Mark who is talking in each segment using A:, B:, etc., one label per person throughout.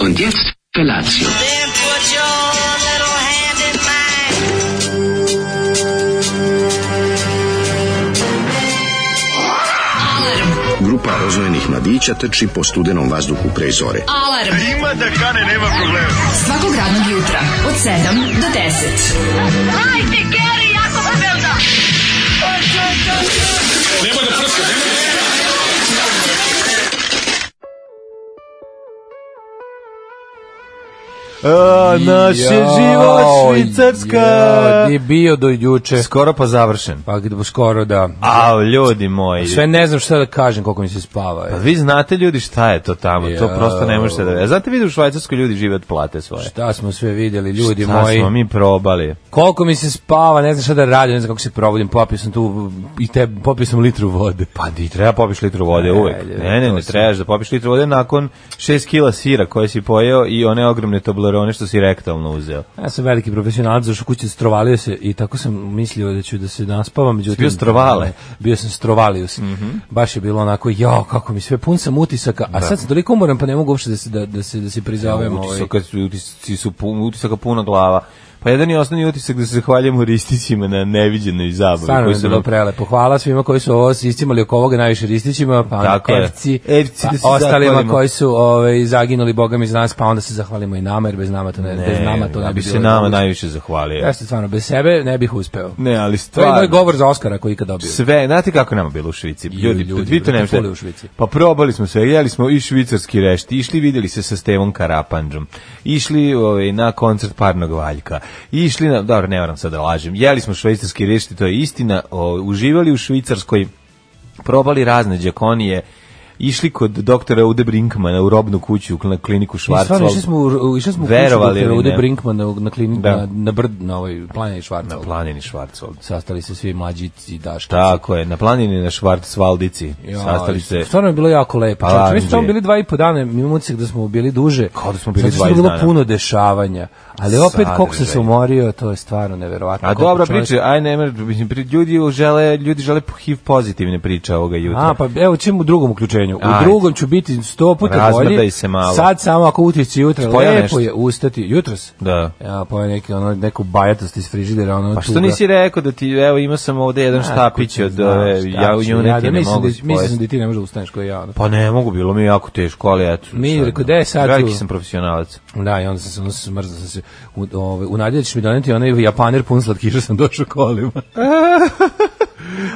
A: Und jetzt Felatio.
B: Then put your little hand in mine.
C: Grupa rozvojenih mladića trči po studenom vazduhu pre zore.
D: Alarm. Ima da kane, nema problema. Svakog radnog jutra, od 7 do 10.
E: A, naše
F: Joj,
E: život švicarska.
F: jao, Di je bio do juče.
E: Skoro pa završen.
F: Pa gde- skoro da.
E: A, ljudi moji.
F: Sve ne znam šta da kažem koliko mi se spava.
E: Pa
F: Je.
E: vi znate ljudi šta je to tamo, to
F: Jao.
E: prosto ne možete da verujete. Znate vi da u Švajcarskoj ljudi žive od plate svoje.
F: Šta smo sve vidjeli, ljudi
E: Šta
F: moji.
E: smo mi probali.
F: Koliko mi se spava, ne znam šta da radim, ne znam kako se provodim. Popio sam tu i te popio sam litru vode.
E: Pa di treba popiš litru vode uvek.
F: Ajde,
E: Ne, ne,
F: to
E: ne
F: sam.
E: trebaš da popiš litru vode nakon 6 kila sira koje si pojeo i one ogromne toblerone što si rektalno uzeo.
F: Ja sam veliki profesionalac, zašao kući, strovalio se i tako sam mislio da ću da se naspavam. Međutim,
E: bio strovale? Mhm.
F: Bio sam strovalio se. Baš je bilo onako, jao, kako mi sve, pun sam utisaka, a sad sam toliko umoran pa ne mogu uopšte da se, da, da se, da se prizovem. ovaj.
E: Utisaka, utisci su pu- utisaka puna glava. Pa jedan i osnovni utisak da se zahvaljujemo risticima na neviđenoj zabavi.
F: Stvarno
E: koju
F: je
E: su
F: bilo
E: nam-
F: prelepo. Hvala svima koji su ovo istimali oko ovoga najviše ristićima, pa onda
E: Tako je.
F: Evci,
E: Evci
F: pa
E: da se
F: ostalima
E: zahvalimo.
F: koji su ovaj, zaginuli Boga mi iz nas, pa onda se zahvalimo i nama, jer bez nama to ne, bez nama to
E: ja
F: ne bi
E: bi
F: bilo.
E: se nama
F: moguće.
E: najviše zahvalio.
F: Ja sam stvarno, bez sebe ne bih uspeo.
E: Ne, ali
F: To je moj
E: stvarno.
F: govor za Oscara koji ikad dobio.
E: Sve, znate kako nama bilo u Švici? Ljudi,
F: ljudi,
E: vi to ne
F: brate,
E: možete.
F: fuli u Švici.
E: Pa probali smo sve, jeli smo i švicarski rešti, išli vidjeli se sa Stevom Karapandžom, išli ovaj, na koncert Parnog Valjka, išli na, dobro, ne moram sad da lažem, jeli smo švajcarski rešti, to je istina, o, uživali u Švicarskoj, probali razne džakonije, išli kod doktora Ude Brinkmana u robnu kuću, na kliniku
F: Mi
E: Švarcvald.
F: stvarno išli smo, u- išli smo u kuću
E: Verovali
F: doktora
E: ili
F: Ude
E: ne?
F: Brinkman na, na, klini,
E: Da.
F: na, na brd, na ovoj planini Švarca.
E: Planini Švarcvald.
F: Sastali se svi mlađici, daškici.
E: Tako je, na planini na Švarcvaldici.
F: Ja,
E: Sastali se
F: Stvarno je bilo jako lepo.
E: Pa,
F: Čovječe, mi smo tamo
E: Andrije.
F: bili dva i po dana, mi imamo utisak da smo bili duže.
E: Kao da smo bili
F: zato što je
E: 20
F: bilo
E: dana.
F: puno dešavanja. Ali opet, koliko sam se
E: Sadržaj.
F: umorio, to je stvarno neverovatno.
E: A
F: Koliko
E: dobra
F: čovjek-
E: priča, aj ne, mer- mislim, pri- ljudi žele, ljudi žele HIV pozitivne priče ovoga jutra.
F: A, pa evo čim u drugom uključenju. U
E: Ajde.
F: drugom ću biti sto puta bolji.
E: Razmrdaj se malo.
F: Sad samo ako utisci jutra,
E: Spojao
F: lepo
E: nešto?
F: je ustati. Jutros?
E: Da.
F: Ja pojao neki, ono, neku bajatost iz frižidera. Ono,
E: Pa što
F: tuga.
E: nisi rekao da ti, evo ima sam ovde jedan štapić od ove, ja u nju ne, ne
F: mislim
E: mogu
F: da,
E: si
F: mislim
E: pojesti.
F: da ti ne možeš da ustaneš koji ja. ono.
E: Pa ne mogu, bilo mi je jako teško, ali eto.
F: Mi,
E: šta
F: rekao,
E: znam.
F: "Gde sad
E: Veliki
F: tu?"
E: sam profesionalac.
F: Da, i onda sam se onda sam smrzao sam se. U, ovaj, u nadjelju ćeš mi doneti onaj japaner pun slatkiša sam došao kolima.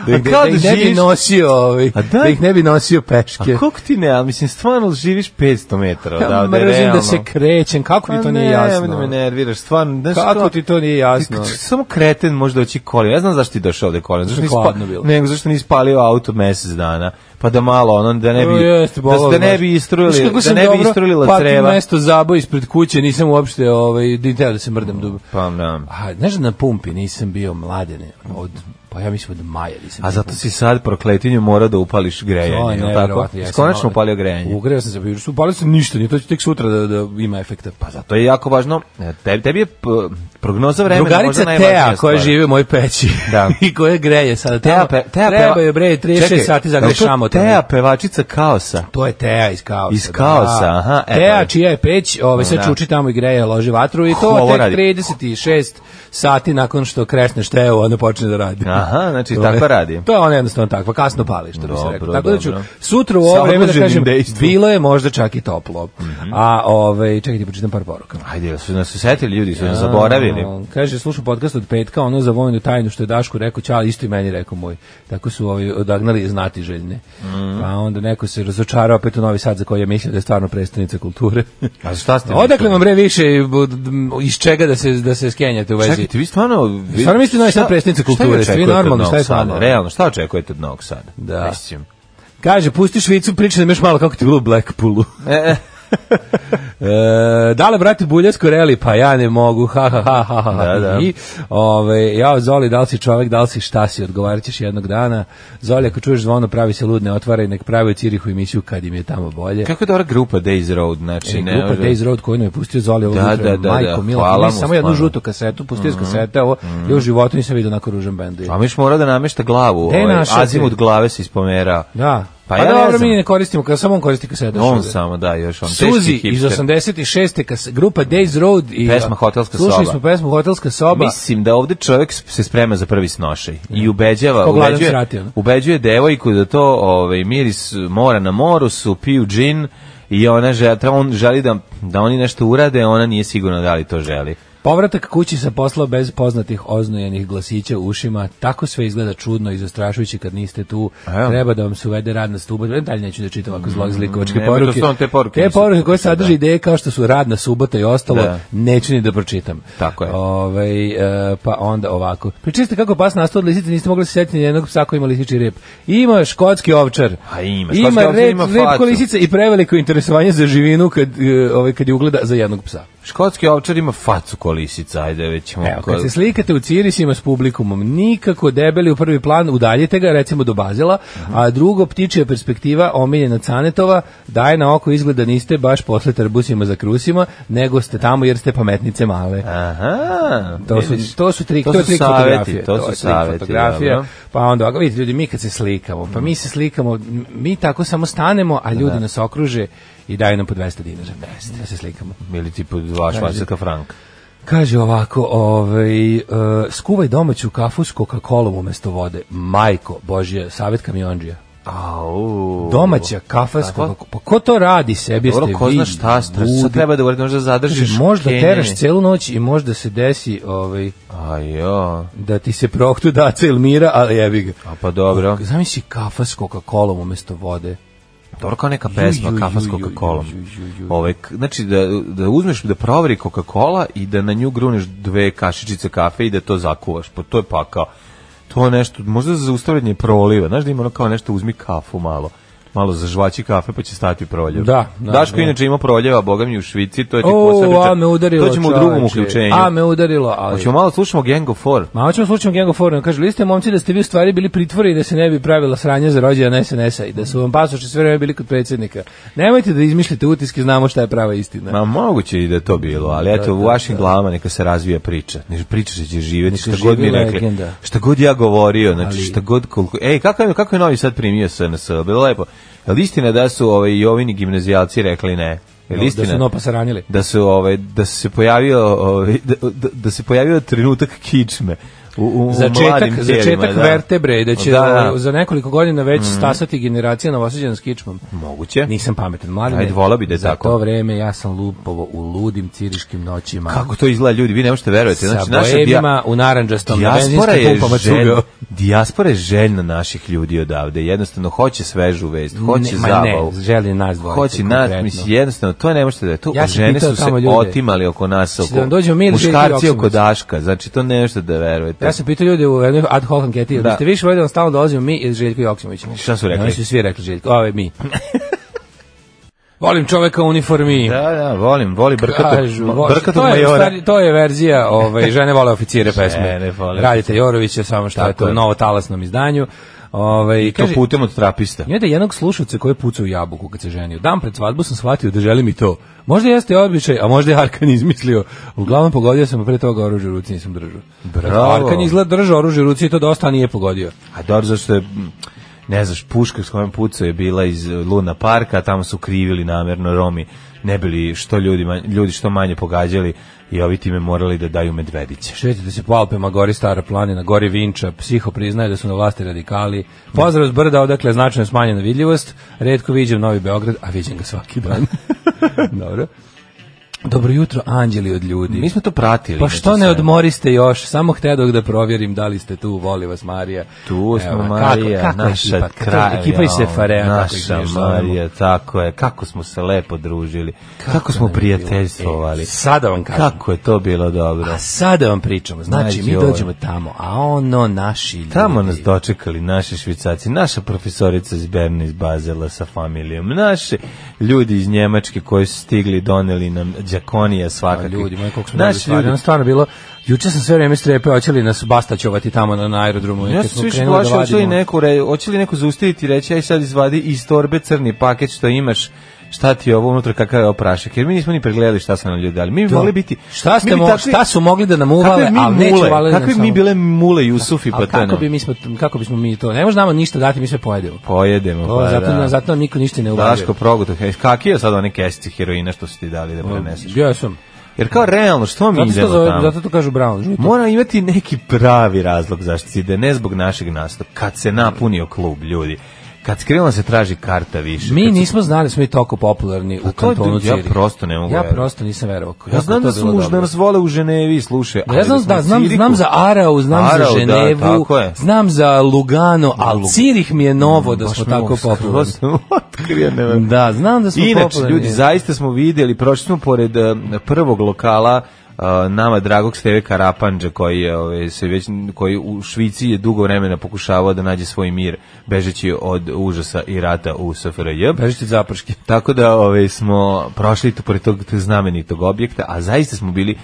E: A
F: da,
E: kao
F: da ih
E: da
F: ne bi
E: živiš-
F: nosio, ovaj,
E: A
F: da,
E: da-
F: ih ne bi nosio
E: A
F: peške.
E: koliko ti ne, ali mislim, stvarno živiš 500 metara
F: Ja
E: odavde,
F: mrzim
E: realno. Pa
F: da Pa se krećem, kako ti to nije
E: Ne, da me
F: jasno? ono.
E: nerviraš, stvarno. znaš
F: Kako
E: kao-
F: ti to nije jasno?
E: Ti- ti- Samo kreten može doći kolima. Ja znam zašto ti došao ovde kolima. Zašto nisi pa,
F: Hladno bilo.
E: nego zašto nisi palio auto mesec dana. Pa da malo ono da ne bi
F: O, jeste,
E: da,
F: bolalo
E: da ne
F: baš.
E: bi
F: Znaš
E: istrujili
F: kako
E: da
F: sam
E: ne bi
F: dobro
E: istrujila
F: patim
E: creva.
F: mesto zaboj ispred kuće, nisam uopšte ovaj, ni teo da se mrdam dubo.
E: Pa na.
F: A, znaš da na pumpi nisam bio mladene, od, pa ja mislim od maja nisam
E: A
F: bio
E: zato si sad prokletinju morao da upališ
F: To je
E: grejanje, je li tako?
F: neverovatno. ja sam
E: Skonačno
F: malo-
E: upalio grejanje.
F: Ugreo sam se, pa juče upalio sam ništa, nije to će tek sutra da, da ima efekta. Pa zato.
E: To je jako važno. E, Tebi, tebi je p- prognoza vremena možda
F: Drugarica
E: najvažnija
F: Teja koja
E: stvar.
F: žive u mojoj peći
E: Da.
F: i koja greje sada.
E: Teja,
F: tamo,
E: pe, teja
F: treba
E: peva-
F: je bre 36
E: Čekaj,
F: sati
E: je li
F: zagreš
E: to
F: šamot.
E: Teja pevačica kaosa.
F: To je Teja iz kaosa.
E: Iz kaosa,
F: da.
E: aha, e, to
F: Teja
E: je.
F: čija je peć,
E: Da.
F: ove, sad čuči tamo i greje, loži vatru i
E: Ko
F: to
E: ovo
F: tek
E: radi?
F: 36 sati nakon što kresneš Teju, ona počne da radi.
E: Aha, znači,
F: To je-
E: tako radi.
F: To je ona jednostavno takva, kasno pali, što bi se
E: Dobro,
F: rekao. Tako da ću
E: dobro.
F: sutra u
E: Sa
F: ovo vreme da
E: odloženim
F: kažem,
E: dejstvom. Mhm.
F: bilo je možda čak i toplo. A ove, čekaj ti počitam par poruka.
E: Ajde, jel su nas usetili ljudi, su nas zaboravili.
F: A, Kaže, slušam podcast od petka, ono za vojnu tajnu što je Dašku rekao, čao, isto i meni rekao moj. Tako su ovi odagnali znati željne.
E: Mhm.
F: Pa onda neko se razočarao opet u Novi Sad za koji je mislio da je stvarno predstavnica kulture.
E: A šta ste?
F: Odakle vam bre više od- iz čega da se, da se skenjate u vezi?
E: Čekajte, vi stvarno... Vi,
F: Stvarno mislite da je sad
E: šta-
F: predstavnica
E: šta vi
F: kulture, ste vi
E: očekujete od
F: normalni, šta je
E: Novog
F: s vama?
E: Sada? Realno, šta očekujete od Novog Sada?
F: Da.
E: Mislim.
F: Kaže, pusti Švicu, pričaj nam još malo kako ti je bilo u Blackpoolu.
E: E,
F: E, dale, brate, Buljasko reli, pa ja ne mogu, ha, ha, ha, ha, ha.
E: Da, da.
F: I, ove, ja, Zoli, da li si čovek, da li si šta si, odgovarat ćeš jednog dana. Zoli, ako čuješ zvono, pravi se lud, ne otvaraj, nek pravi u Cirihu emisiju kad im je tamo bolje.
E: kako je dobra grupa Days Road, znači...
F: E,
E: ne,
F: grupa
E: može-
F: Days Road koju nam je pustio Zoli ovog
E: Da,
F: jutra,
E: da, da, da,
F: majko mila,
E: hvala
F: ne,
E: mu,
F: samo jednu
E: stvarno. Mhm.
F: žutu kasetu, pustio iz kasete, ovo, ja u
E: Pa-
F: životu nisam vidio onako ružan bend.
E: A miš mora da namešta glavu.
F: Gde je
E: Ovaj,
F: naša,
E: azim od glave se ispomerao.
F: Da. Pa, ja dobro, mi ne koristimo, ka- samo on koristi kasete.
E: On samo, da, još on. teški
F: Suzi iz
E: hipster.
F: 86. Kas, grupa Days Road i
E: Pesma Hotelska
F: Slušali
E: soba.
F: smo pesmu Hotelska soba.
E: Mislim da ovde čovjek s- se sprema za prvi snošaj i ubeđava,
F: Ko gladan
E: ubeđuje,
F: srati, ono.
E: ubeđuje devojku da to ovaj, miris mora na moru su, piju džin i ona želi, on želi da, da oni nešto urade, ona nije sigurna da li to želi.
F: Povratak kući sa posla bez poznatih oznojenih glasića u ušima, tako sve izgleda čudno i zastrašujuće kad niste tu.
E: A evo.
F: Treba da vam se uvede rad na subota. Dalje neću da čitam ovako zlog zlikovačke
E: ne,
F: poruke.
E: to su vam te poruke, nisu-
F: koje sadrže
E: da.
F: ideje kao što su radna subota i ostalo,
E: Da.
F: neću ni da pročitam.
E: Tako je.
F: Ovaj, e, pa onda ovako. Pričali ste kako pas nastao od lisice, niste mogli se sjetiti nijednog psa koji ima lisiči rep. Ima škotski ovčar.
E: A ima, škotski
F: Ima
E: ovčar
F: rep,
E: ima
F: rep
E: facu.
F: ko lisica i preveliko interesovanje za živinu kad, e, ovaj, kad je ugleda za jednog psa.
E: Škotski ovčar ima facu kolisica, ajde već ćemo...
F: Evo, kad
E: ko-
F: se slikate u cirisima s publikumom, nikako debeli u prvi plan, udaljite ga, recimo do Bazela, a drugo, ptičija perspektiva, omiljena Canetova, daje na oko izgled da niste baš posle trbusima za krusima, nego ste tamo jer ste pametnice male.
E: Aha,
F: To
E: vidiš.
F: su, to su trik,
E: To
F: to,
E: su
F: je trik
E: saveti,
F: fotografije.
E: to su
F: je trik
E: saveti,
F: fotografije.
E: dobro.
F: Pa onda, ovako, vidite ljudi, mi kad se slikamo, pa mi se slikamo, m- mi tako samo stanemo, a ljudi nas okruže i daju nam po 200 dinara. Da se slikamo.
E: Ili tipu dva švajcarska franka.
F: Kaže ovako, ovaj, e, skuvaj domaću kafu s Coca-Colom umesto vode. Majko, Božje, savjet kamionđija.
E: Au.
F: Domaća kafa s
E: Kako?
F: Coca-Colom. Pa ko to radi sebi?
E: Dobro,
F: ste
E: ko
F: vi
E: zna šta, šta sad
F: ludi?
E: treba da uradi, možda zadržiš
F: Kaže, možda
E: kenjanje.
F: teraš celu noć i možda se desi ovaj,
E: Ajo,
F: da ti se prohtu daca Elmira, ali jebi ga.
E: a pa dobro.
F: Zamisli kafa s Coca-Colom umesto vode.
E: Dobro kao neka pesma,
F: ju,
E: kafa s
F: ju, ju,
E: Coca-Colom.
F: ju, ju, ju.
E: Ovaj, k- znači, da, da uzmeš, da proveri Coca-Cola i da na nju gruneš dve kašičice kafe i da to zakuvaš. Pa to je pakao. To je nešto, možda za zaustavljanje proliva. Znaš da ima ono kao nešto, uzmi kafu malo. Malo zažvaći kafe pa će stati proljev.
F: Da, da,
E: Daško
F: da.
E: inače ima proljeva, boga mi u Švici, to je ti
F: O,
E: posebno.
F: a me udarilo.
E: To ćemo u drugom
F: čoveče.
E: uključenju.
F: A me udarilo, ali...
E: Hoćemo malo slušamo Gang of Four.
F: Ma hoćemo slučajno Gengo Forno. Kaže, li ste momci da ste vi u stvari bili pritvori i da se ne bi pravila sranja za rođena SNS-a i da su vam pasoši sve vreme bili kod predsjednika. Nemojte da izmišljate utiske, znamo šta je prava istina.
E: Ma moguće i da je to bilo, ali eto u vašim glavama neka se razvija priča. Ne priča će će živeti
F: Neka
E: šta god mi
F: živi
E: rekli.
F: legenda.
E: Šta god ja govorio, znači šta god koliko. Ej, kako je kako je Novi Sad primio SNS? Bilo lepo. Je li istina da su ovaj Jovini gimnazijalci rekli ne? Je li
F: da
E: istina?
F: su nopa saranjili.
E: da su ovaj da su se pojavio ovaj da, da, da se pojavio trenutak kičme u u, u
F: Začetak,
E: mladim tijelima,
F: začetak
E: da.
F: vertebre, da će
E: Da, Mhm.
F: ovaj,
E: da.
F: za nekoliko godina već stasati generacija novoseđana s kičmom.
E: moguće.
F: Nisam pametan, mladine.
E: Ajde, volao bi da je
F: za
E: tako.
F: to vreme ja sam lupovo u ludim ciriškim noćima.
E: Kako to izgleda ljudi, vi ne možete verovati. Znači,
F: sa
E: naša dia-
F: boemima u naranđastom na
E: Dijaspora
F: benzinskim
E: je,
F: pumpama
E: željna,
F: cugao.
E: dijaspora je željna naših ljudi odavde. Jednostavno, hoće svežu vest, hoće
F: Ne, ma
E: zabavu.
F: Ne, želi nas dvojicu.
E: hoće nas,
F: konkretno.
E: mislim, jednostavno, to ne možete da je to.
F: Ja sam
E: žene
F: pitao
E: su se
F: tamo ljude.
E: otimali oko nas,
F: Hoće da
E: oko
F: vam dođemo mi ili
E: muškarci
F: Željko
E: oko
F: Joksimović?
E: daška. Znači, to ne možete da verujete.
F: Ja sam pitao ljude u jednoj ad hoc anketi, jel
E: Da.
F: biste više voljeli da vam stalno dolazimo mi ili Željko Joksimović?
E: Šta su rekli?
F: Oni su svi rekli Željko, ove mi. Volim čoveka u uniformi.
E: Da, da, volim, voli brkatog,
F: Kažu,
E: ma-
F: volim-
E: brkatog
F: to je, u
E: majora.
F: stvari- to je verzija ovaj, žene vole oficire pesme.
E: Žene vole
F: Radite Jorovića, samo što je
E: Tako
F: to
E: je.
F: u novo talasnom izdanju. Ovaj,
E: I to
F: kaže-
E: putem od trapista.
F: Imate jednog slušalca koji puca u jabuku kad se ženio. Dan pred svadbu sam shvatio da želim i to. Možda jeste običaj, a možda je Arkan izmislio. Uglavnom pogodio sam, a pre toga oružje u ruci nisam držao.
E: Bravo.
F: Arkan izgleda držao oružje u ruci i to dosta nije pogodio.
E: A dobro, zašto je, mm, ne znaš, puška s kojom pucao je bila iz e, Luna parka, a tamo su krivili namerno Romi, ne bili što ljudi, manj- ljudi što manje pogađali i ovi time morali da daju medvediće.
F: Šetite se po Alpima, gori Stara planina, gori Vinča, psiho priznaje da su na vlasti radikali. Pozdrav s brda, odakle je značajno smanjena vidljivost. Redko viđem Novi Beograd, a viđem ga svaki dan. Dobro. Dobro jutro, anđeli od ljudi.
E: Mi smo to pratili.
F: Pa
E: znači,
F: što ne
E: sve.
F: odmoriste još? Samo htedog da provjerim da li ste tu, voli vas Marija.
E: Tu smo
F: Evo,
E: Marija,
F: kako, kako
E: naša
F: ekipa, kako-
E: kralja, ono,
F: Ekipa iz Sefarea, kako ono, ih
E: naša
F: mi zovemo.
E: Marija, tako je, kako smo se lepo družili, kako, smo prijateljstvovali,
F: E, Sada vam kažem.
E: kako je to bilo dobro.
F: A sada vam pričamo. Znači,
E: Majke
F: mi
E: ovo.
F: dođemo tamo, a ono naši ljudi.
E: Tamo nas dočekali naši švicaci, naša profesorica iz Berna iz Bazela sa familijom, naši ljudi iz Njemačke koji su stigli, doneli nam džakonija svakakvih.
F: ljudi moji koliko smo dobili
E: naši
F: stvari.
E: ljudi.
F: Ono stvarno bilo juče sam sve vreme strepeo hoće li nas bastaćovati tamo na, na aerodromu
E: Ja sam
F: kad smo
E: se više
F: krenuli da
E: plašao, hoće li
F: vadimo.
E: neko, re, hoće li neko zaustaviti i reći, aj sad izvadi iz torbe crni paket što imaš, šta ti je ovo unutra, kakav je ovo prašak, jer mi nismo ni pregledali šta su nam ljudi dali. Mi bi
F: To.
E: voleli biti...
F: Šta,
E: mi
F: ste
E: bi
F: mo,
E: takvi-
F: šta su mogli da nam
E: kakve
F: uvale,
E: mi
F: ali neće
E: mule,
F: valili nam
E: Kakve
F: samo-
E: mi bile mule Jusufi, pa
F: A
E: to je
F: kako
E: nam.
F: bi mi smo kako bismo mi to? Ne može nama ništa dati, mi sve pojedemo.
E: Pojedemo,
F: To,
E: pa
F: zato,
E: da.
F: na- zato nam niko ništa ne uvažuje.
E: Daško progoto, kaki je sad one kesice heroina što si ti dali da preneseš?
F: Ja sam.
E: Jer kao realno, što mi
F: Zato što
E: idemo
F: zove,
E: tamo?
F: zato to kažu brown, žuto.
E: Mora imati neki pravi razlog zašto se ide, ne zbog našeg nastupa. Kad se napunio klub, ljudi, kad skrenula se traži karta više.
F: Mi
E: kad se-
F: nismo znali da smo i toliko popularni
E: Pa
F: u
E: to je-
F: kantonu
E: ja
F: Cirih.
E: prosto ne mogu
F: Ja
E: verovati.
F: prosto nisam verovao.
E: Ja znam da su muž, da nas vole u Ženevi, slušaj.
F: Ja
E: ali
F: znam
E: smo
F: da
E: u
F: znam
E: Cirihu-
F: znam za Arau, znam
E: Arau,
F: za
E: da,
F: Ženevu,
E: tako je.
F: znam za Lugano, a
E: Lug-
F: Cirih mi je novo da
E: Baš
F: smo
E: mi
F: tako
E: ovo skroz
F: popularni.
E: sam otkrio, ne verujem.
F: Da, znam da smo
E: Inače,
F: popularni.
E: ljudi, zaista smo vidjeli, prošli smo pored eh, prvog lokala eh, nama dragog Steve Karapanđa koji je ovaj, se već koji u Švici je dugo vremena pokušavao da nađe svoj mir bežeći od užasa i rata u SFRJ.
F: Bežite zaprške.
E: Tako da ovaj, smo prošli tu pored tog znamenitog objekta, a zaista smo bili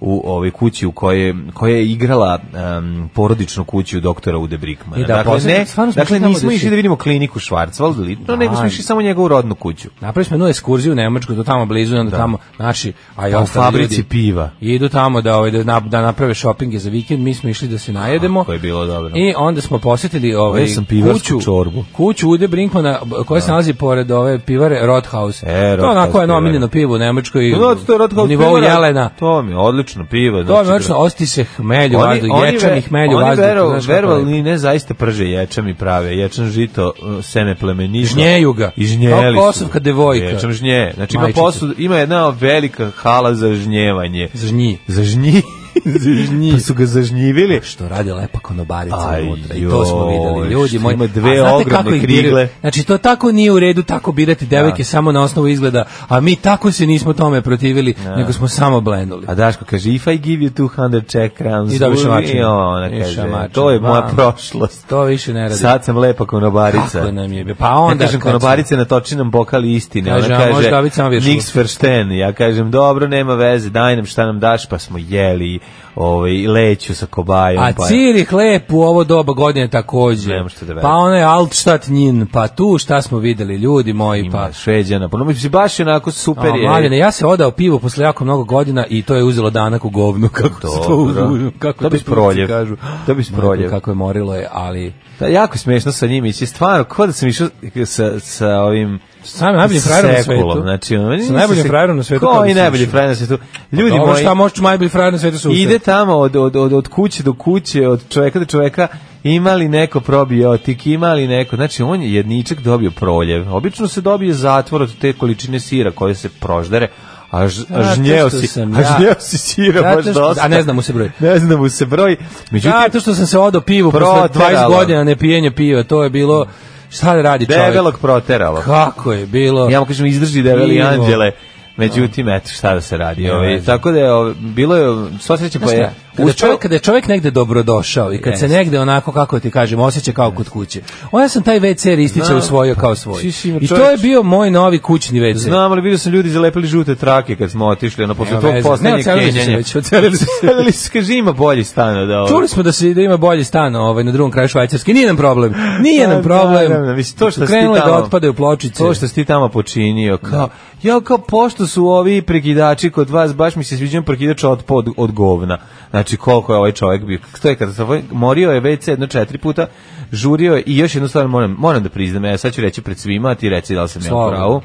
E: u ovoj kući u kojoj koja je igrala em, porodičnu kuću doktora Ude Brickmana.
F: I da,
E: dakle,
F: posebno-
E: ne,
F: stvarno smo
E: dakle
F: tamo
E: nismo
F: da
E: išli
F: si-
E: da vidimo kliniku Schwarzwald, lično, nego smo
F: Aj.
E: išli samo u njegovu rodnu kuću.
F: Napravili smo jednu ekskurziju u Nemačku, do tamo blizu, i onda tamo naši, a i
E: Pa u
F: ostali
E: fabrici
F: ljudi
E: piva.
F: Idu tamo da, ovaj, da, na- da naprave šopinge za vikend, mi smo išli da se najedemo.
E: Kako je bilo dobro.
F: I onda smo posjetili ovaj,
E: Ja sam pivarsku
F: kuću,
E: čorbu.
F: kuću Ude Brinkmana b- koja se nalazi pored ove pivare Rothaus.
E: E,
F: to
E: Rothaus
F: onako je
E: pivara.
F: nominjeno pivo u Nemačkoj
E: No, to je
F: u
E: Rothaus
F: nivou
E: pivara.
F: Jelena.
E: To mi je odlično pivo.
F: To je
E: znači,
F: znači, osti se hmelju,
E: Oni,
F: vazduh,
E: oni,
F: ječan i
E: ve-
F: hmelju,
E: oni
F: vazduh.
E: vero,
F: znaš kako
E: verovali
F: je.
E: ili ne, zaista prže ječam i prave. Ječan žito, uh, seme plemenišno.
F: Žnjeju ga.
E: I žnjeli
F: Kao
E: su.
F: kosovka devojka.
E: Ječam žnje. Znači ima,
F: Majčica.
E: posud, ima jedna velika hala za žnjevanje.
F: Žnji.
E: Za žnji. za žnji. Pa su ga zažnjivili.
F: što radi lepa konobarica
E: Aj,
F: unutra i to smo
E: joj,
F: videli ljudi
E: što
F: moji
E: ima dve
F: A znate
E: ogromne
F: kako ih
E: krigle?
F: biraju? znači to tako nije u redu tako birati devojke
E: Da.
F: samo na osnovu izgleda a mi tako se nismo tome protivili nego smo samo blenduli
E: A Daško kaže, if I give you 200 check crowns,
F: I dobiš
E: uzmi,
F: šamačinu.
E: i ona
F: I
E: kaže,
F: šamačinu,
E: to je moja
F: mamo.
E: prošlost.
F: to više ne radi
E: Sad sam lepa konobarica.
F: Kako nam je bio? Pa onda
E: ja kažem
F: kad sam-
E: konobarice na točinom bokali istine.
F: Kaže,
E: Ona
F: a može dobiti samo
E: kaže
F: viršulu.
E: Nix verstehen. Ja kažem dobro, nema veze, daj nam šta nam daš, pa smo jeli, ovaj leću sa kobajom,
F: A
E: pa
F: Cirih lep u ovo doba godine takođe.
E: Nema šta da veruješ.
F: Pa onaj Altstadt njin, pa tu šta smo videli, ljudi moji,
E: ima
F: pa...
E: šveđana. Pa no, mislim, baš je onako super
F: A,
E: je.
F: mladine, ja se odao pivo posle jako mnogo godina i to je uzelo danak u govnu, kako se to
E: Dobro.
F: u- kako
E: To bi
F: Turci
E: proljev.
F: kažu.
E: To bi proljev.
F: Kako je morilo je, ali...
E: Da, jako smešno sa njim ići. Stvarno, kao da sam išao sa, sa ovim...
F: Sam najboljim
E: sa
F: frajerom na
E: sekulom.
F: svetu.
E: Znači, ono, meni
F: Sa najboljim
E: se-
F: frajerom na svetu,
E: Ko
F: kako
E: i
F: si
E: najbolji
F: išao?
E: frajer na svetu? Ljudi
F: Dobro,
E: moji...
F: šta možeš najbolji frajer na svetu se ustati?
E: Ide tamo od, od, od, od kuće do kuće, od čoveka do čoveka, ima li neko probiotik, ima li neko, znači on je jedničak dobio proljev. Obično se dobije zatvor od te količine sira koje se proždere, a, ž, a
F: Zato
E: žnjeo
F: što
E: si,
F: sam
E: a
F: ja-
E: žnjeo si sira
F: Zato
E: baš
F: što-
E: dosta.
F: a ne zna mu se broj.
E: Ne zna mu se broj. Međutim,
F: Zato što sam se odao pivo posle 20
E: Proteralo.
F: godina ne pijenja piva, to je bilo... Šta da radi čovjek?
E: debelog proteralo.
F: Kako je bilo?
E: Ja mu kažem, izdrži debeli
F: Ivo.
E: anđele. Međutim, eto šta da se radi.
F: Ne
E: Ovaj,
F: veze.
E: tako da je, ovaj, bilo je, sva sreća
F: Znaš
E: koja je...
F: šta, Kada,
E: uspeo-
F: čovjek, kada je čovjek negde dobrodošao i kad se
E: Jeste.
F: negde onako, kako ti kažem, osjeća kao kod kuće. Onda sam taj WC ristića
E: Znam.
F: usvojio kao svoj.
E: Si, si,
F: I to
E: čovječe.
F: je bio moj novi kućni WC.
E: Znam, ali vidio sam ljudi zalepili žute trake kad smo otišli, ono, posle
F: Nema
E: tog
F: veze. Ne,
E: poslednjeg
F: odselili su se
E: kenjanja.
F: već, odselili su se.
E: Odselili su se, kaže, ima bolji stan od ovo.
F: Čuli smo da se da ima bolji stan ovaj na drugom kraju Švajcarske. Nije nam problem. Nije nam
E: Pa, Da,
F: problem.
E: da, da, mislim, to što si
F: Krenule
E: ti tamo-
F: da otpadaju pločice.
E: To što si ti tamo počinio, kao, ja kao, pošto su ovi prekidači kod vas, baš mi se sviđa prekidač od, pod, od govna. Znači, koliko je ovaj čovjek bio. To je katastrofa. Morio je WC jedno četiri puta, žurio je i još jednu stvar moram, moram da priznam, ja sad ću reći pred svima, a ti reci da li sam ja u
F: Slobodno.
E: pravu.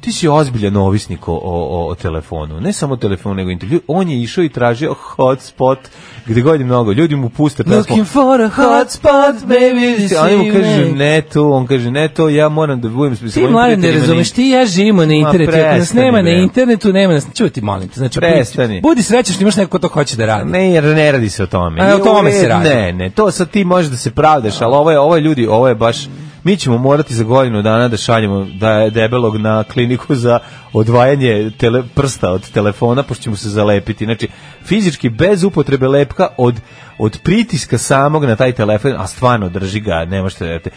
E: Ti si ozbiljan ovisnik o, o, o telefonu. Ne samo telefonu, nego intervju. On je išao i tražio hotspot gde god je mnogo. Ljudi mu puste pesmu.
F: Looking for a hotspot, baby, this
E: A on mu
F: you
E: kaže
F: make.
E: ne to, on kaže ne to, ja moram da budem s svojim
F: Ti mladen ne
E: prijateljima na
F: razumeš, ti i ja živimo na internetu, ako nas
E: prestani,
F: nema na
E: bre.
F: internetu, nema nas, čuj ti molim te, znači,
E: Prestani.
F: budi srećan što imaš neko ko to hoće da radi.
E: Ne, jer ne radi se o tome.
F: A, E, o
E: I
F: tome
E: ovo je-
F: se radi.
E: Ne, ne, to sad ti možeš da se pravdaš, ali ovo je, ovo je ljudi, ovo je baš... Mi ćemo morati za godinu dana da šaljemo da debelog na kliniku za odvajanje tele, prsta od telefona, pošto ćemo se zalepiti. Znači, fizički bez upotrebe lepka od, od pritiska samog na taj telefon, a stvarno drži ga, nema što da te...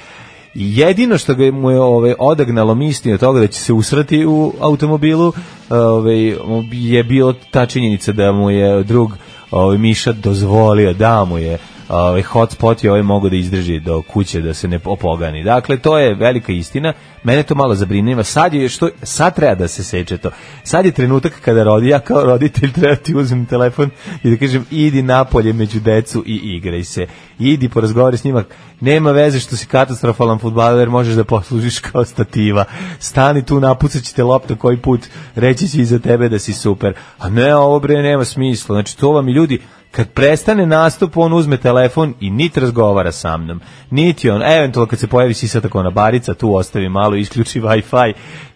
E: Jedino što ga mu je ovaj odagnalo misli od toga da će se usrati u automobilu, ovaj je bilo ta činjenica da mu je drug ovaj Miša dozvolio da mu je ovaj hotspot je ovaj mogao da izdrži do kuće da se ne opogani. Dakle to je velika istina. Mene to malo zabrinjava. Sad je što sad treba da se seče to. Sad je trenutak kada rodi ja kao roditelj treba ti uzmem telefon i da kažem idi napolje među decu i igraj se. Idi porazgovaraj s njima. Nema veze što si katastrofalan fudbaler, možeš da poslužiš kao stativa. Stani tu, napucaćete loptu koji put, reći će iza tebe da si super. A ne, ovo bre nema smisla. Znači to vam i ljudi kad prestane nastup, on uzme telefon i niti razgovara sa mnom. Niti on, eventualno kad se pojavi sisatak ona barica, tu ostavi malo, isključi Wi-Fi,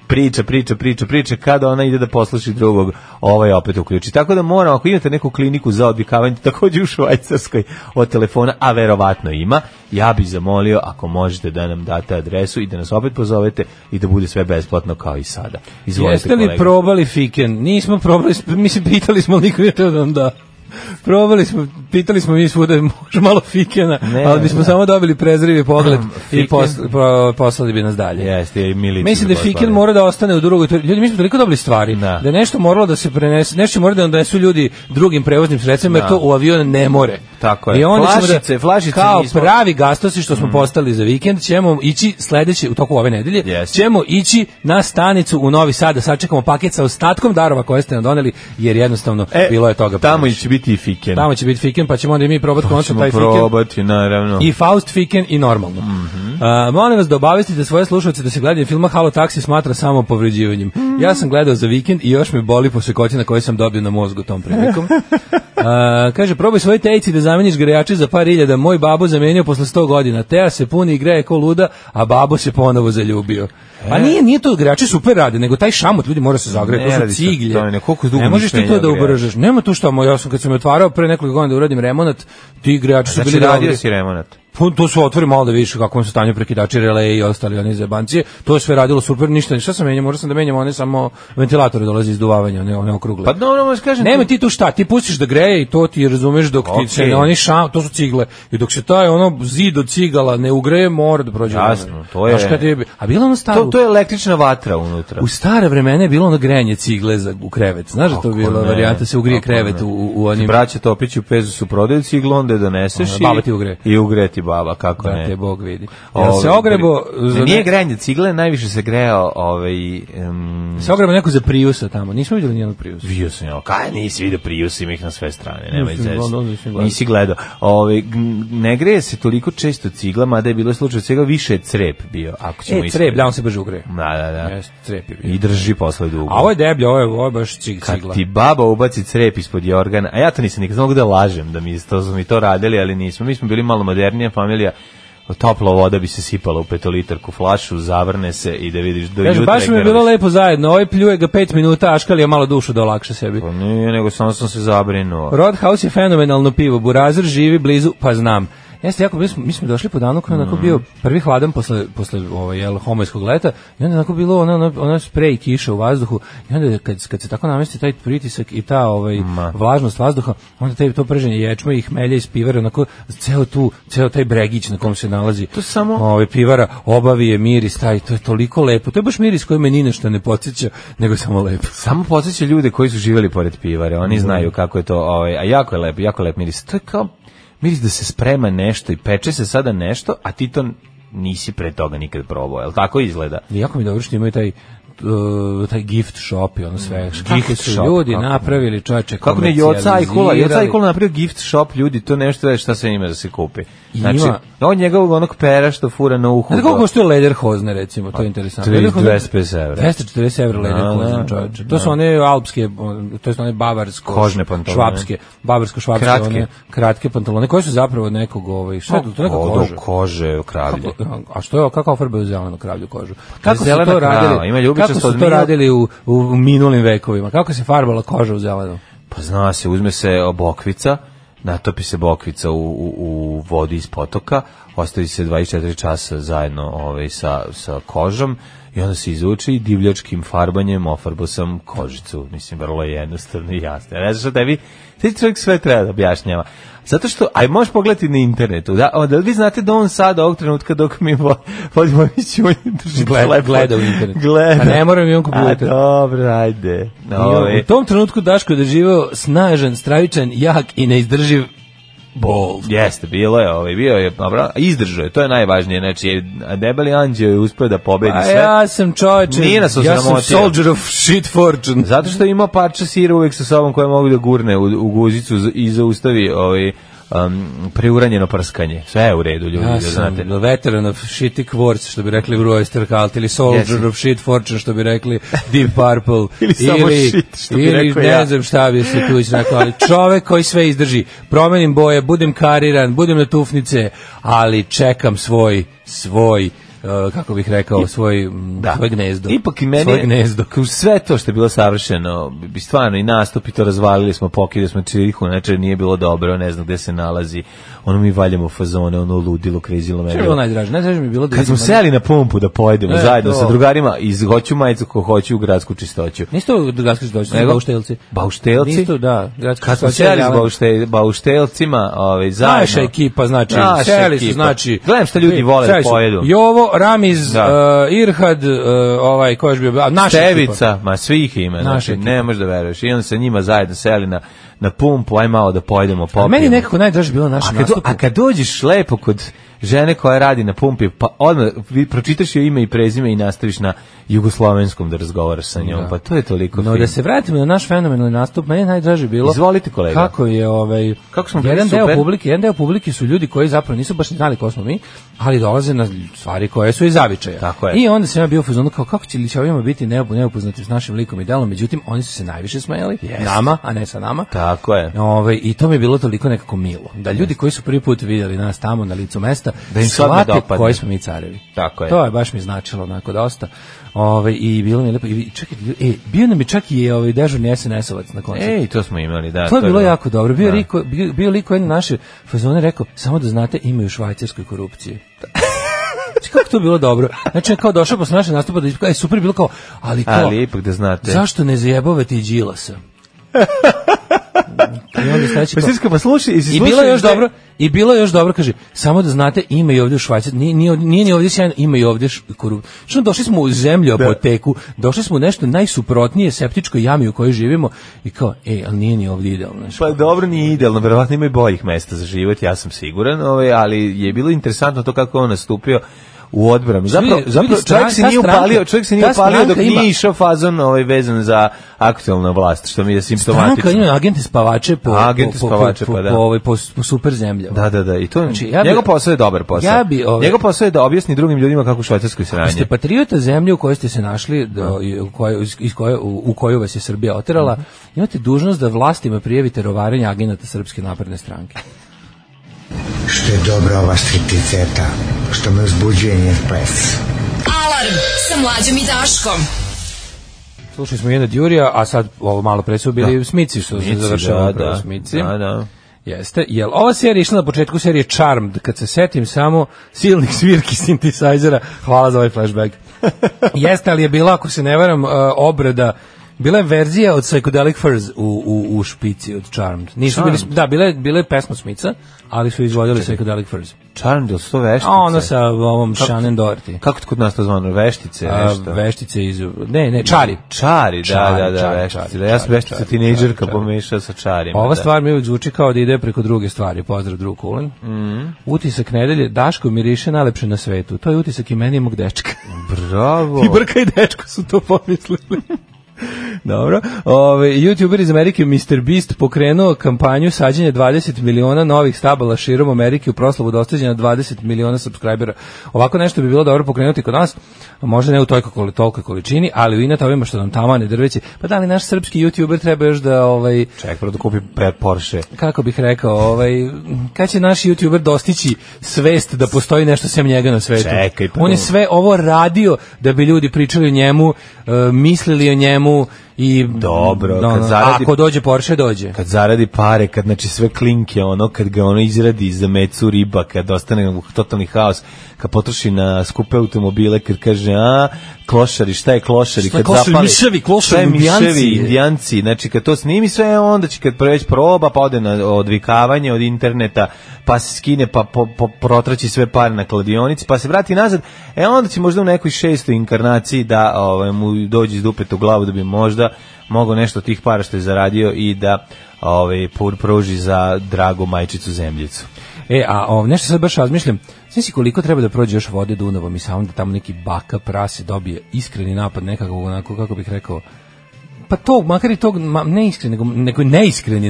E: priča, priča, priča, priča, kada ona ide da posluši drugog, ovaj opet uključi. Tako da moram, ako imate neku kliniku za odvikavanje, takođe u Švajcarskoj od telefona, a verovatno ima, ja bi zamolio, ako možete da nam date adresu i da nas opet pozovete i da bude sve besplatno kao i sada. Izvolite,
F: Jeste li
E: kolega.
F: probali fiken? Nismo probali, sp- mislim, pitali smo, ali niko je teo da nam da. Probali smo, pitali smo mi svuda, može malo fikena,
E: Ne,
F: ali bismo
E: da.
F: samo dobili prezrivi pogled i
E: Fiken.
F: pos- pro- poslali bi nas dalje.
E: Jeste, i milici.
F: Mislim da
E: bi
F: je Fikin
E: poslali.
F: mora da ostane u drugoj turi. Ljudi, mi smo toliko dobili stvari da,
E: Da.
F: je nešto moralo da se prenese, nešto mora da nam donesu ljudi drugim prevoznim sredstvima, jer
E: Da.
F: to u avion ne more.
E: Tako je.
F: I onda ćemo da,
E: Flašice, flašice
F: kao
E: nismo- Mhm.
F: pravi gastosi što smo postali za vikend, ćemo ići sledeće, u toku ove nedelje,
E: Jeste.
F: ćemo ići na stanicu u Novi Sad, da sačekamo paket sa ostatkom darova koje ste nam doneli, jer jednostavno
E: E,
F: bilo je toga.
E: Tamo
F: previše.
E: će biti i Fiken.
F: tamo će biti Fikin, pa ćemo onda i mi probati konačno
E: ćemo
F: taj Fikin.
E: probati, naravno. Mhm.
F: I Faust Fiken i normalno. Mm molim vas da obavestite svoje slušalce da se gledanje filma Halo Taxi smatra samo povređivanjem.
E: Mhm.
F: Ja sam gledao za vikend i još me boli po na koje sam dobio na mozgu tom prilikom. A, kaže, probaj svoje tejci da zameniš grejače za par iljada. Moj babo zamenio posle 100 godina. Teja se puni i greje ko luda, a babo se ponovo zaljubio. Pa nije, nije to grejači super rade, nego taj šamot ljudi mora se zagreti,
E: E. Ne
F: to
E: radi
F: su
E: se
F: ciglje.
E: o tome, ne, koliko dugo
F: ne možeš
E: nisi
F: ti to da
E: menjao grejač.
F: ubržeš. Nema tu šta, moj, ja sam kad sam je otvarao pre nekoliko godina da uradim remonat, ti grejači su
E: Znači,
F: bili
E: radio
F: dobri.
E: si remonat.
F: Pa to su otvori malo da vidiš u kakvom su stanju prekidači releje i ostali oni zebanci. To je sve radilo super, ništa, šta sam menjao, morao sam da menjam one samo ventilatore dolazi iz duvavanja, one, one okrugle.
E: Pa dobro, možeš kažem...
F: Nema ti tu šta, ti pustiš da greje i to ti razumeš dok ti se
E: Okej.
F: ne- oni šam, to su cigle. I dok se taj ono zid od cigala ne ugreje, mora da prođe.
E: Jasno,
F: vremena.
E: to je-
F: Znaš kad je bi- a bilo ono staro,
E: To, to je električna vatra unutra.
F: u stare vremena je bilo ono grejanje cigle za, u krevet. Znaš da to je
E: Kako
F: bila
E: ne,
F: varijanta se ugrije
E: kako
F: krevet
E: ne.
F: u, u, u
E: Ti
F: onim...
E: braća Topić u pezu su prodaju ciglu, onda je doneseš
F: Ona,
E: i...
F: baba ti ugre.
E: I ugre ti baba, kako
F: Brate,
E: ne.
F: Bog vidi. Jel
E: Ovaj,
F: se ogrebo...
E: Ne,
F: za
E: Nije
F: ne-
E: grejanje cigle, najviše se grejao ovaj... Um,
F: Se ogreba neko za Priusa tamo. Nismo vidjeli nijednog Priusa.
E: Vidio sam ja, kaj nisi vidio Prius, ima ih na sve strane, nema
F: Nisam gledao, nisam gledao.
E: Nisi gledao. Ove, g- ne greje se toliko često cigla, mada je bilo slučaj svega, više je crep bio, ako ćemo
F: E, crep, da, on se brže ugreje.
E: Da, da, da.
F: Jeste, crep je bio.
E: I drži posle dugo.
F: A ovo je deblje, ovo je, ovo je baš cig,
E: Kad
F: cigla.
E: ti baba ubaci crep ispod jorgana, a ja to nisam nikad znao da lažem, da mi to, su mi to radili, ali nismo. Mi smo bili malo modernija familija, topla voda bi se sipala u petolitarku flašu, zavrne se i da vidiš do
F: Kaže,
E: jutra.
F: baš mi je
E: grliš.
F: bilo lepo zajedno. Ovaj pljuje ga pet minuta, aškali je malo dušu da olakša sebi.
E: Pa Nije, nego samo sam se zabrinuo.
F: Rodhouse je fenomenalno pivo. Burazer živi blizu, pa znam. Jeste, jako, mi smo, mi smo došli po danu koji je onako
E: Mm.
F: bio prvi hladan posle, posle ovaj, jel, homojskog leta i onda je onako bilo ona, ona, ona sprej kiša u vazduhu i onda je kad, kad se tako namesti taj pritisak i ta ovaj, vlažnost vazduha, onda taj, to prženje ječma i hmelja iz pivara, onako ceo tu, ceo taj bregić na kom se nalazi
E: To samo-
F: ovaj, pivara, obavi je miris taj, to je toliko lepo, to je baš miris koji me ni na šta ne podsjeća, nego je samo lepo.
E: Samo podsjeća ljude koji su živjeli pored pivare, oni znaju kako je to, ovaj, a jako je lep, jako lep miris. To je kao miris da se sprema nešto i peče se sada nešto, a ti to nisi pre toga nikad probao, jel tako izgleda?
F: I Jako mi je dobro što imaju taj uh, taj gift shop i ono sve. Kako
E: Gift
F: su
E: shop,
F: ljudi
E: Mm. kako ne.
F: napravili čoveče
E: Kako ne, Joca i Kula, Joca i
F: komercijalizirali.
E: Kula napravio gift shop, ljudi, to nešto je šta se ima da se kupi. Znači,
F: Ima.
E: on njegovog onog pera što fura na uhu.
F: Znate koliko koštuje leder hozne, recimo, to je interesantno.
E: 250 Pa, evra.
F: 240 evra leder
E: Da,
F: hozne,
E: da,
F: čoveče. To
E: da.
F: su one alpske, on- to jest one bavarsko,
E: Kožne pantalone.
F: švapske, bavarsko-švapske,
E: Kratke.
F: one kratke pantalone, koje su zapravo nekog, ovaj, šta je to, to je neka
E: Od
F: koža.
E: kože, kravlje.
F: Kako- a što je kako ofarbaju zelenu kravlju kožu? Kako su
E: Pa zelena
F: to
E: krava,
F: radili?
E: ima ljubičasto
F: kako su
E: od
F: to
E: mil-
F: radili u, u minulim vekovima? Kako se farbala koža u zelenu?
E: Pa zna se, uzme se bokvica, natopi se bokvica u, u, u vodi iz potoka, ostavi se 24 časa zajedno ovaj, sa, sa kožom i onda se izuči i divljačkim farbanjem ofarbo sam kožicu. Mislim, vrlo je jednostavno i jasno. Ja Ne znaš što tebi, ti čovjek sve treba da objašnjava. Zato što, aj možeš pogledati na internetu, da, o, da li vi znate da on sad ovog trenutka dok mi vo- vodimo emisiju, on drži
F: Gleda-
E: telefon.
F: gleda u internetu.
E: Gleda.
F: A ne moram, imam kompjuter.
E: A Ovaj. dobro, ajde.
F: I u tom trenutku Daško je doživeo snažan, stravičan, jak i neizdrživ
E: Bold. Jeste, bilo je, ovaj, bio je, a bra- izdržao je, to je najvažnije, znači, debeli anđeo je uspio da pobedi
F: A
E: sve.
F: Pa ja sam čovječe,
E: Nije nas
F: ja sam
E: osramotio.
F: soldier of shit fortune.
E: Zato što ima parče sira uvek sa sobom koje mogu da gurne u, u guzicu z- i zaustavi ovaj, um, preuranjeno prskanje. Sve je u redu, ljudi,
F: Ja
E: da
F: sam
E: znate.
F: veteran of shitty quartz, što bi rekli u Royster Cult, ili soldier
E: Jesi.
F: of shit fortune, što bi rekli Deep Purple,
E: Ili samo shit, što bi
F: ili
E: rekao
F: ne
E: ja.
F: znam šta bi se tu rekao, ali čovek koji sve izdrži, promenim boje, budem kariran, budem na tufnice, ali čekam svoj, svoj, uh, kako bih rekao, svoj, mm, svoje gnezdo.
E: Ipak i meni
F: svoje
E: je-
F: gnezdo.
E: kao sve to što je bilo savršeno, bi stvarno i nastup i to razvalili smo, pokidili smo čirihu, znači nije bilo dobro, ne znam gde se nalazi. Ono mi valjamo fazone, ono ludilo, krizilo
F: Što je bilo
E: me.
F: najdraže? Najdraže mi je bilo da
E: Kad smo
F: vidim-
E: seli na pumpu da pojedemo
F: E,
E: zajedno
F: to.
E: sa drugarima, iz hoću majicu ko hoću u gradsku čistoću.
F: Nisi to gradski dođe,
E: Nego?
F: bauštelci.
E: Bauštelci?
F: Nisi to, da, gradski
E: Kad smo
F: dođe,
E: seli s
F: ali-
E: baušte, bauštelcima, ovaj, zajedno...
F: Naša ekipa, znači,
E: Naša
F: seli su,
E: ekipa.
F: znači...
E: Gledam šta ljudi vole da
F: seli su
E: pojedu.
F: Jovo, Ramiz,
E: Da.
F: uh, Irhad, uh, ovaj, ko je još bio... A, naša ekipa.
E: Stevica, ma svih ima,
F: Naša
E: znači,
F: ekipa.
E: ne možeš da veruješ. I onda sa njima zajedno seli na, na pumpu, aj malo da pojedemo, popijemo.
F: A meni je nekako najdraže bilo na
E: A
F: našem
E: kad, do-
F: nastupu.
E: a kad dođeš lepo kod žene koja radi na pumpi, pa odmah vi- pročitaš joj ime i prezime i nastaviš na jugoslovenskom da razgovaraš sa njom, pa to je toliko
F: No
E: fino.
F: da se vratimo na naš fenomenalni nastup, meni je najdraže bilo.
E: Izvolite, kolega.
F: Kako je ovaj
E: Kako smo bili
F: jedan deo
E: super.
F: publike, jedan deo publike su ljudi koji zapravo nisu baš ni znali ko smo mi, ali dolaze na stvari koje su iz zavičaja.
E: Tako je.
F: I onda sam ja bio u fazonu kao kako će li će ovima biti neupo- neupoznati s našim likom i delom, međutim oni su se najviše smejali nama, a ne sa nama.
E: Tako je.
F: Ove, I to mi je bilo toliko nekako milo. Da ljudi koji su prvi put vidjeli nas tamo na licu mesta,
E: Da im se odmah
F: shvate
E: dopadne.
F: koji smo mi carevi.
E: Tako je.
F: To je baš mi značilo onako dosta. Ove, I bilo mi je lepo. I, čekaj, e, bio nam je čak i ovaj, dežurni SNS-ovac na koncertu.
E: Ej, to smo imali, da.
F: to je bilo jako dobro. Bio,
E: Da.
F: riko, bio, bio liko jedne naše fazone rekao, samo da znate, imaju u Švajcarskoj korupcije. Znači, kako to bilo dobro? Znači, kao došao posle našeg nastupa da ispika, e, super je bilo kao, ali kao,
E: Ali ipak da znate.
F: zašto ne zajebavate i Đilasa? I onda sledeći
E: Pa
F: kao-
E: Sirska, pa slušaj, jesi
F: i bilo
E: slušao
F: je još
E: gde-
F: dobro, i bilo je još dobro, kaže, samo da znate, ima i ovdje u Švajcarskoj, nije, nije, ovdje- nije ni ovdje sjajno, ima i ovdje korup. Što došli smo u zemlju apoteku, došli smo u nešto najsuprotnije septičkoj jami u kojoj živimo i kao, ej, ali nije ni ovdje idealno. znaš,
E: Pa dobro, nije idealno, verovatno ima i boljih mesta za život, ja sam siguran, ovaj, ali je bilo interesantno to kako je on nastupio u odbranu. Zapravo,
F: Ljudi,
E: zapravo
F: ljudi,
E: čovjek se
F: stra-
E: nije
F: ta stranka-
E: upalio, čovjek se nije
F: ta
E: upalio dok
F: stranka ima-
E: nije išao fazon ovaj, vezan za aktualnu vlast, što mi je
F: Stranka
E: simptomatično.
F: ima agente spavače po,
E: Agente
F: po, po,
E: spavače,
F: po,
E: pa da.
F: po, ovaj, po, po super zemljama.
E: Da, da, da, i to
F: Znači,
E: znači,
F: ja bi-
E: njegov posao je dobar posao.
F: Ja bi, ovaj-
E: Njegov posao je da objasni drugim ljudima kako u Švajcarskoj sranje.
F: Ste pa- patriota zemlje u kojoj ste se našli, do, i u, kojoj, iz- iz koje, u, u koju vas je Srbija oterala,
E: Mhm.
F: imate dužnost da vlastima prijavite rovarenje agenata Srpske napredne stranke.
A: Što je dobra ova stripticeta, što me uzbuđuje njen ples.
D: Alarm sa mlađom i Daškom.
F: Slušali smo jedna Đurija, a sad ovo malo pre su bili Smici što se
E: Smici,
F: završava
E: da,
F: upravo
E: da.
F: Smici.
E: Da, da.
F: Jeste, jel ova serija je išla na početku serije Charmed, kad se setim samo silnih svirki sintisajzera, hvala za ovaj flashback. Jeste, ali je bila, ako se ne varam, e, obrada Bila je verzija od Psychedelic Furs u, u, u špici od Charmed. Nisu bili, da, bila je, bila je pesma Smica, ali su izvodili Psychedelic Furs.
E: Charmed, jel su to veštice?
F: A ono sa ovom Shannon Doherty.
E: Kako to kod nas to zvano? Veštice,
F: A,
E: nešto?
F: veštice iz... Ne, ne, čari.
E: Čari, da,
F: Čari,
E: da, da,
F: čari,
E: veštice.
F: čari,
E: Da, ja sam
F: čari,
E: veštica
F: čari,
E: tinejdžerka
F: čari, čari.
E: pomešao sa čarima.
F: Pa Ova
E: da.
F: stvar mi uvijek zvuči kao da ide preko druge stvari. Pozdrav drug Kulen. Utisak nedelje, Daško miriše najlepše na svetu. To je utisak i meni i mog dečka.
E: Bravo.
F: I Brka i dečko su to pomislili. Dobro. Ove, YouTuber iz Amerike Mr. Beast pokrenuo kampanju sađenja 20 miliona novih stabala širom Amerike u proslavu dostiđenja 20 miliona subscribera. Ovako nešto bi bilo dobro pokrenuti kod nas, možda ne u toj koli, tolikoj količini, ali u inat ovima što nam tamo ne drveće. Pa da li naš srpski YouTuber treba još da ovaj,
E: Čekaj, prvo da kupi per Porsche.
F: kako bih rekao, ovaj, kad će naš youtuber dostići svest da postoji nešto sem njega na svetu?
E: Čekaj, pa
F: On je
E: to-
F: sve ovo radio da bi ljudi pričali o njemu, e, mislili o njemu i...
E: Dobro,
F: ono,
E: kad zaradi-
F: Ako dođe Porsche, dođe.
E: Kad zaradi pare, kad znači sve klinke, ono, kad ga ono izradi iz mecu riba, kad ostane u totalni haos, kad potroši na skupe automobile, kad kaže, a, klošari, šta je klošari,
F: Šta
E: kad
F: je klošari?
E: Dakle, zapali.
F: Dakle, Miševi, klošari,
E: šta je
F: indijanci.
E: miševi, indijanci, znači kad to snimi sve, onda će kad preveć proba, pa ode na odvikavanje od interneta, pa se skine, pa po, po, protraći sve pare na kladionici, pa se vrati nazad, e onda će možda u nekoj šestoj inkarnaciji da ovaj, mu dođe iz dupeta u glavu da bi možda možda mogao nešto od tih para što je zaradio i da ovaj, pur- pruži za dragu majčicu zemljicu.
F: E, a o, nešto sad baš razmišljam, sve si koliko treba da prođe još vode Dunavom i Savom da tamo neki baka prase dobije iskreni napad nekakvog onako, kako bih rekao, pa to, makar i tog, ma, ne iskreni, nego, nego neiskreni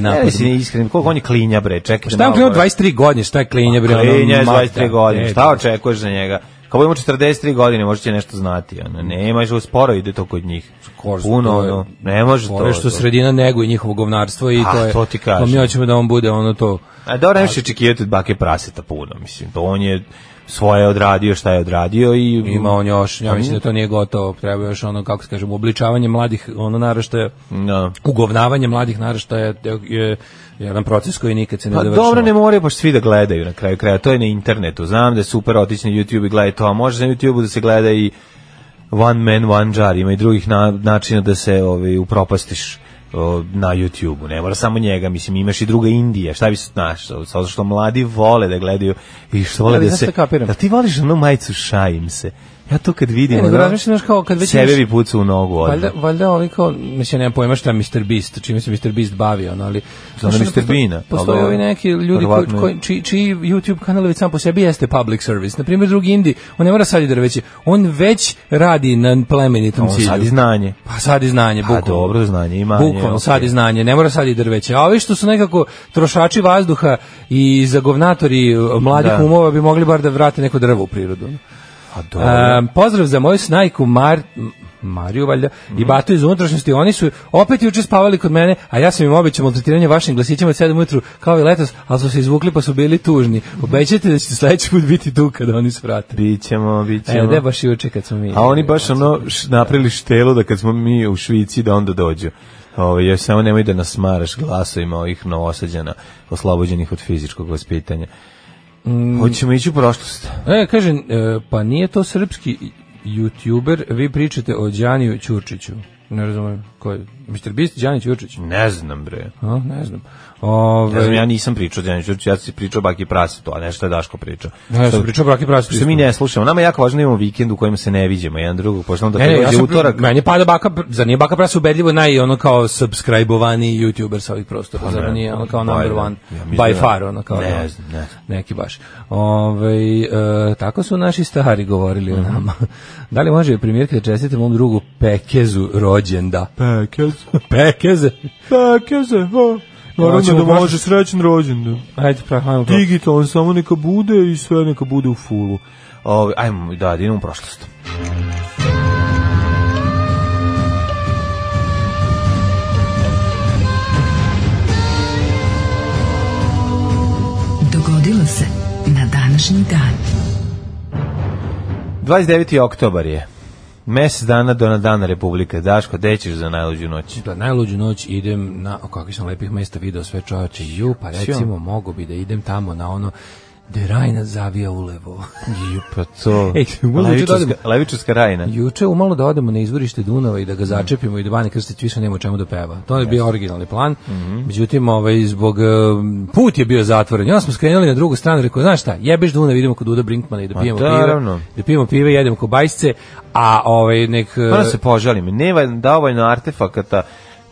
E: Ne,
F: napad.
E: ne, si ne iskren, koliko on je klinja, bre, čekaj.
F: E,
E: ovaj,
F: Šta je on krenuo 23 godine, šta je klinja, bre? ono,
E: Klinja je
F: mata.
E: 23 godine,
F: E,
E: šta očekuješ za njega? Kao budemo 43 godine, možda će nešto znati. Ono. Nemaš, sporo ide to kod njih.
F: Skoro,
E: Puno,
F: to je-
E: ono, ne može to.
F: To je što
E: to.
F: sredina neguje njihovo govnarstvo i
E: A,
F: to je... Pa
E: to ti kažem.
F: mi hoćemo da on bude ono to...
E: A dobro, nemoš očekivati od bake praseta puno, mislim. To on je svoje odradio, šta je odradio i...
F: Ima on još,
E: Mm.
F: ja mislim da to nije gotovo, treba još ono, kako se kaže, obličavanje mladih, ono naraštaja,
E: Da.
F: ugovnavanje mladih naraštaja je, je jedan proces koji nikad se ne
E: Pa
F: dovršava.
E: dobro, ne moraju baš svi da gledaju na kraju kraja. To je na internetu. Znam da je super otići na YouTube i gledati to, a može na YouTube da se gleda i One Man, One Jar. Ima i drugih na, načina da se ovaj, upropastiš o, na YouTube-u. Ne mora samo njega, mislim, imaš i druga Indija. Šta bi se znaš, zato što mladi vole da gledaju i što vole
F: Ali
E: da
F: znaš
E: se...
F: šta kapiram?
E: Da ti voliš onu majicu šajim se. Ja to kad vidim,
F: Ne, nego
E: ono,
F: razmišljam, znaš, kao kad već
E: sebe
F: imaš-
E: bi pucao u nogu.
F: Valjda,
E: odmah.
F: valjda ovi kao, mislim, nemam pojma šta je Mr. Beast, čime se Mr. Beast bavi, ono, ali...
E: Znam
F: Znaš,
E: Mr.
F: ono, posto-
E: Beana, ali
F: Postoje
E: ovo-
F: ovi neki ljudi koji,
E: verovatno je-
F: koji, čiji, čiji YouTube kanal već sam po sebi jeste public service. Na primjer, drugi Indi, on ne mora sad i da već, je- on već radi na plemenitom
E: Ovo
F: cilju.
E: sad i znanje.
F: Pa sad i znanje,
E: A
F: bukvalno.
E: dobro, znanje ima.
F: Bukvalno, sad i znanje, ne mora sad i drveće. A ovi što su nekako trošači vazduha i zagovnatori e, mladih
E: Da.
F: umova bi mogli bar da vrate neko drvo u prirodu.
E: A dobro.
F: E, pozdrav za moju snajku Mar... M- Mariju valjda
E: Mhm.
F: i Batu iz unutrašnjosti. Oni su opet juče spavali kod mene, a ja sam im obećao maltretiranje vašim glasićima od 7 ujutru kao i letos, ali su se izvukli pa su bili tužni. Obećajte da ćete sledeći put biti tu kada oni se vrate.
E: Bićemo, bićemo.
F: E, da je baš juče kad smo mi...
E: A oni baš ono š- napravili štelo da kad smo mi u Švici da onda dođu. Ovo, još samo nemoj da nas smaraš glasovima ovih novosađana oslobođenih od fizičkog vaspitanja.
F: Mm.
E: Hoćemo ići u prošlost.
F: E, kažem, e, pa nije to srpski youtuber, vi pričate o Đaniju Ćurčiću. Ne razumem koji. Mr. Beast, Đani Ćurčić.
E: Ne znam, bre.
F: A, ne znam.
E: Mm. Ne
F: Ove,
E: znam, ja nisam pričao, ja, nisam, ja sam pričao Baki Prasetu, a nešto je Daško pričao.
F: Ja sam
E: Što-
F: pričao o Braki Prasetu.
E: Što mi ne slušamo. Nama je jako važno da imamo vikend u kojem se ne viđemo jedan drugog, pošto onda
F: Ne,
E: kad
F: ne, ja
E: dođe
F: sam,
E: utorak...
F: utorak. Meni pada baka, Pr- zar nije baka prasa ubedljivo naj ono kao subscribe-ovani youtuber sa ovih prostora, zar on
E: Pa ne.
F: nije ono kao
E: By
F: number
E: the-
F: one,
E: ja mislim
F: by
E: da-
F: far, ono kao
E: Ne
F: ono,
E: znam, ne znam.
F: neki baš. Ove, e, tako su naši stari govorili
E: Mhm.
F: o nama. Da li može primjerka da čestite mom drugu Pekezu rođenda?
E: Pekez,
F: Pekeze?
E: pekez,
F: naravno da može,
E: srećen rođendan.
F: Ajde, pravimo to.
E: Digitalno samo neka bude i sve neka bude u fulu. Ove, ajmo, da, da idemo u prošlost.
D: Dogodilo se na današnji dan.
E: 29. oktobar je. Mesec dana do na dan Republike. Daško, gde ćeš za najluđu noć?
F: Pa najluđu noć idem na, o kakvih sam lepih mesta video sve čovače, ju, pa recimo mogu bi da idem tamo na ono, gde Rajna zavija ulevo.
E: Pa to...
F: Ej, mogu da odem?
E: levičarska, levičarska rajna.
F: Juče umalo da odemo na izvorište Dunava i da ga začepimo i da Vani Krstić više nema o čemu da peva. To je bio originalni plan. Međutim, ovaj, zbog em, put je bio zatvoren. I onda smo skrenuli na drugu stranu, rekao, znaš šta, jebeš Dunav, idemo kod Duda Brinkmana i da pijemo
E: naravno.
F: pive. Da pijemo pive, jedemo kod bajsce, a ovaj, nek... e,
E: Moram se požalim. Nema dovoljno artefakata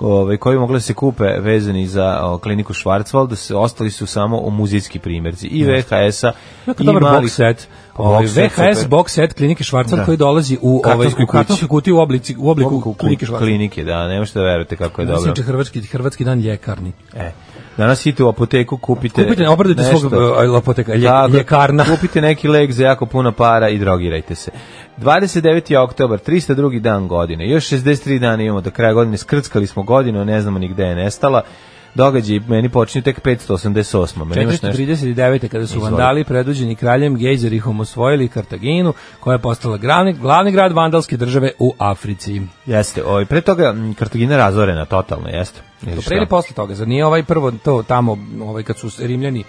E: ovaj, koji bi mogli da se kupe vezani za o, kliniku Schwarzwald, da se ostali su samo o muzijski primjerci i VHS-a
F: Jako
E: i
F: dobar
E: mali
F: box set. Ovaj
E: Box Pa set,
F: VHS
E: super.
F: box set klinike Švarcar
E: Da.
F: koji dolazi u ovaj
E: Kartonskoj
F: u
E: kući.
F: kartonskoj kutiji u oblici u obliku
E: Obliku
F: klinike Švarcar.
E: klinike, da, nema što da verujete kako je dobro.
F: Mislim da hrvatski hrvatski dan ljekarni.
E: E, danas idete u apoteku, kupite
F: Kupite, obradite
E: nešto.
F: svog e, apoteka, lje,
E: Tako,
F: ljekarna.
E: Kupite neki lek za jako puno para i drogirajte se. 29. oktobar, 302. dan godine. Još 63 dana imamo do kraja godine. Skrckali smo godinu, ne znamo ni gde je nestala. Događaj meni počinju tek 588. Meni imaš nešto?
F: 439. kada su
E: Izvoli.
F: vandali predvođeni kraljem Gejzerihom osvojili Kartaginu, koja je postala glavni, glavni grad vandalske države u Africi.
E: Jeste, ovaj, pre toga m, Kartagina je razorena, totalno, jeste. Ili
F: To pre ili
E: šta?
F: posle toga, zar nije ovaj prvo to tamo, ovaj kad su Rimljani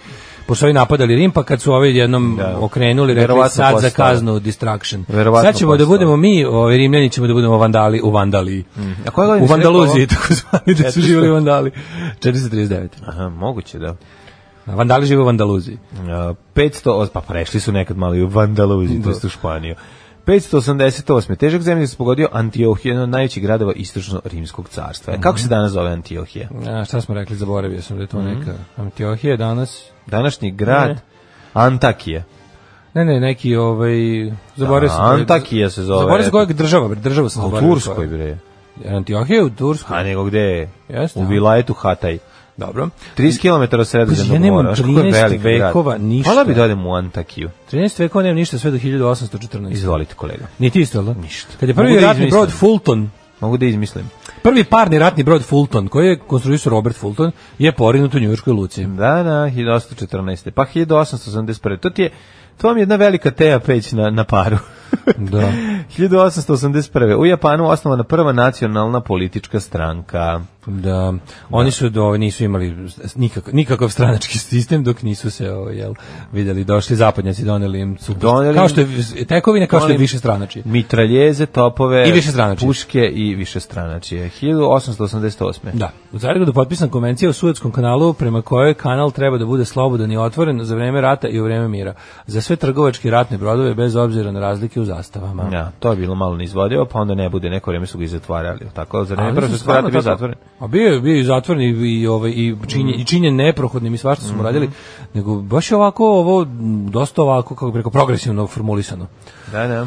F: pošto ovi napadali Rim, pa kad su ovi jednom
E: Da.
F: okrenuli, rekli
E: Verovatno
F: sad za
E: postalo.
F: kaznu distraction.
E: Verovatno
F: sad ćemo da
E: postalo.
F: budemo mi, ovi Rimljani ćemo da budemo vandali u Vandaliji.
E: A koje godine si
F: u
E: rekao
F: Vandaluziji,
E: ovo?
F: tako zvani, da su
E: 400.
F: živjeli vandali. 439.
E: Aha, moguće da.
F: Vandali žive u Vandaluziji.
E: Uh, 500, pa prešli su nekad malo i u Vandaluziju, to jest u Španiju. 588. Težak zemlje se pogodio Antiohije, jedan od najvećih gradova istočno-rimskog carstva. E, Kako
F: Mhm.
E: se danas zove Antiohija?
F: A, šta smo rekli, zaboravio sam da je to neka Antiohija danas.
E: Današnji grad
F: Ne.
E: Antakija.
F: Ne, ne, neki ovaj zaboravio
E: Da,
F: sam. koji-
E: Antakija se zove.
F: Zaboravio sam koja je država, bre, država sam
E: U
F: zaboravio.
E: Turskoj, bre.
F: koja je. Antiohija je u Turskoj.
E: A nego gde je?
F: Jeste,
E: U
F: a.
E: Vilajetu Hataj.
F: Dobro.
E: 30 km od
F: Pazi,
E: sredozemnog
F: ja
E: mora.
F: nemam
E: Znaš kako je
F: 13
E: velik grad?
F: vekova ništa.
E: Hvala bi da odem u Antakiju.
F: 13. vekova nema ništa sve do 1814.
E: Izvolite, kolega.
F: Niti isto, da?
E: Ništa.
F: Kad je
E: Mogu
F: prvi
E: da
F: ratni
E: izmislim.
F: brod Fulton,
E: Mogu da izmislim.
F: prvi parni ratni brod Fulton, koji je konstruisao Robert Fulton, je porinut u njujorskoj luci.
E: Da, da, 1814. Pa 1881. To ti je, to vam je jedna velika teja peć na, na paru.
F: Da.
E: 1881. U Japanu osnovana prva nacionalna politička stranka.
F: Da, oni su do, nisu imali nikakav, nikakav stranački sistem dok nisu se o, jel, vidjeli, došli zapadnjaci, doneli im su,
E: Doneli im-
F: kao što je vi- tekovine, kao što je
E: doneli im-
F: više stranači.
E: Mitraljeze, topove,
F: I višestranačje.
E: puške i više stranačije. 1888.
F: Da, u Zagrebu potpisan konvencija o Suetskom kanalu prema kojoj kanal treba da bude slobodan i otvoren za vreme rata i u vreme mira. Za sve trgovačke i ratne brodove bez obzira na razlike u zastavama.
E: Ja, to je bilo malo neizvodivo, pa onda ne bude, neko vreme su ga i zatvarali. Tako, za vreme
F: Ali
E: prvo
F: su
E: su stvarno
F: stvarno
E: bio
F: tako-
E: zatvoren.
F: A bio je bio je i zatvoren i, i ovaj i činje i činjen neprohodnim i svašta smo radili, nego baš je ovako ovo m, dosta ovako kako bi rekao progresivno formulisano.
E: Da, da.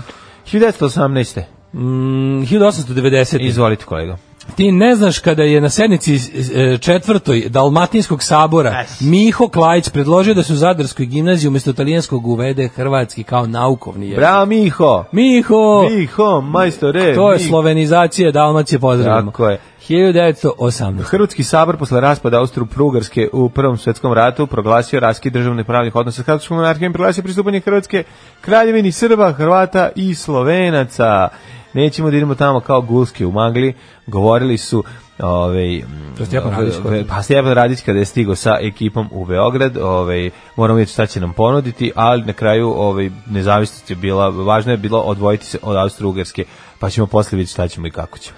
E: 1918.
F: Mm, 1890.
E: Izvolite, kolega.
F: Ti ne znaš kada je na sednici e, četvrtoj Dalmatinskog sabora Miho Klajić predložio da se u Zadarskoj gimnaziji umjesto italijanskog uvede hrvatski kao naukovni jezik.
E: Bravo, Miho!
F: Miho!
E: Miho, majstore!
F: To je
E: Miho.
F: slovenizacija Dalmacije, pozdravljamo.
E: Tako je.
F: 1918.
E: Hrvatski sabor posle raspada Austro-Prugarske u Prvom svetskom ratu proglasio raskid državnih pravnih odnosa s Hrvatskom monarhijom i proglasio pristupanje Hrvatske kraljevini Srba, Hrvata i Slovenaca. Nećemo da idemo tamo kao gulske u magli. Govorili su ovaj
F: To je Stjepan Radić koji-
E: pa Stjepan Radić kada je stigao sa ekipom u Beograd, ovaj moramo vidjeti šta će nam ponuditi, ali na kraju ovaj nezavisnost je bila važno je bilo odvojiti se od Austro-Ugarske, pa ćemo posle vidjeti šta ćemo i kako ćemo.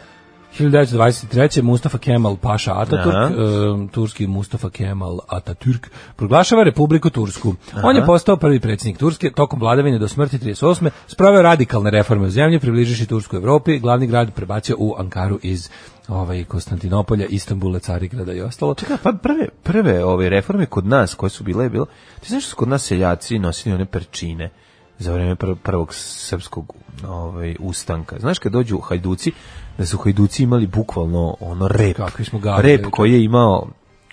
F: 1923. Mustafa Kemal Paša
E: Aha.
F: Atatürk, e, turski Mustafa Kemal Atatürk, proglašava Republiku Tursku. On je postao prvi predsjednik Turske tokom vladavine do smrti 38. Spravio radikalne reforme u zemlji, približiši Tursku Evropi, glavni grad prebacio u Ankaru iz ovaj, Konstantinopolja, Istanbula, Carigrada i ostalo.
E: Čekaj, pa prve, prve ove reforme kod nas koje su bile je bilo, ti znaš da su kod nas seljaci nosili one perčine za vreme pr- prvog srpskog ovaj, ustanka. Znaš kad dođu hajduci, da su hajduci imali bukvalno ono rep.
F: Kakvi smo gadni,
E: Rep
F: čovječe.
E: koji je imao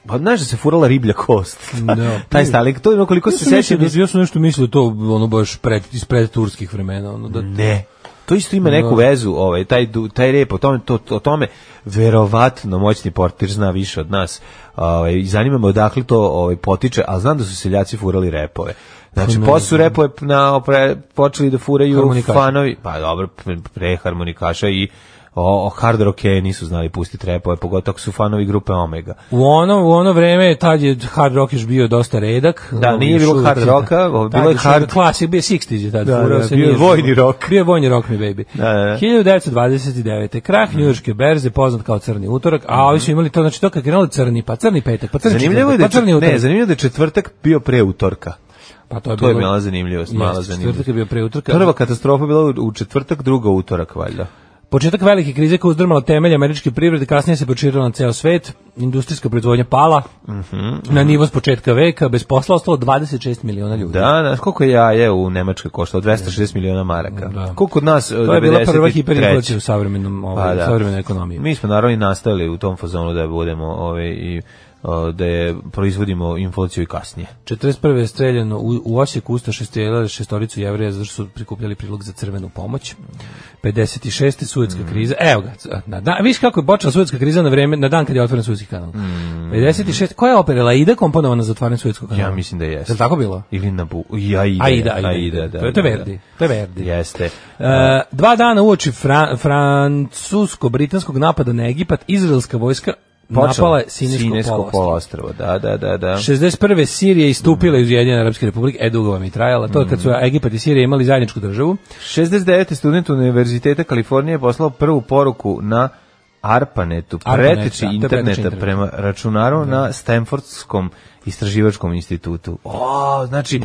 E: Pa znaš da se furala riblja kost.
F: Da.
E: Taj stalik, to je ono koliko
F: Ja
E: se
F: sam mislio
E: sećam.
F: da- ja sam nešto mislio to ono baš pred, iz pred turskih vremena. Ono, da,
E: Ne. To isto ima neku vezu, ovaj taj du- taj rep o tome to, to- o tome verovatno moćni portir zna više od nas. Ovaj i zanima me odakle to ovaj potiče, a znam da su seljaci furali repove. Znači,
F: ne
E: posle su repove na opre- počeli da furaju
F: Harmonikaši.
E: fanovi, pa dobro, pre- pre harmonikaša i o, o hard rockeri nisu znali pustiti repove, pogotovo ako su fanovi grupe Omega.
F: U ono, u ono vreme tad je hard rock još bio dosta redak.
E: Da,
F: Ovo,
E: nije
F: još
E: bilo
F: uvek
E: hard
F: je-
E: rocka, ovo,
F: tad
E: bilo je
F: još
E: hard-
F: ono Klasik, bio je 60s je tad.
E: Da,
F: furao
E: da,
F: se,
E: bio je
F: nije-
E: vojni rock.
F: Bio je vojni rock, mi baby.
E: Da, da, Mm. da.
F: 1929. Krah njujorške berze, poznat kao crni utorak, a ovi su imali to, znači to kad je krenulo crni, pa crni petak, pa crni
E: Zanimljivo je da
F: četvrtak, pa
E: je čet-
F: crni
E: ne,
F: utorak.
E: zanimljivo je da je četvrtak bio pre utorka.
F: pa to je,
E: To je
F: bilo-
E: bila zanimljivost,
F: Jeste,
E: mala zanimljivost.
F: Četvrtak je bio pre utorka.
E: Prva katastrofa je bila u- u četvrtak, druga u utorak valjda.
F: Početak velike krize koja je uzdrmala temelje američke privrede, kasnije se proširila na ceo svet, industrijska proizvodnja pala
E: Mhm,
F: na nivo s početka veka, bez posla ostalo 26 miliona ljudi.
E: Da, da, koliko je jaje u Nemačkoj koštalo? 260 miliona maraka.
F: Da.
E: Koliko kod nas
F: To je bila prva hiperinflacija u savremenom ovaj,
E: Pa da.
F: savremenoj ekonomiji.
E: Mi smo naravno i nastavili u tom fazonu da budemo ove i o, da je proizvodimo inflaciju i kasnije.
F: 41. je streljano u, u Osijeku ustaše streljale šestoricu jevrija zato što su prikupljali prilog za crvenu pomoć. 56.
E: Mm.
F: Suetska kriza. Evo ga. c- Na dan, viš kako je počela Suetska kriza na vreme na dan kad je otvoren Suetski kanal. 56. Koja je opera Laida komponovana za otvaranje Suetskog kanala?
E: Mm. Ja mislim da jeste.
F: Je li tako bilo?
E: Ili na bu... i Aida.
F: Aida, Aida,
E: Aida, da,
F: to je to
E: da,
F: je Verdi. To je Verdi.
E: da. Jeste.
F: E, dva dana uoči fra, francusko-britanskog napada na Egipat, izraelska vojska napala je Sinijsko,
E: Sinesko
F: poluostrvo.
E: poluostrvo. Da, da, da, da.
F: 61. Sirija istupila iz Ujedinjene Arapske republike, e dugo vam je trajala, to je kad su
E: Mm.
F: Egipat i Sirija imali zajedničku državu.
E: 69. student Univerziteta Kalifornije je poslao prvu poruku na ARPANETu,
F: ARPANET,
E: preteči
F: da, to je preteče
E: interneta
F: interneta.
E: prema računaru na Stanfordskom istraživačkom institutu. O, znači,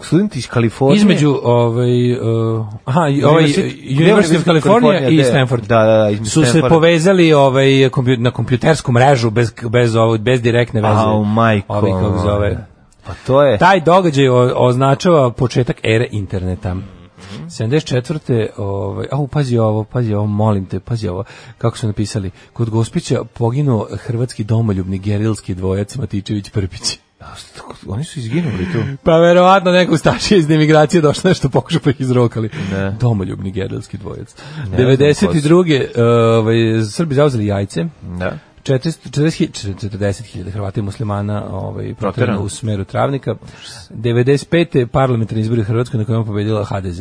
E: student iz Kalifornije.
F: Mm. Između ovaj uh, aha i ovaj
E: Univerzitet-
F: University of California
E: California,
F: i
E: da.
F: Stanford.
E: Da, da, da, između
F: su se
E: Stanforda.
F: povezali ovaj kompju- na kompjutersku mrežu bez bez ovo bez direktne veze.
E: Au, majko.
F: Ovi kako se zove.
E: Pa to je...
F: Taj događaj o- označava početak ere interneta. 74. Ovaj, au, pazi ovo, pazi ovo, molim te, pazi ovo. Kako su napisali? Kod Gospića poginuo hrvatski domoljubni gerilski dvojac Matičević Prpić.
E: Oni su izginuli tu.
F: Pa verovatno neko stašija iz imigracije došlo nešto pokušao pa ih izrokali. Domoljubni gerilski dvojac.
E: znam ko su.
F: 92. Ovaj, Srbi zauzeli jajce.
E: Da.
F: 40.000 Hrvata i muslimana ovaj, proterano
E: Proterano.
F: u smeru travnika. 95. parlamentarni izbori u Hrvatskoj na kojem je pobedila HDZ.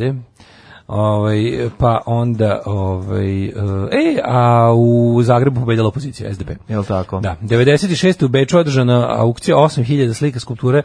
F: Ovaj, pa onda ovaj, eh, e, a u Zagrebu pobedila opozicija SDP.
E: Jel tako?
F: Da, 96. u Beču održana aukcija 8000 slika skulpture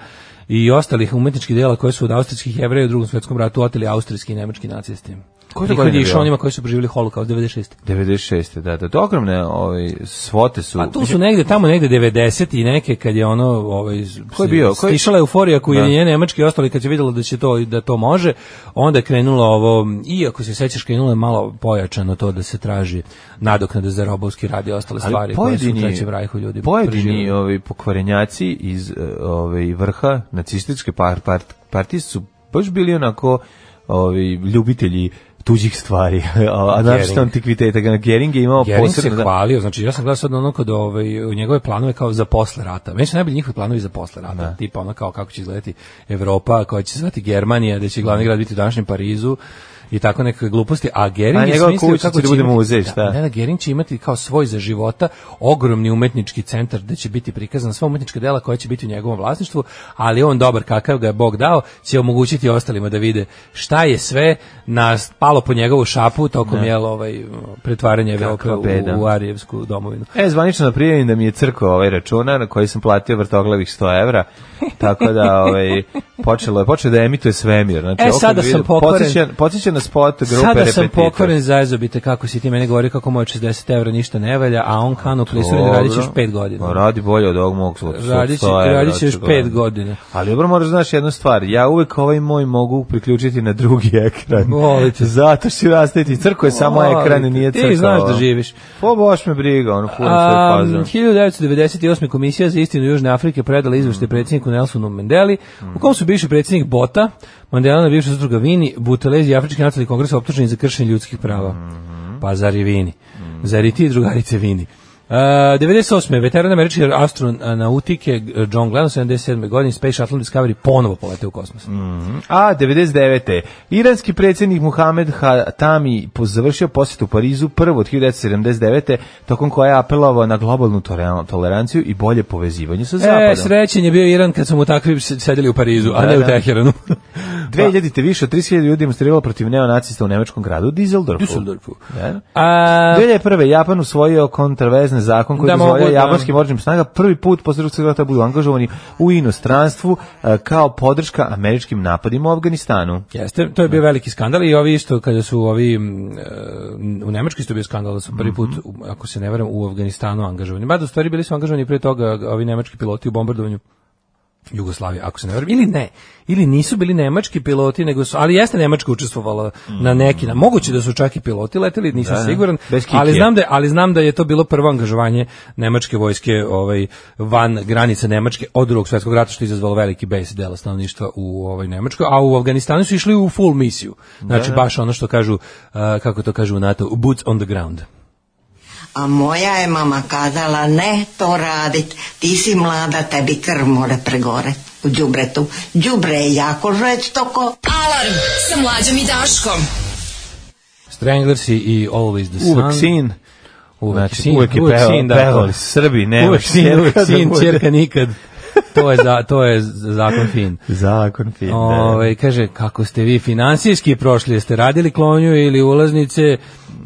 F: i ostalih umetničkih dela koje su od austrijskih jevreja u drugom svjetskom ratu oteli austrijski i nemački nacisti.
E: Koje je
F: Prihod
E: godine
F: je išao
E: bio?
F: onima koji su preživjeli holokaust 96.
E: 96. Da, da. To ogromne ovaj, svote su...
F: Pa tu su negde tamo negde 90 i neke kad je ono ovaj
E: Ko je bio? Ko je-
F: stišala euforija koju
E: Da.
F: je njene nemački i ostali kad je videlo da će to da to može, onda je krenulo ovo i ako se sećaš krenulo je malo pojačano to da se traži nadoknada za robovski rad i ostale stvari koje su u trećem rajhu ljudi.
E: Pojedini
F: preživeli.
E: ovi pokvarenjaci iz ovaj vrha nacističke par, par, partije su baš bili onako ovi ljubitelji tuđih stvari. A našto antikviteta ga Gering je imao
F: Gering se
E: ono posebno da,
F: hvalio, znači ja sam gledao sad ono kod ovaj, u njegove planove kao za posle rata. Meni su najbolji njihovi planovi za posle rata, tipa ono kao kako će izgledati Evropa, koja će se zvati Germanija, da će glavni grad biti u današnjem Parizu i tako neke gluposti, a Gering
E: A
F: je
E: Pa njegova
F: smislio
E: kuća
F: kako
E: će da bude
F: imati-
E: muzej,
F: da,
E: šta?
F: ne, da, Gering će imati kao svoj za života ogromni umetnički centar da će biti prikazan sva umetnička dela koja će biti u njegovom vlasništvu, ali on dobar kakav ga je Bog dao, će omogućiti ostalima da vide šta je sve nas palo po njegovu šapu tokom jel ovaj pretvaranja Evrope
E: Kakva beda.
F: u, u Arijevsku domovinu.
E: E, zvanično prijavim da mi je crkao ovaj računar na koji sam platio vrtoglavih 100 evra, tako da ovaj, počelo je, počeo da emituje svemir. Znači,
F: E,
E: ovo kad
F: sada
E: bi
F: sam
E: vidio-
F: pokvaren.
E: Podsjeća, podsjeća na spot grupe
F: Sada sam
E: Repetitor.
F: pokvaren zajezobite kako si ti meni govori kako moj 60 evra ništa ne valja, a on kano klisuren radit će još
E: Dobro.
F: 5 godina.
E: Pa Radi bolje od ovog mog slučaja.
F: Radit će- radit će još pet godina.
E: Ali dobro moraš znaš jednu stvar, ja uvek ovaj moj mogu priključiti na drugi ekran.
F: Volite.
E: Zato što ću rastaviti, crko je samo
F: Volite.
E: ekran, nije
F: Ti
E: crkao.
F: znaš da živiš.
E: Po boš me briga, ono, puno svoje
F: A,
E: pazno.
F: 1998. komisija za istinu Južne Afrike predala
E: Mm.
F: izvešte predsjedniku Nelsonu Mendeli, u kom su bivši predsjednik Bota, Mandela, bivša sutruga Vini, Butelezi i Afrički nacionalni kongres optuženi za kršenje ljudskih prava.
E: Mhm.
F: Pa zar i Vini? Zar i ti drugarice Vini? Uh, 98. veteran američke astronautike eh, John Glenn 77. godine Space Shuttle Discovery ponovo polete u kosmos.
E: Mm.
F: E,
E: Mhm. A 99. Iranski predsjednik Muhammed Hatami po- završio posjet u Parizu prvo od 1979. tokom koja je apelovao na globalnu tore- toleranciju i bolje povezivanje sa zapadom.
F: E, srećen je bio Iran kad su mu takvi s- sedeli u Parizu, a
E: Da,
F: ne u
E: da.
F: Teheranu.
E: 2000 više od 3000 ljudi demonstriralo protiv neonacista u nemačkom gradu Düsseldorfu.
F: Düsseldorfu.
E: Da.
F: A,
E: 2001. Japan usvojio kontravezne zakon koji
F: Da mogu,
E: dozvoljava
F: da.
E: japanskim oružanim snaga prvi put posle drugog svjetskog rata budu angažovani u inostranstvu e, kao podrška američkim napadima u Afganistanu.
F: Jeste, to je bio veliki skandal i ovi isto kada su ovi m, e, u Nemačkoj isto bio skandal da su prvi put u- ako se ne varam u Afganistanu angažovani. Mada u stvari bili su angažovani pre toga ovi nemački piloti u bombardovanju Jugoslavije, ako se ne varam, ili ne, ili nisu bili nemački piloti, nego su, ali jeste Nemačka učestvovala na neki, na moguće da su čak i piloti leteli, nisam siguran,
E: Mm. bez kikije.
F: ali znam da je, ali znam da je to bilo prvo angažovanje nemačke vojske ovaj van granica Nemačke od drugog svjetskog rata što je izazvalo veliki bes dela stanovništva u ovaj Nemačkoj, a u Afganistanu su išli u full misiju. Znači baš ono što kažu uh, kako to kažu u NATO, boots on the ground.
B: A moja je mama kazala, ne to radit, ti si mlada, tebi krv more pregore u džubretu. Džubre je jako žestoko.
D: Alarm sa mlađom i Daškom.
F: Stranglers i- i Always the Sun.
E: Uvek sin.
F: Uvek
E: Znači,
F: sin,
E: uvek je
F: uvek
E: pevao-
F: sin, da,
E: pevali
F: to.
E: Srbi, ne,
F: Uvek sin, uvek sin, ćerka nikad. To je, za, to je zakon fin.
E: Zakon fin, da.
F: Ovaj kaže kako ste vi finansijski prošli, jeste radili klonju ili ulaznice?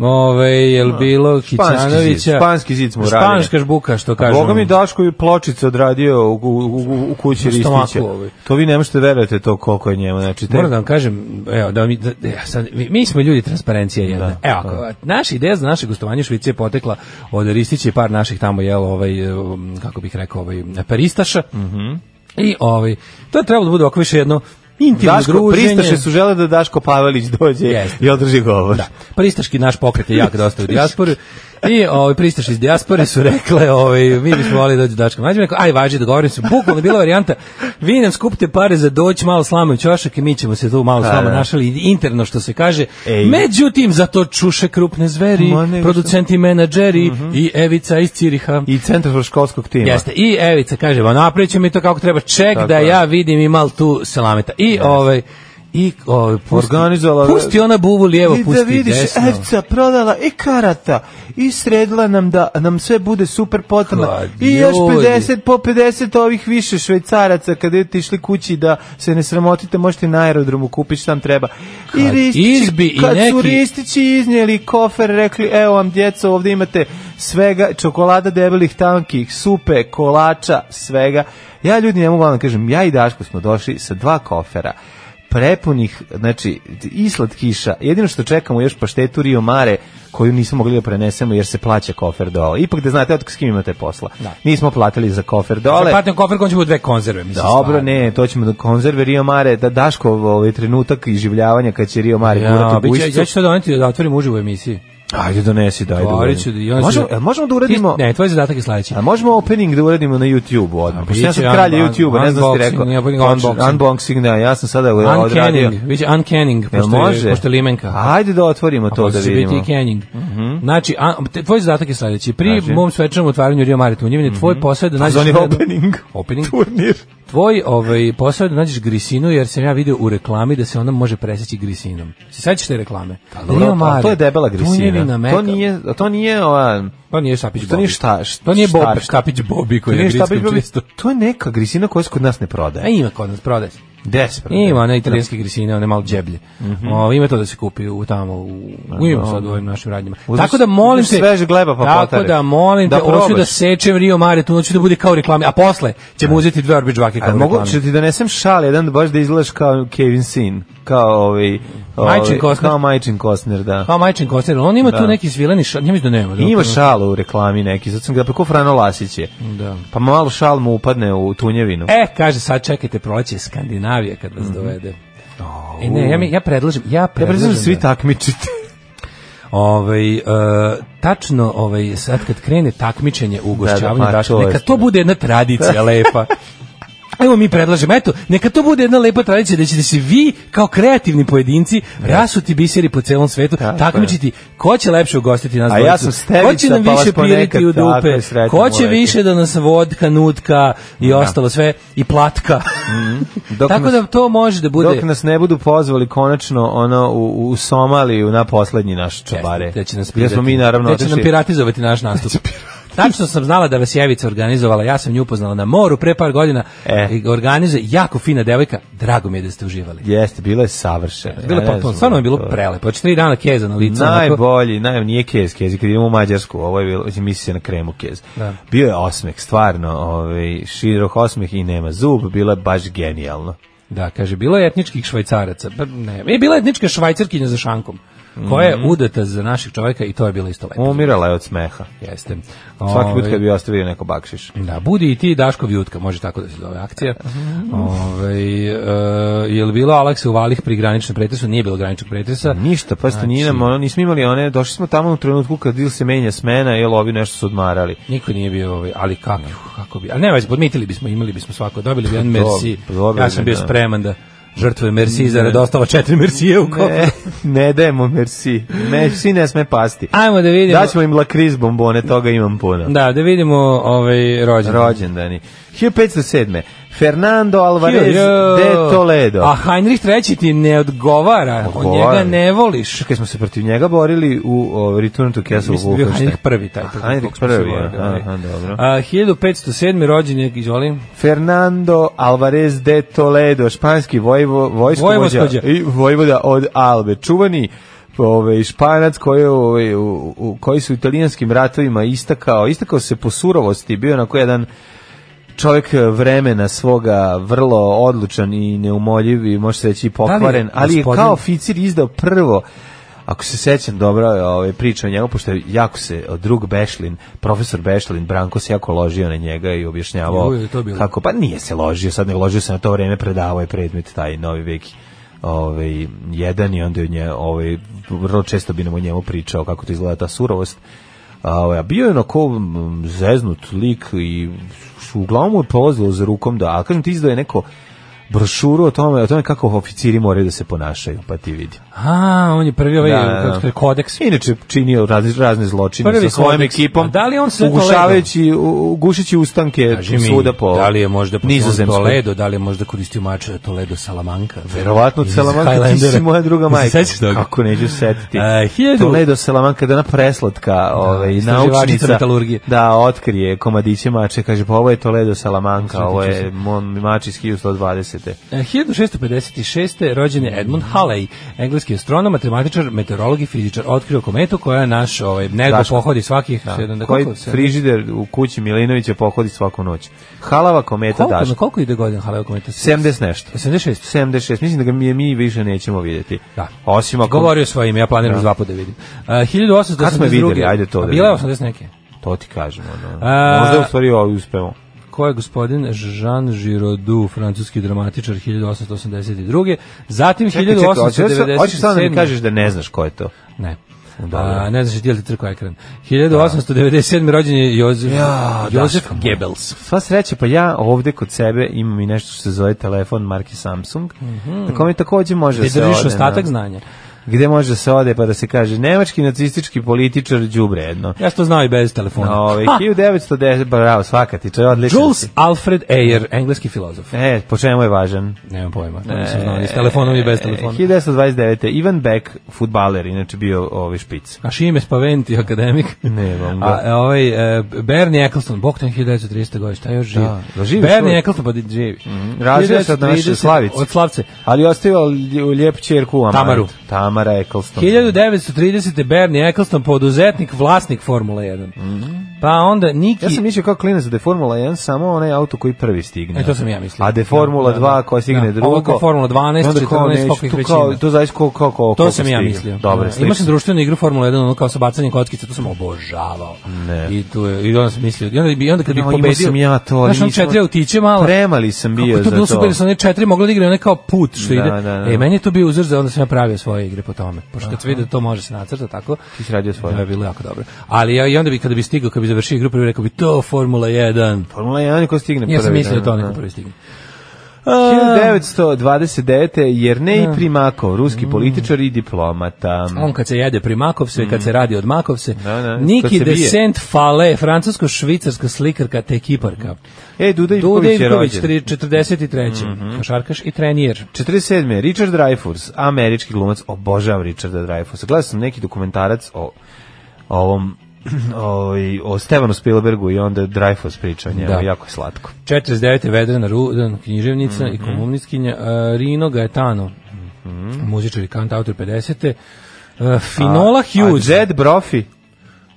F: Ovaj jel bilo
E: Španski zid,
F: Kićanovića?
E: španski zid smo radili.
F: Španska žbuka što kažu.
E: Boga mi Daško je pločicu odradio u, u, u, u kući
F: U stomaku
E: Ristića.
F: ovaj.
E: To vi ne možete verujete to koliko je njemu. Znači, te-
F: Moram da vam kažem, evo, da mi, da, ja sad, mi, mi smo ljudi transparencija jedna.
E: Da,
F: evo, ako, naša ideja za naše gostovanje u Švici je potekla od Ristića i par naših tamo, jel, ovaj,
E: Mhm.
F: um, kako bih rekao, ovaj, peristaša. I ovaj, to je trebalo da bude oko više jedno intimno
E: Daško,
F: druženje.
E: pristaše su žele da Daško Pavelić dođe
F: Jeste.
E: i održi govor.
F: Da. Pristaški naš pokret je jak dosta u dijasporu. I ovaj pristaš iz dijaspore su rekle, ovaj mi bismo voleli da dođe Daško Mlađan, rekao aj važi dogovorim se. Bukvalno je bila varijanta vi nam skupite pare za doć malo slame u ćošak i mi ćemo se tu malo
E: Pa,
F: slama
E: da.
F: našali interno što se kaže.
E: Ej.
F: Međutim za to čuše krupne zveri,
E: Ma, nego što. Mhm.
F: producenti, menadžeri i Evica iz Ciriha.
E: I centar školskog tima.
F: Jeste, i Evica kaže, va napravit ću mi to kako treba, ček
E: Tako
F: da
E: je.
F: ja vidim imal tu selameta. I ovaj, i ovaj, pusti,
E: Organizovala-
F: pusti ona buvu lijevo,
E: I
F: pusti
E: da vidiš, e,
F: desno.
E: Evca prodala i karata i sredila nam da nam sve bude super potrebno.
F: Ka,
E: I još
F: ljudi.
E: 50, po 50 ovih više švejcaraca kada idete išli kući da se ne sramotite, možete na aerodromu kupiti šta vam treba. I
F: Kad
E: ristići,
F: izbi i
E: kad su
F: neki-
E: ristići iznijeli kofer, rekli, evo vam djeco, ovdje imate svega, čokolada debelih tankih, supe, kolača, svega. Ja ljudi ne mogu vam da kažem, ja i Daško smo došli sa dva kofera prepunih, znači, i slatkiša. Jedino što čekamo još paštetu Rio Mare, koju nismo mogli da prenesemo jer se plaća kofer dole. Ipak da znate od s kim imate posla. Nismo platili za kofer dole.
F: Za platnom koferkom ćemo dve konzerve, mislim.
E: Dobro,
F: stvarno.
E: ne, to ćemo da konzerve Rio Mare, da Daško ovaj trenutak iživljavanja kad će Rio Mare gurati
F: Ja,
E: u
F: biće,
E: bujicu.
F: ja ću to doneti da otvorim uživo u emisiji.
E: Ajde donesi, daj da
F: Otvorit ću
E: uradimo.
F: i onda ću-
E: možemo, jel možemo da uradimo...
F: Ti- Ne, tvoj zadatak je sledeći.
E: A možemo opening da uradimo na YouTube-u odmah. Pošto ja sam
F: biće
E: kralj
F: un-
E: YouTube-a, ne znam što ti
F: unboxing,
E: rekao. Znači,
F: nije opening, unboxing.
E: Unboxing, da, ja sam sada odradio.
F: Uncanning, biće uncanning,
E: Jel
F: pošto,
E: može?
F: je, pošto je limenka.
E: Ajde da otvorimo to
F: A
E: da
F: posle će
E: vidimo. Mhm.
F: biti i Kenning. Znači, a, te- tvoj zadatak je sledeći. Pri
E: Znači? Mhm.
F: mom svečanom otvaranju Rio Mare Tunjevine, tvoj posao je da nađeš...
E: Zvani
F: jednu-
E: opening.
F: Opening.
E: Turnir.
F: Tvoj ovaj, posao je da nađeš grisinu, jer sam ja video u reklami da se ona može preseći grisinom. Se sećaš te reklame? Da
E: Pa Dobro,
F: Rio
E: a
F: Mare,
E: to je debela grisina.
F: Tunjevina,
E: To
F: Meka.
E: nije, a to nije ova...
F: To Pa nije Štapić Bobi.
E: To nije šta- šta-
F: To nije Bob,
E: šta-
F: Štapić Bobi
E: To
F: koji je
E: nije šta bi
F: grickom
E: bilo,
F: čisto.
E: to je neka grisina koja se kod nas ne
F: A
E: prodaje.
F: ima kod nas, prodaje se.
E: Gde se prodaje?
F: E, Ima one italijanske grisine, one malo džeblje.
E: Mhm.
F: O, ima to da se kupi u tamo u, u ima sad u ovim našim radnjama.
E: Uzmeš-
F: tako da molim te
E: uzmeš sveže gleba pa
F: Tako
E: potareš.
F: da molim te,
E: Da
F: hoću da
E: probaš.
F: sečem Rio Mare, tu hoću da bude kao reklame, a posle ćemo uzeti dve orbe džvake kao
E: A mogu
F: reklame.
E: ću ti donesem šal jedan da baš da izgledaš kao Kevin Sin, kao ovaj, ovaj
F: Majčin Costner.
E: kao Majčin Costner, da.
F: Kao majčin kocer, on ima
E: Da.
F: tu neki svileni šal, njemu da nema. da
E: I ima
F: otvoreno.
E: šalu u reklami neki, sad sam ga preko Frano Lasić je.
F: Da.
E: Pa malo šal mu upadne u tunjevinu.
F: E, kaže, sad čekajte, proleće Skandinavija kad vas dovede. E ne, ja, mi, ja predlažem, ja
E: Mhm. Ja
F: predlažem,
E: prezim da svi
F: da-
E: takmičite.
F: Ovaj e, tačno ovaj sad kad krene takmičenje u
E: Da, da,
F: ugošćavanju
E: pa
F: Daška,
E: to je
F: neka to
E: stvarno.
F: bude jedna tradicija lepa. Evo mi predlažemo, eto, neka to bude jedna lepa tradicija da ćete se vi kao kreativni pojedinci rasuti biseri po celom svetu,
E: Tako
F: takmičiti ko će lepše ugostiti nas
E: A
F: dvojicu,
E: ja sam stevica,
F: ko će nam
E: pa vas
F: više
E: ponekad
F: piriti u
E: tako
F: dupe,
E: je, srećem
F: ko će
E: uvek.
F: više da nas vodka, nutka i ostalo sve, i platka.
E: Mhm. Dok
F: Tako
E: nas-
F: da to može da bude...
E: Dok nas ne budu pozvali konačno ono u, u Somaliju na poslednji naš čobare.
F: Da će nas
E: Gde smo mi
F: pirati-
E: naravno
F: da će nam
E: otišli.
F: piratizovati naš nastup. Tačno sam znala da vas je Jevica organizovala, ja sam nju upoznala na moru pre par godina.
E: E.
F: I Organizuje, jako fina devojka, drago mi je da ste uživali.
E: Jeste, bilo je e, savršeno.
F: Bilo je
E: Ja ne
F: potpuno,
E: znam,
F: stvarno je bilo
E: to-
F: prelepo. Znači tri dana keza na licu. onako.
E: Najbolji, naj, nije kez, kez, kad idemo u Mađarsku, ovo je bilo, mislim, misli se na kremu kez.
F: Da.
E: Bio je osmeh, stvarno, ovaj, širok osmeh i nema zub, bilo je baš genijalno.
F: Da, kaže, bilo je etničkih švajcaraca. Pa ne, e, bila je etnička švajcarkinja za šankom, koja
E: Mhm.
F: je udata za naših čovjeka i to je bilo isto lepo.
E: Umirala je od smeha.
F: Jeste.
E: Svaki put
F: Ovaj,
E: kad bi ostavio neko bakšiš.
F: Da, budi i ti Daško Jutka, može tako da se zove akcija. Ove, e, je li bilo Aleksa u Valih pri graničnom pretresu? Nije bilo graničnog pretresa.
E: Ništa, pa što nije
F: Znači-
E: nam, ono, nismo imali one, došli smo tamo u trenutku kad ili se menja smena, ili ovi nešto su odmarali.
F: Niko nije bio, ovaj, ali kako, kako bi. Ali nema veze, podmitili bismo, imali bismo svako, dobili bi jedan merci.
E: dobili
F: Ja
E: bi,
F: sam bio
E: da.
F: spreman da žrtvujem merci zarad ostava četiri mersije u kopu.
E: Ne, ne dajemo merci. Merci ne sme pasti.
F: Ajmo da vidimo.
E: Daćemo im lakriz bombone, toga imam puno.
F: Da, da vidimo ovaj rođendan.
E: Rođendani. 1507. Fernando Alvarez
F: Hiljadu-
E: de Toledo.
F: A Heinrich III ti ne odgovara,
E: Odgovara.
F: on njega ne voliš.
E: Kad smo se protiv njega borili u o, Return to Castle
F: Mislim da je bio
E: Wolfenstein.
F: Heinrich prvi taj.
E: A,
F: protiv
E: Heinrich
F: kog smo se
E: prvi,
F: borili,
E: aha,
F: ali.
E: aha, dobro.
F: A, 1507. rođen je, izvoli.
E: Fernando Alvarez de Toledo, španski vojvo, vojskovođa
F: Vojvoskođa.
E: i vojvoda od Albe. Čuvani ovaj španac koji je, ovaj, u, u, koji su u italijanskim ratovima istakao, istakao se po surovosti, bio je onako jedan čovjek vremena svoga vrlo odlučan i neumoljiv i može se reći i pokvaren, ali je
F: gospodin-
E: kao oficir izdao prvo ako se sećam dobro ove, priče o njemu, pošto je jako se drug Bešlin, profesor Bešlin, Branko se jako ložio na njega i objašnjavao
F: Uj, je to bilo?
E: kako, pa nije se ložio, sad ne ložio se na to vreme predavao je predmet taj novi veki ovaj jedan i onda je nje ovaj vrlo često bi nam o njemu pričao kako to izgleda ta surovost a ovaj, a bio je onako mm, zeznut lik i s- uglavnom mu je polazilo za rukom da, a kažem ti izdao je neko brošuru o tome, o tome kako oficiri moraju da se ponašaju, pa ti vidi.
F: A, on je prvi ovaj,
E: Da, da, da.
F: kako se kaže, kodeks.
E: Inače činio razne, razne zločine
F: Prvi
E: sa svojom
F: kodeks.
E: ekipom.
F: A da li je on sve to
E: ugušavajući, u- ugušeći ustanke
F: Kaži mi,
E: svuda po
F: da li je možda po
E: nizozemskoj.
F: Toledo, da li je možda koristio mačo je Toledo Salamanca?
E: Verovatno od
F: Iz
E: Salamanca, ti
F: Highlandera.
E: si moja druga
F: Se
E: majka.
F: sećaš toga?
E: Kako neću setiti.
F: E, 1000
E: Toledo Salamanca, da ona preslatka, ovaj,
F: istraživačica
E: naučnica,
F: metalurgije.
E: da otkrije komadiće mače, kaže, pa ovo je Toledo Salamanca, ovo je mon, mač iz 1120.
F: E, 1656. rođen je Edmund Halley, engleski astronom, matematičar, meteorolog i fizičar. Otkrio kometu koja je naš ovaj, nego
E: Daško.
F: pohodi svakih da. sedam,
E: Da,
F: Pa, da,
E: koji
F: koliko, sedam-
E: frižider u kući Milinovića pohodi svaku noć. Halava kometa
F: koliko, na
E: Daško.
F: koliko ide godina Halleyov kometa?
E: 70 nešto.
F: 76.
E: 76. Mislim da ga mi, mi više nećemo vidjeti.
F: Da.
E: Osim ako...
F: Govorio svoje ime, ja planiram da. dva puta da vidim. Uh, 1882.
E: Kad smo je videli? Ajde to
F: A
E: da
F: Bila je
E: vidimo.
F: 80 neke.
E: To ti kažemo. Ono.
F: A-
E: Možda u stvari ovaj uspemo.
F: Ko je gospodin Jean Giraudoux, francuski dramatičar 1882. Zatim
E: E, Čekaj, čekaj, hoćeš sad-
F: 1897.
E: Hoćeš sad da mi kažeš da ne znaš ko je to.
F: Ne.
E: Dobro.
F: A, ne znaš je ti trkao ekran. 1897. rođen je Jozef,
E: Ja,
F: Jozef
E: Daško moj.
F: Goebbels.
E: Sva sreća, pa ja ovde kod sebe imam i nešto što se zove telefon marke Samsung, mm -hmm. na kome takođe može da
F: Mhm. Gde
E: se
F: držiš
E: ode,
F: ostatak
E: na-
F: znanja.
E: Gde može da se ode pa da se kaže nemački nacistički političar đubre jedno.
F: Ja sam to znao i bez telefona.
E: Ovaj
F: Ha!
E: 1910 bravo, svaka ti, to je odlično.
F: Jules Alfred Ayer, engleski filozof.
E: E, po čemu je važan?
F: Nemam pojma. to nisam znao, ni s telefonom i
E: E,
F: bez telefona.
E: 1929. Ivan Beck, futbaler, inače bio ovi špic.
F: A Šime Spaventi, akademik.
E: Nemam ga.
F: A, e, ovaj, e, Bernie Eccleston, Bog ten 1930. godine, šta još živi?
E: Da, da živi
F: Bernie
E: čovjek.
F: Eccleston, pa di- živi. Mm,
E: Rađao se od naše Slavice.
F: Od Slavce.
E: Ali ostavio lj- lijepu čerku u Amandu.
F: Tamaru.
E: Tamara Eccleston.
F: 1930. Bernie Eccleston, poduzetnik, vlasnik Formula 1. Pa onda Niki...
E: Ja sam mislio kao klinac da je Formula 1 samo onaj auto koji prvi stigne.
F: E, to sam ja mislio.
E: A da je Formula
F: Da, da,
E: 2
F: da.
E: koja stigne
F: Da.
E: drugo.
F: Ovo kao Formula 12,
E: Onda kao
F: 14,
E: neću,
F: koliko ih
E: tu
F: već
E: kao-
F: ima.
E: To zavisi koliko koliko koliko
F: to sam ja
E: stigne.
F: mislio.
E: Dobro,
F: da. Imao sam
E: slično.
F: društvenu igru Formula 1, ono kao sa bacanjem kockice, to sam obožavao.
E: Ne.
F: I, tu, je- I onda sam mislio, i onda, bi- i onda kad bih
E: Jao, imao
F: pobedio...
E: sam ja to,
F: Znaš, on
E: nisam-
F: četiri autiće malo.
E: Premali sam bio
F: Kako je to
E: za
F: bilo
E: to.
F: super, jer su one četiri mogli da igraju, one kao put što
E: Da,
F: ide.
E: da, da.
F: E, meni je to bio uzor, za onda sam ja pravio svoje igre po tome. Pošto kad se vidi da to može se nacrta tako,
E: Ti si radio svoje.
F: to je bilo jako dobro. Ali ja, i onda bi, kada bi stigao, kada bi završio igru, prvi rekao bi, to Formula 1.
E: Formula 1 ko stigne prvi.
F: Ja sam mislio da to
E: da.
F: neko prvi stigne.
E: 1929. Jernej Primakov, ruski
F: Mm.
E: političar i diplomata.
F: On kad se jede pri Makovse, kad se radi od Makovse.
E: Mm. Da, da, kad
F: Niki
E: se
F: de
E: bije.
F: Saint-Fale, francusko-švicarska slikarka te kiparka.
E: E, Duda
F: Duda
E: Ivković je
F: Ivković,
E: rođen. Mhm.
F: tri- 43. Košarkaš i trenijer.
E: 47. Richard Dreyfuss, američki glumac, obožavam Richarda Dreyfussa. Gledao sam neki dokumentarac o o ovom o, o Stevanu Spielbergu i onda je Dreyfuss pričao o njemu,
F: Da.
E: jako je slatko.
F: 49. Vedrana Rudan, književnica
E: Mhm.
F: i komunickinja, e, Rino Gaetano, muzičar i kantautor 50. E, Finola Hughes.
E: Mhm. A Jed Brophy,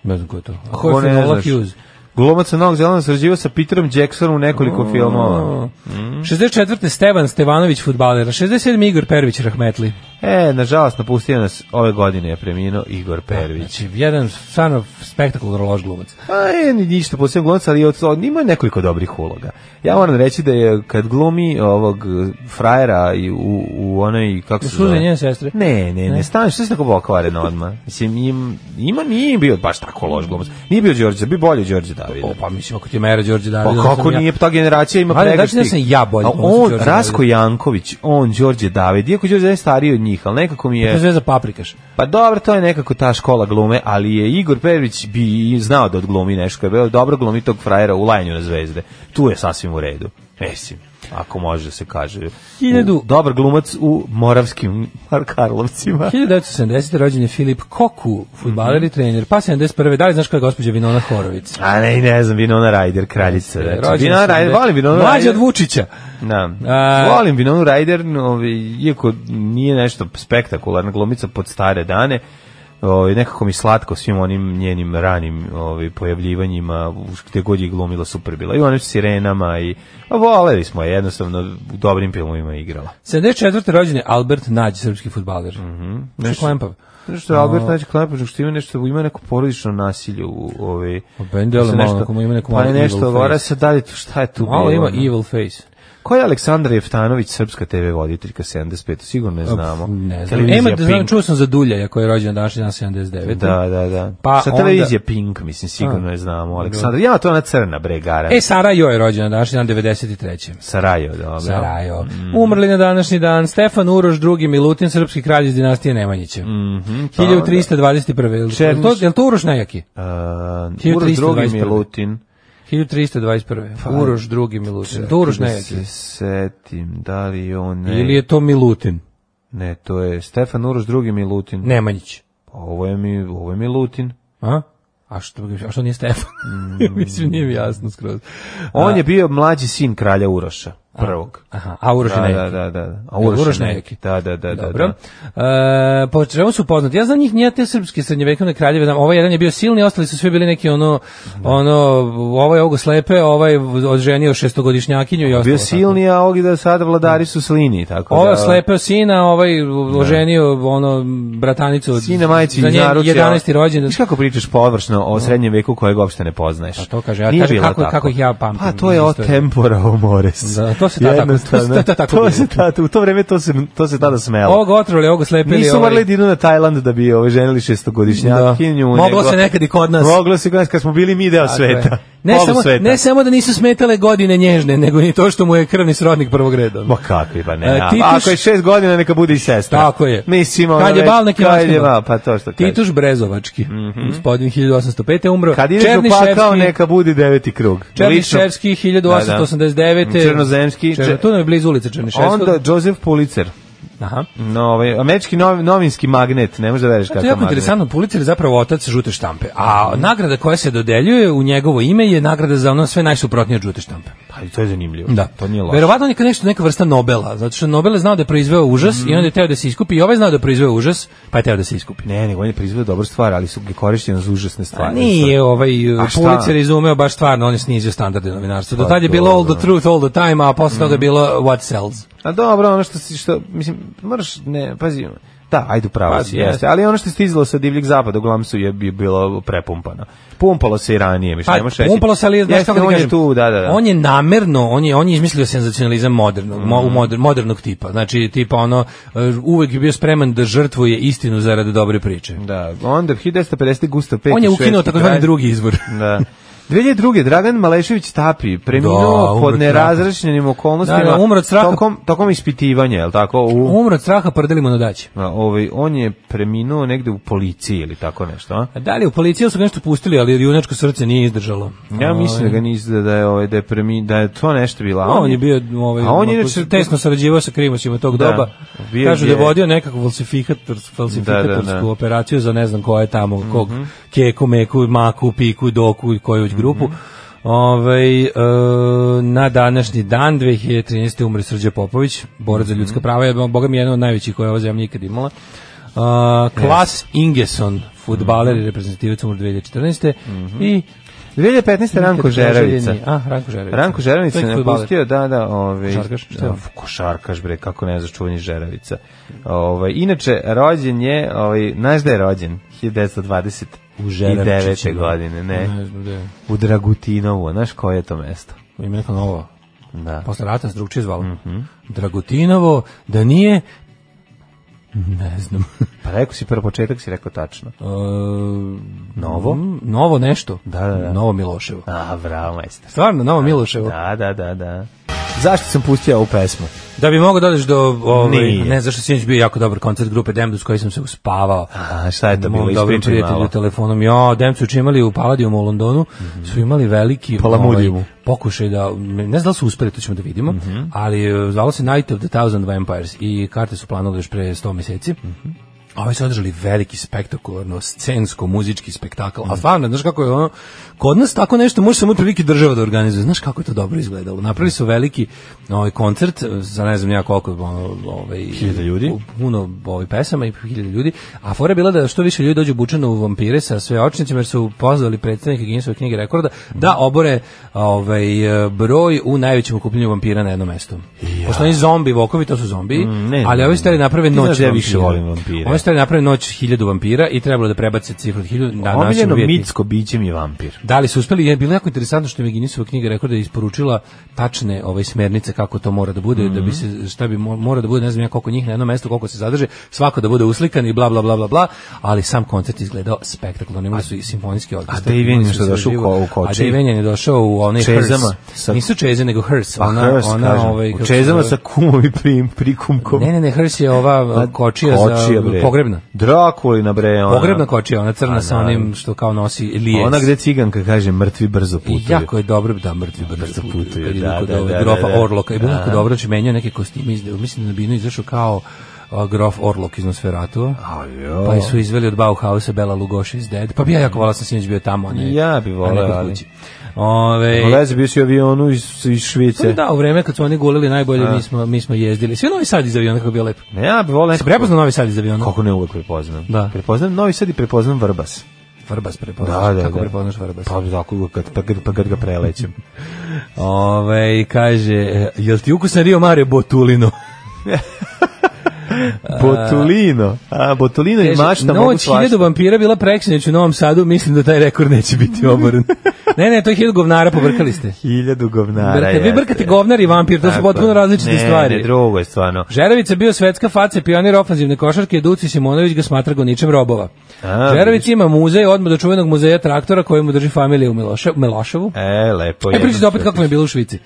F: Ne znam ko je to. A ko
E: ko
F: je
E: ne
F: Finola
E: znaš,
F: Hughes?
E: glumac sa Novog Zelanda srađivao sa Peterom Jacksonom u nekoliko
F: Mm.
E: filmova. Mhm.
F: 64. Stevan Stevanović, futbaler. 67. Igor Pervić, Rahmetli.
E: E, nažalost, napustio nas ove godine je preminuo Igor Pervić.
F: Znači, jedan stvarno spektakularan loš glumac.
E: A je, ni ništa posebno glumac, ali od, od, ima nekoliko dobrih uloga. Ja moram reći da je kad glumi ovog eh, frajera i u, u onoj, kako
F: U
E: se
F: suze
E: zove?
F: njene sestre?
E: Ne, ne, ne,
F: Ne?
E: stani, što si tako pokvaren odmah? Mislim, im, ima, nije bio baš tako loš glumac. Nije bio Đorđe, bi bolje Đorđe Davida.
F: O, pa mislim, ako ti je mera Đorđe
E: Pa
F: Davida...
E: kako nije, ta generacija ima
F: Ajde,
E: pregršt
F: znači da sam
E: tih.
F: ja bolji
E: A
F: glumac od
E: On,
F: Đorđe
E: Rasko Janković, on, Đorđe David, iako Đorđe David je stariji od njih, ali nekako mi
F: To je
E: je...
F: sve za paprikaš.
E: Pa dobro, to je nekako ta škola glume, ali je Igor Perović bi i znao da odglumi nešto, kad je bio dobro glumi tog frajera u Lajanju na zvezde. Tu je sasvim u redu. Mislim, ako može da se kaže.
F: Hiljadu-
E: U- Dobar glumac u Moravskim Karlovcima.
F: 1970. rođen je Filip Koku, futbaler i trener. Pa 71. Da li znaš koja je gospođa Vinona Horovic?
E: A ne, ne znam, Vinona Ryder, kraljica. Znači.
F: Rođen
E: Vinona
F: je
E: Ryder,
F: 70.
E: volim Vinona Ryder.
F: Mlađa od Vučića.
E: Da.
F: A-
E: Volim Vinonu Ryder, ovaj, iako nije nešto spektakularna glumica pod stare dane, ovaj, nekako mi slatko svim onim njenim ranim ovaj, pojavljivanjima, u- gde god je glumila super bila. I onim sirenama, i, a voleli smo je, jednostavno u dobrim filmovima je igrala.
F: 74. rođen je Albert Nađ, srpski futbaler. Mm -hmm. Šuklampav.
E: Znaš što je Albert Nađe Klepažnog što ima nešto, ima neko porodično nasilje u ove...
F: Ben Dele
E: mislim,
F: Pa malo,
E: nešto-
F: ako mu ima neku
E: Pa
F: malu
E: je nešto,
F: evil
E: vora
F: face.
E: se dalje, šta je tu
F: Malo
E: bilo,
F: ima
E: ono?
F: evil face.
E: Ko je Aleksandra Jeftanović, srpska TV voditeljka 75? Sigurno ne znamo.
F: Ne znam.
E: Televizija
F: Ema, da znam,
E: Pink.
F: čuo sam za Duljaja koja je rođena današnji dan 79.
E: Da, da, da.
F: Pa
E: Pa Sa
F: onda-
E: televizije Pink, mislim, sigurno je znamo. Aleksandra, ja to je ona crna bregara.
F: E, Sarajo je rođena današnji dan 93.
E: Sarajevo, dobro.
F: Sarajo.
E: Mm.
F: Umrli na današnji dan Stefan Uroš II. Milutin, srpski kralj iz dinastije Nemanjića.
E: pa onda-
F: 1321. Je li
E: Černiš-
F: to- Je li to, je li to Uroš najjaki?
E: Uh, Uroš drugi
F: 1321.
E: Milutin.
F: 1321.
E: Pa,
F: Uroš II. Milutin. To Uroš
E: Da
F: najjaki.
E: se setim, da li je on... Ne,
F: Ili je to Milutin?
E: ne, to je Stefan Uroš drugi Milutin.
F: Nemanjić.
E: Ovo je, mi, ovo je Milutin.
F: A? A što, a što nije Stefan?
E: Mm.
F: Mislim, nije mi jasno skroz.
E: On je bio mlađi sin kralja Uroša, prvog.
F: Aha, a Uroš je
E: Da, da,
F: najjaki.
E: da, da. A
F: Uroš,
E: Uroš
F: Nejaki.
E: neki. Da, da, da, da.
F: Dobro.
E: da.
F: E, po čemu su poznati? Ja znam njih, nije te srpske srednjevekovne kraljeve, znam, ovaj jedan je bio silni, ostali su svi bili neki ono, ono, ovaj ovoga slepe, ovaj odženio šestogodišnjakinju i ostalo.
E: Bio
F: tako.
E: silni, a ovi da sada vladari su slini, tako
F: Ovo
E: da...
F: slepeo sina, ovaj oženio ono bratanicu od-
E: Sine majci
F: za
E: iz
F: njen
E: naručja.
F: 11. rođendan.
E: Viš kako pričaš površno o srednjem veku kojeg uopšte ne poznaješ.
F: A to kaže, ja
E: Nije
F: kažem
E: bilo
F: kako-
E: tako.
F: kako ih ja pamtim
E: Pa to je
F: iz
E: o
F: istorije.
E: tempora o mores.
F: Da, to se tad tako- to se
E: Jednostavno,
F: tad tako bilo.
E: to se tad, u to vreme to se, to se tada smelo.
F: Ovog otrovali, ovog slepili.
E: Nisu
F: ovaj-
E: morali da idu na Tajland da bi ove ženili šestogodišnjakinju.
F: Da. Moglo
E: nego-
F: se nekad i kod nas.
E: Moglo se kod nas kad smo bili mi deo
F: Tako je.
E: sveta.
F: Ne
E: Polu
F: samo,
E: sveta.
F: ne samo da nisu smetale godine nježne, nego ni to što mu je krvni srodnik prvog reda.
E: Ma kakvi, pa ne.
F: E,
E: a,
F: Tituš-
E: Ako je šest godina, neka bude i sestra.
F: Tako je.
E: Mislim, ono
F: kad je
E: već-
F: bal neki
E: kad je
F: vaškino.
E: bal, pa to što kažeš.
F: Tituš Brezovački, gospodin 1805. je umro.
E: Kad ideš u pakao, neka bude deveti krug. Lično.
F: Černiševski 1889.
E: Da, da. Černozemski.
F: Čer- tu nam je blizu ulice Černiševskog.
E: Onda Joseph Pulitzer.
F: Aha. Pa
E: No, ovaj, američki nov, novinski magnet, ne možeš da veriš
F: To
E: kakav
F: je jako
E: magnet.
F: interesantno, Pulitzer je zapravo otac žute štampe, a nagrada koja se dodeljuje u njegovo ime je nagrada za ono sve najsuprotnije od žute štampe.
E: Pa i to je zanimljivo.
F: Da,
E: To nije loše.
F: Verovatno neka nešto neka vrsta Nobela, zato što Nobel je znao da je proizveo užas
E: Mhm.
F: i onda je teo da se iskupi i ovaj je znao da je proizveo užas, pa je teo da se iskupi.
E: Ne, nego on je proizveo dobru stvar, ali su ga korišćene za užasne
F: A
E: stvari.
F: Pa, nije ovaj uh,
E: Pa, A šta?
F: Pulitzer izumeo baš stvarno, on je snizio standarde novinarstva. Do
E: Pa
F: tad je bilo all
E: dobro. Mm.
F: the truth all the time, a posle toga je bilo what sells.
E: A dobro, ono što si, što, mislim, moraš, ne, pazi, da, ajde upravo
F: Pazi,
E: si, jeste.
F: Pa, jeste.
E: Ali ono što je stizalo sa divljeg zapada, uglavnom su je bi- bilo prepumpano. Pumpalo se i ranije, mi što
F: Pa,
E: nemaš reći.
F: umpalo se, ali znaš
E: Jeste,
F: kako ti
E: on je
F: kažem,
E: tu, da, da, da.
F: On je namerno, on je, on je izmislio senzacionalizam modernog, mo- u
E: Mm.
F: moder- modernog tipa. Znači, tipa ono, e, uvek je bio spreman da žrtvuje istinu zarad dobre priče.
E: Da, onda 1950. Gustav V.
F: on je ukinuo
E: švedski
F: takozvani
E: kralj.
F: drugi izvor.
E: Da. 2002. Dragan Malešević Tapi
F: Da,
E: preminuo
F: umro
E: pod
F: od
E: nerazrešenim okolnostima
F: Da, Um- da, umro od straha.
E: tokom, tokom ispitivanja, je li tako? U,
F: Umro od straha, prdeli mu na daći.
E: a, ovaj, on je preminuo negde u policiji ili tako nešto, a?
F: A Da li u policiju su ga nešto pustili, ali junačko srce nije izdržalo. Ovaj,
E: Ja mislim da ga nis da je ovaj da je premi da je to nešto bila.
F: A on je bio ovaj,
E: A on je
F: onako
E: inače-
F: tesno sarađivao sa Krimoćima tog
E: Da.
F: doba.
E: Bio
F: Kažu da je
E: je-
F: vodio nekakvu falsifikator, falsifikatorsku
E: Da, Mhm. da, da.
F: operaciju za ne znam ko je tamo, kog keku, meku, maku, piku, doku i koju već grupu.
E: Mhm.
F: Ovaj, e, na današnji dan 2013. umre Srđe Popović, borac
E: Mhm.
F: za ljudska prava, je, boga mi jedan od najvećih koje je ova zemlja ikad imala. A, Klas Ingeson, futbaler
E: Mhm.
F: i reprezentativac umre 2014. I
E: 2015. Mhm. Ranko
F: nikad tražili
E: Žeravica.
F: ni- A, Ranko Žeravica.
E: Ranko Žeravica
F: To je
E: je
F: fudbaler.
E: napustio, da, da, ovaj,
F: Košarkaš, šta je
E: da,
F: on?
E: košarkaš, bre, kako ne znaš čuvanje Žeravica. Ovaj, inače, rođen je, ovaj, znaš da je rođen? 1920.
F: U Žeravčićima.
E: 9. godine, ne.
F: Ne znam gde je.
E: U Dragutinovu, znaš koje je to mesto?
F: Ima neko novo.
E: Da. Mhm.
F: Posle rata se drugčije zvalo. Dragutinovo, da nije... Ne znam.
E: Pa rekao si prvo početak, si rekao tačno.
F: E,
E: Novo?
F: mm, Novo nešto.
E: Da, da, da.
F: Novo Miloševo.
E: A, bravo, majster.
F: Stvarno, Novo Miloševo. Da,
E: Da, da, da, da. Zašto sam pustio ovu pesmu?
F: bi mogao dođeš do... Ovaj,
E: Nije.
F: ne, zašto sinoć bio jako dobar koncert grupe Demdus koji sam se uspavao.
E: A, šta je to bilo?
F: Mom dobrom
E: Ispričaj
F: prijatelju
E: malo. Mhm.
F: telefonom. Ja, Demcu su imali u Paladiumu u Londonu, su imali veliki ovaj,
E: Palamudijumu.
F: pokušaj da, ne znam da li su uspeli, to ćemo da vidimo,
E: Mhm.
F: ali e, zvalo se Night of the Thousand Vampires i karte su planuli još pre 100 meseci.
E: Mhm.
F: A ovi su održali veliki spektakularno scensko muzički spektakl. A stvarno, znaš kako je ono, kod nas tako nešto može samo otprilike država da organizuje. Znaš kako je to dobro izgledalo. Napravili su veliki ovaj koncert za ne znam ni ja koliko ono, ovaj
E: Hiljada ljudi.
F: puno ovih pesama i hiljada ljudi, a fora je bila da što više ljudi dođu obučeno u vampire sa sveočnicima jer su pozvali predstavnike Guinnessove knjige rekorda da obore ovaj broj u najvećem okupljanju vampira na jednom mestu. Pošto oni zombi vokovi, to su zombi,
E: Mm, ne,
F: ali ovi
E: ne,
F: stari
E: ne.
F: naprave
E: Ti
F: noć
E: znaš da ja
F: vampira.
E: više volim vampire.
F: Ovi stari naprave noć hiljadu vampira i trebalo da prebace cifru od hiljadu na našu
E: Omiljeno mitsko biće mi je vampir.
F: Da li su uspeli? Je bilo jako interesantno što je Guinnessova knjiga rekorda isporučila tačne ovaj smernice kako to mora da bude, da bi
E: Mhm.
F: se šta bi mo- mora da bude, ne znam ja koliko njih na jednom mestu, koliko se zadrže, svako da bude uslikan i bla bla bla bla bla, ali sam koncert izgledao spektakularno. Imali su i simfonijski orkestar.
E: Dave Vanian
F: imali su
E: što je
F: sve
E: došao u
F: živo.
E: ko- u koči?
F: A Dave Vanian je došao u onaj
E: Čezama
F: Hearse.
E: sa-
F: Nisu čeze nego Hearse.
E: Pa
F: ona,
E: Hearst,
F: ona,
E: kažem,
F: ovaj, kako
E: u
F: se
E: čezama
F: zove?
E: sa kumom i prim, prikumkom.
F: Ne, ne, ne, Hearse je ova
E: A,
F: Pa kočija, za
E: Pa bre.
F: pogrebna.
E: Drakulina bre. Ona.
F: Pogrebna kočija, ona crna
E: A,
F: sa
E: naravno.
F: onim što kao nosi lijec.
E: Ona gde ciganka kaže mrtvi brzo putuju.
F: I E, jako je dobro da mrtvi brzo
E: putuju,
F: putuju. Kad
E: da,
F: idu kod
E: da,
F: ovog
E: da,
F: grofa
E: da, da.
F: Orloka. I bilo
E: Da.
F: jako dobro, znači menjao neke kostime. izde- Mislim da bi jedno izašao kao a, grof Orlok iz Nosferatu.
E: Ajo.
F: Pa i su izveli od Bauhausa Bela Lugoša iz Dead. Pa bi ja jako volao sam sinoć bio tamo. a Ne,
E: Ja bi voleo,
F: a ne kod
E: ali-
F: kuće. Ove, Pa
E: Lezi bio si u avionu iz, iz Švice.
F: da, u vreme kad su oni gulili najbolje, mi smo, mi smo jezdili. Sve novi sad iz aviona kako je bio lepo.
E: Ne, ja bi volao
F: Se
E: nekako...
F: prepoznao novi sad iz aviona?
E: Kako ne uvek prepoznam.
F: Da.
E: Prepoznam Novi Sad i prepoznam Vrbas.
F: Vrbas prepoznaš.
E: Da, da,
F: Kako
E: da.
F: prepoznaš Vrbas?
E: Pa tako kad, pa, kad, pa kad ga prelećem.
F: Ove, kaže, e, jel ti ukusan Rio Mare Botulino?
E: Botulino. A, Botulino i
F: Kaže,
E: mašta mogu
F: noć
E: svašta.
F: hiljadu vampira bila preksinoć u Novom Sadu, mislim da taj rekord neće biti oboren. ne, ne, to je hiljadu govnara, pobrkali ste.
E: Hiljadu govnara.
F: Brate, vi
E: jeste.
F: brkate govnar i vampir, to su
E: Tako
F: potpuno
E: je.
F: različite
E: ne,
F: stvari.
E: Ne, drugo je stvarno.
F: Žeravica je bio svetska face, pionir ofanzivne košarke, Duci Simonović ga smatra goničem robova.
E: A,
F: Žeravic ima muzej odmah do čuvenog muzeja traktora koji mu drži familija u Miloše- Miloševu.
E: E, lepo je.
F: E, pričajte opet kako mi je bilo u Švici.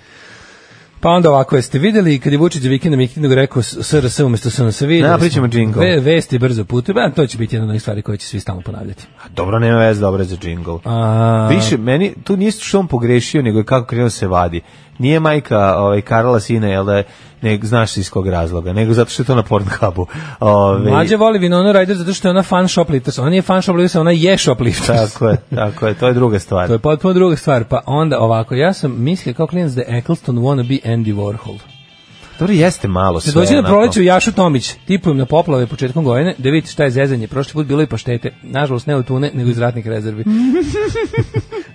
F: Pa onda ovako, jeste videli kad je Vučić za vikendom i knjigu rekao s- SRS umesto SNS videli.
E: Da, pričamo
F: smo.
E: jingle.
F: Ve, vesti brzo putuju, ba, to će biti jedna od onih stvari koje će svi stalno ponavljati.
E: Dobro, nema veze, dobro je za džingl.
F: A,
E: Više, meni, tu nije što on pogrešio, nego je kako krenuo se vadi. Nije majka ovaj, Karla sina, jel da je, ne, znaš iz kog razloga, nego zato što je to na Pornhubu. Ovaj, Ove,
F: Mlađe voli Vinonu Ryder zato što je ona fan shoplifters. Ona nije fan shoplifters, ona je shoplifters.
E: Tako je, tako je, to je druga stvar.
F: To je potpuno druga stvar. Pa onda ovako, ja sam mislio kao klinac da je Eccleston wanna be Andy Warhol.
E: Dobro, jeste malo
F: Se
E: sve.
F: dođe na
E: onako.
F: proleću Jašu Tomić, tipujem na poplave početkom godine, da vidite šta je zezanje. Prošli put bilo i paštete. Nažalost, ne od tune, nego iz ratnih rezervi.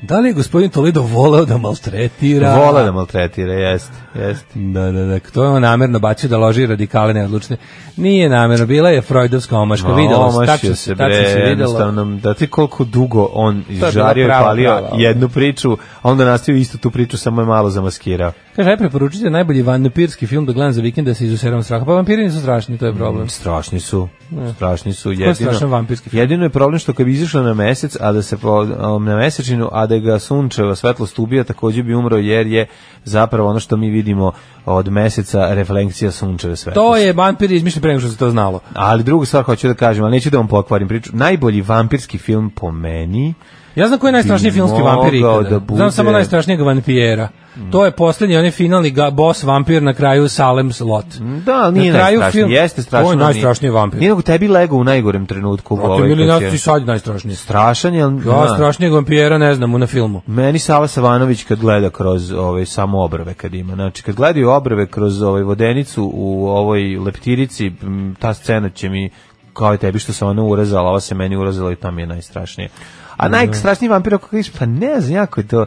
F: da li je gospodin Toledo voleo da maltretira?
E: Vole da maltretira, jeste, jeste.
F: Da, da, da, to je on namerno bacio da loži radikale neodlučne. Nije namerno, bila je Freudovska omaška,
E: Ma,
F: videlo se,
E: omašio
F: tačno se,
E: se,
F: tačno
E: bre,
F: se videlo.
E: jednostavno, da ti koliko dugo on
F: bila
E: izžario i
F: prava,
E: palio
F: prava, ono.
E: jednu priču, a onda nastavio istu tu priču, samo je malo zamaskirao.
F: Kaže, aj preporučite najbolji vampirski film da gledam za vikend da se izuseram straha. Pa vampiri nisu strašni, to je problem.
E: Strašni su, strašni su.
F: je strašan vampirski film?
E: jedino je problem što kad bi izašao na mesec, a da se po, um, na mesečinu, a da ga sunčeva svetlost ubija, takođe bi umro jer je zapravo ono što mi vidimo od meseca refleksija sunčeve svetlosti.
F: To je vampir izmišljen pre nego što se to znalo.
E: Ali drugu stvar hoću da kažem, ali neću da vam pokvarim priču. Najbolji vampirski film po meni
F: Ja znam koji je najstrašniji
E: Bi
F: filmski vampir
E: mogao
F: ikada.
E: da bude- Mm.
F: Znam samo najstrašnijeg vampijera. To je posljednji, onaj finalni ga, boss vampir na kraju Salem's Lot.
E: Mm, Da, nije
F: Na kraju
E: najstrašniji,
F: film-
E: jeste strašno.
F: To je
E: ali nije.
F: najstrašniji vampir.
E: Nije nego tebi lego u najgorem trenutku.
F: Protiv
E: ovaj,
F: ili
E: kad
F: nas
E: će-
F: i sad je najstrašniji.
E: Strašan je, ali...
F: Ja
E: da.
F: strašnijeg vampijera ne znam u na filmu.
E: Meni Sava Savanović kad gleda kroz ove samo obrve kad ima, znači kad gledaju obrve kroz ovaj vodenicu u ovoj leptirici, m, ta scena će mi kao i tebi što se ona urezala, ova se meni urezala i to mi je najstrašnije. A najstrašniji vampir ako kažeš, pa ne znam, jako je to...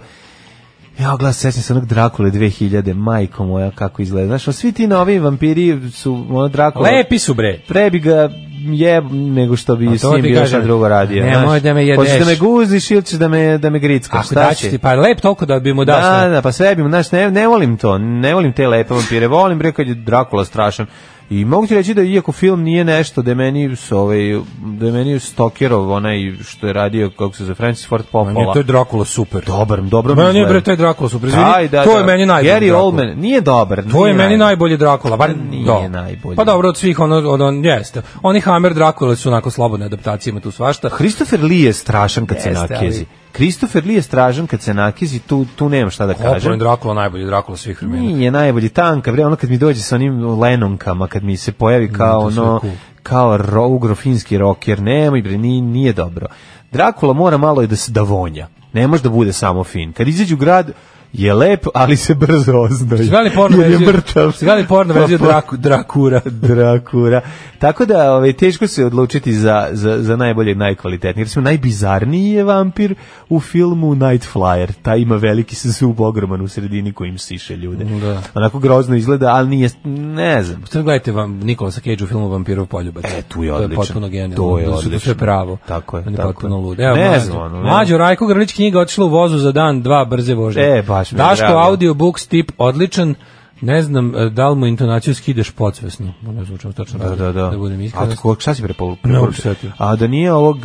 E: Ja glas sećam se onog Drakule 2000, majko moja kako izgleda. Znaš, a svi ti novi vampiri su ono Drakula.
F: Lepi su bre.
E: Pre bi ga jeb nego što bi
F: A Pa to
E: s njim
F: ti
E: bilo šta
F: kažem.
E: drugo radio.
F: Nemoj
E: znaš.
F: da me jedeš.
E: Hoćeš da me guziš ili ćeš da me, da me grickaš?
F: Ako
E: Šta
F: daću
E: si?
F: ti, pa lep toliko da bi mu dao
E: Da,
F: sve.
E: da, pa sve bi, znaš, ne, ne volim to, ne volim te lepe vampire, volim bre kad je Drakula strašan. I mogu ti reći da iako film nije nešto da je meni s ovaj da je meni Stokerov onaj što je radio kako se za Francis Ford
F: Meni je
E: Coppola.
F: to je Dracula super.
E: Dobar, dobro mi
F: Meni je
E: izgleda.
F: bre taj Dracula super. Izvini,
E: Taj, da,
F: to je
E: da.
F: meni najbolji.
E: Gary
F: Dracula.
E: Oldman nije dobar.
F: To je
E: nije Pa
F: meni najbolji Dracula, bar
E: Nije
F: da.
E: najbolji.
F: Pa dobro, od svih ono, od on, jeste. Oni Hammer Dracula su onako slobodne adaptacije, ima tu svašta.
E: Christopher Lee je strašan kad se
F: Jeste,
E: nakezi.
F: ali-
E: Christopher Lee je strašan kad se nakezi, tu, tu nemam šta da
F: Opravo
E: kažem.
F: Dracula najbolji Dracula svih vremena.
E: Nije najbolji tanka, bre, ono kad mi dođe sa onim lenonkama, kad mi se pojavi kao
F: Mm, sve
E: ono,
F: cool.
E: kao ro, ugrofinski roker, nemoj bre, nije, nije dobro. Drakula mora malo i da se davonja, ne može da bude samo fin. Kad izađe u grad, je lep, ali se brzo oznoji.
F: Ste gledali porno
E: jer je
F: verziju-
E: mrtav.
F: ste gledali porno verziju
E: Pa, pa,
F: Draku- Drakura?
E: Drakura. Tako da ovaj, teško se odlučiti za, za, za najbolje i najkvalitetnije. Recimo, najbizarniji je vampir u filmu Night Flyer. Ta ima veliki se zub ogroman u sredini kojim siše ljude.
F: Da.
E: Onako grozno izgleda, ali nije, ne znam.
F: Sad gledajte vam Nikolasa Cage u filmu Vampirov poljubac.
E: E, tu je
F: To je
E: odličan.
F: potpuno genijalno.
E: To je
F: Da su
E: odličan.
F: sve pravo.
E: Tako je,
F: On je
E: tako
F: potpuno
E: je.
F: lud. Evo,
E: Ne
F: mlađo.
E: znam, ono, ne
F: Mlađo Rajko Grlić knjiga otišla u vozu za dan, dva brze vožnje.
E: E, baš mi je
F: Daško
E: drago.
F: audiobooks tip odličan. Ne znam e, da li mu intonaciju skidaš podsvesno. Ne zvučam točno.
E: Da, da, da.
F: Da budem iskren.
E: A tko, šta si preporu-
F: Ne mogu
E: preporučio?
F: setiti.
E: A da nije ovog...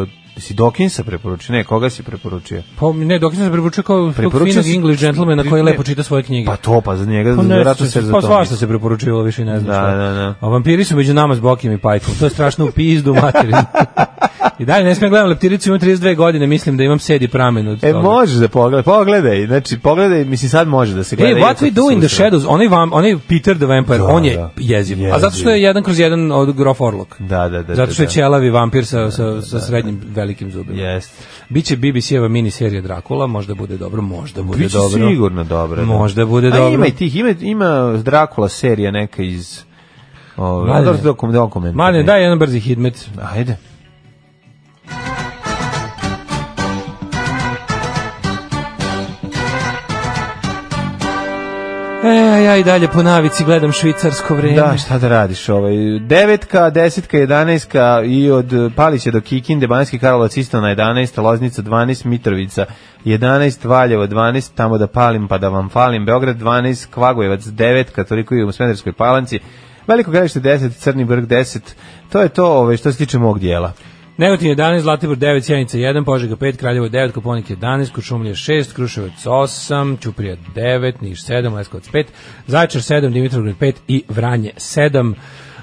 E: Uh, si Dawkinsa preporučio? Ne, koga si preporučio?
F: Pa, ne, dok sam se preporučio kao tog
E: Preporučio
F: finog
E: si-
F: English gentlemana koji
E: Ne.
F: lepo čita svoje knjige.
E: Pa to, pa za njega,
F: Pa ne,
E: vjerojatno
F: se-
E: se za
F: pa
E: to
F: svašta se preporučivalo više i ne znam
E: Da,
F: šta.
E: da, da.
F: A vampiri su među nama s Bokim i Pajkom. To je strašno u pizdu materinu. I dalje ne smijem gledam leptiricu, imam 32 godine, mislim da imam sedi pramen od
E: E,
F: toga.
E: možeš da pogledaj, pogledaj, znači, pogledaj, mislim, sad može da se
F: E,
E: gleda.
F: what
E: iako
F: we
E: ti
F: do in the
E: sutra.
F: shadows, onaj, vam, onaj Peter the Vampire,
E: Da,
F: on je
E: da.
F: jeziv. A
E: Jeziv.
F: zato što je jedan kroz jedan od Grof Orlok.
E: Da, da, da.
F: zato što je
E: da, da.
F: ćelavi vampir sa, sa, sa srednjim velikim zubima.
E: Jeste.
F: Biće BBC-eva miniserija Dracula, možda bude dobro, možda bude
E: Biće
F: dobro.
E: sigurno dobro. da.
F: Možda bude
E: A
F: dobro.
E: ima i tih, ima, ima Dracula serija neka iz... Ove,
F: Mladene.
E: Mladine, dokum, dokument.
F: Mladine, daj jedan brzi hitmet.
E: Ajde.
F: E, a ja i dalje po navici gledam švicarsko vreme.
E: Da, šta da radiš, ovaj, devetka, desetka, jedanaestka i od eh, Palića do Kikinde, Banjski Karlovac isto na 11, Loznica 12, Mitrovica 11, Valjevo 12, tamo da palim pa da vam falim, Beograd 12, Kvagojevac 9, toliko i u Smederskoj palanci, Veliko gradište 10, Crni vrh 10, to je to ovaj, što se tiče mog dijela.
F: Negotin 11, Zlatibor 9, Sjenica 1, Požega 5, Kraljevo 9, Koponik 11, Kučumlje 6, Kruševac 8, Ćuprija 9, Niš 7, Leskovac 5, Zaječar 7, Dimitrovgrad 5 i Vranje 7.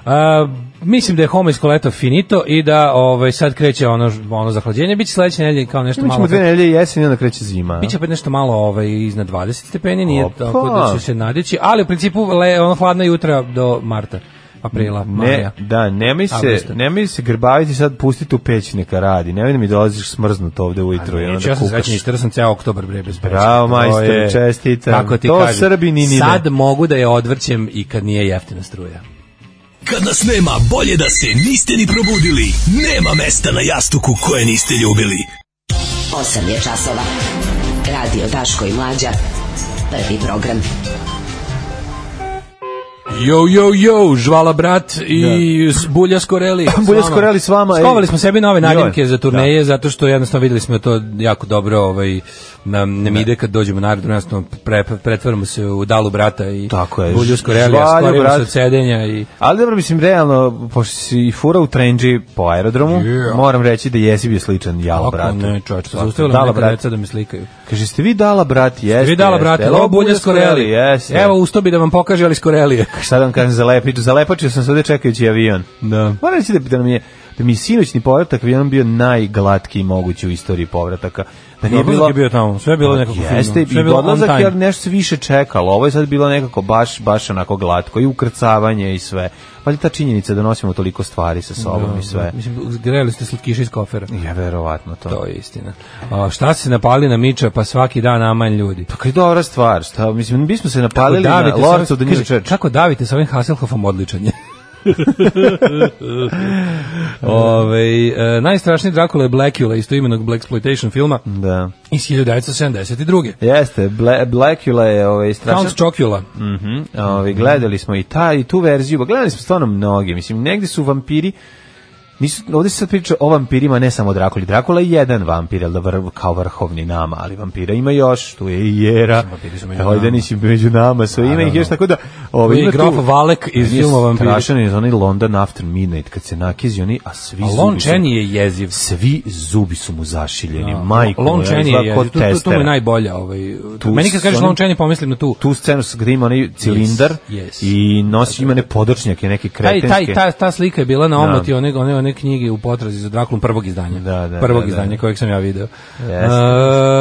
F: Uh, mislim da je homo iskoleto finito i da ovaj, sad kreće ono, ono zahlađenje. Biće sledeće nedelje kao nešto malo...
E: Imaćemo dve nedelje jesen i onda kreće zima.
F: Biće opet nešto malo ovaj iznad 20 stepeni, nije
E: Opa.
F: tako da će se nadići, ali u principu le, ono hladna jutra do marta, aprila,
E: Ne,
F: maja.
E: da, nemoj se,
F: Avgusta.
E: nemoj se grbaviti sad, pustiti u peć neka radi. Nemoj da mi dolaziš smrznut ovde ujutru i
F: Neću,
E: onda
F: Znači, ja sam
E: kukaš.
F: srećan, istrao sam ceo oktobar, bre, bez preče.
E: Bravo,
F: To
E: majstore,
F: je-
E: čestitam.
F: Kako ti
E: To
F: kažem,
E: Srbi ni ni ne.
F: Sad mogu da je odvrćem i kad nije jeftina struja.
G: Kad nas nema, bolje da se niste ni probudili. Nema mesta na jastuku koje niste ljubili.
H: 8 je časova. Radio Daško i Mlađa. Prvi program.
F: Jo, jo, jo, žvala brat i s- Bulja Skoreli. s
E: Bulja
F: vama.
E: Skoreli s vama, ej.
F: Skovali smo sebi nove nadimke
E: Joj,
F: za turneje, zato što jednostavno videli smo to jako dobro, ovaj, nam, nam ide kad dođemo na aerodrom, jednostavno pre, pretvaramo se u dalu brata i
E: Tako je.
F: Bulju Skoreli, a
E: Žvalju
F: skorimo se
E: brat.
F: od sedenja i...
E: Ali dobro, mislim, realno, pošto si i fura u trenđi po aerodromu, moram reći da jesi bio sličan jalo
F: Kako
E: bratu.
F: ne, čovječe,
E: Svako,
F: zaustavili me
E: Dala
F: neka
E: brat.
F: deca da me slikaju.
E: Kaže, ste vi dala brat, jeste.
F: Vi dala,
E: jeste.
F: brate,
E: Evo,
F: ovo bulja skoreli.
E: Jeste.
F: Evo, usto bi da vam pokaže, ali skorelije.
E: Pa Šta da vam kažem za lepić? Zalepačio sam se ovde čekajući avion.
F: Da.
E: Moram reći da, da nam je da mi je sinoćni povratak avionom bio najglatkiji mogući u istoriji povrataka. Da nije
F: Odlazak
E: bilo, Pa
F: je bio tamo, sve je bilo nekako fino,
E: Jeste,
F: sve je
E: i
F: bilo on
E: odlazak
F: time.
E: je nešto se više čekalo. Ovo je sad bilo nekako baš, baš onako glatko i ukrcavanje i sve. Pa je ta činjenica da nosimo toliko stvari sa sobom i sve.
F: Mislim, grejali ste slatkiše iz kofera.
E: Ja verovatno to.
F: To je istina. A, šta se napali na Miča, pa svaki dan amanj ljudi.
E: Pa kaj dobra stvar, šta, mislim, mi smo se napalili na
F: Davite sa
E: Lorcu
F: ovim-
E: da nije
F: kaže,
E: čeč.
F: Kako davite sa ovim Hasselhoffom odličan je. Ove, e, najstrašniji Dracula je Blackula, istoimenog Blaxploitation filma
E: Da.
F: iz 1972.
E: Jeste, Bla- Blackula je ovaj, strašan.
F: Count Chocula.
E: Mhm. Ovaj gledali smo i ta i tu verziju, pa gledali smo stvarno mnoge. Mislim negde su vampiri Nisu, ovde se sad priča o vampirima, ne samo o Drakuli. Drakula je jedan vampir, jel da vrv, kao vrhovni nama, ali vampira ima još, tu je i Jera,
F: vampiri su među nama.
E: Ojdenić je među nama, sve ima ih još, tako da... Ovaj,
F: Tu je
E: ima
F: i grof Valek iz
E: Nije
F: filma Vampiri.
E: Strašan je onaj London After Midnight, kad se nakizi oni, a svi
F: A
E: zubi
F: Lon
E: su-
F: Chaney je jeziv.
E: Svi zubi su mu zašiljeni, majko.
F: Lon
E: moja,
F: Chaney
E: izgleda
F: je
E: ko
F: jeziv. Tu, tu, tu mu je
E: testera.
F: najbolja. Ovaj,
E: Tu
F: meni kad
E: s
F: kažeš
E: onim-
F: Lon Chaney, pomislim na tu.
E: tu scenu s- gde ima onaj cilindar
F: yes.
E: i nosi ima ne podrčnjake neke
F: Taj,
E: kretenske.
F: taj, ta, ta slika je bila na omoti one, one, one knjige u potrazi za Drakulom prvog izdanja.
E: Da, da,
F: prvog
E: da, da.
F: izdanja kojeg sam ja video.
E: Jeste.
F: E,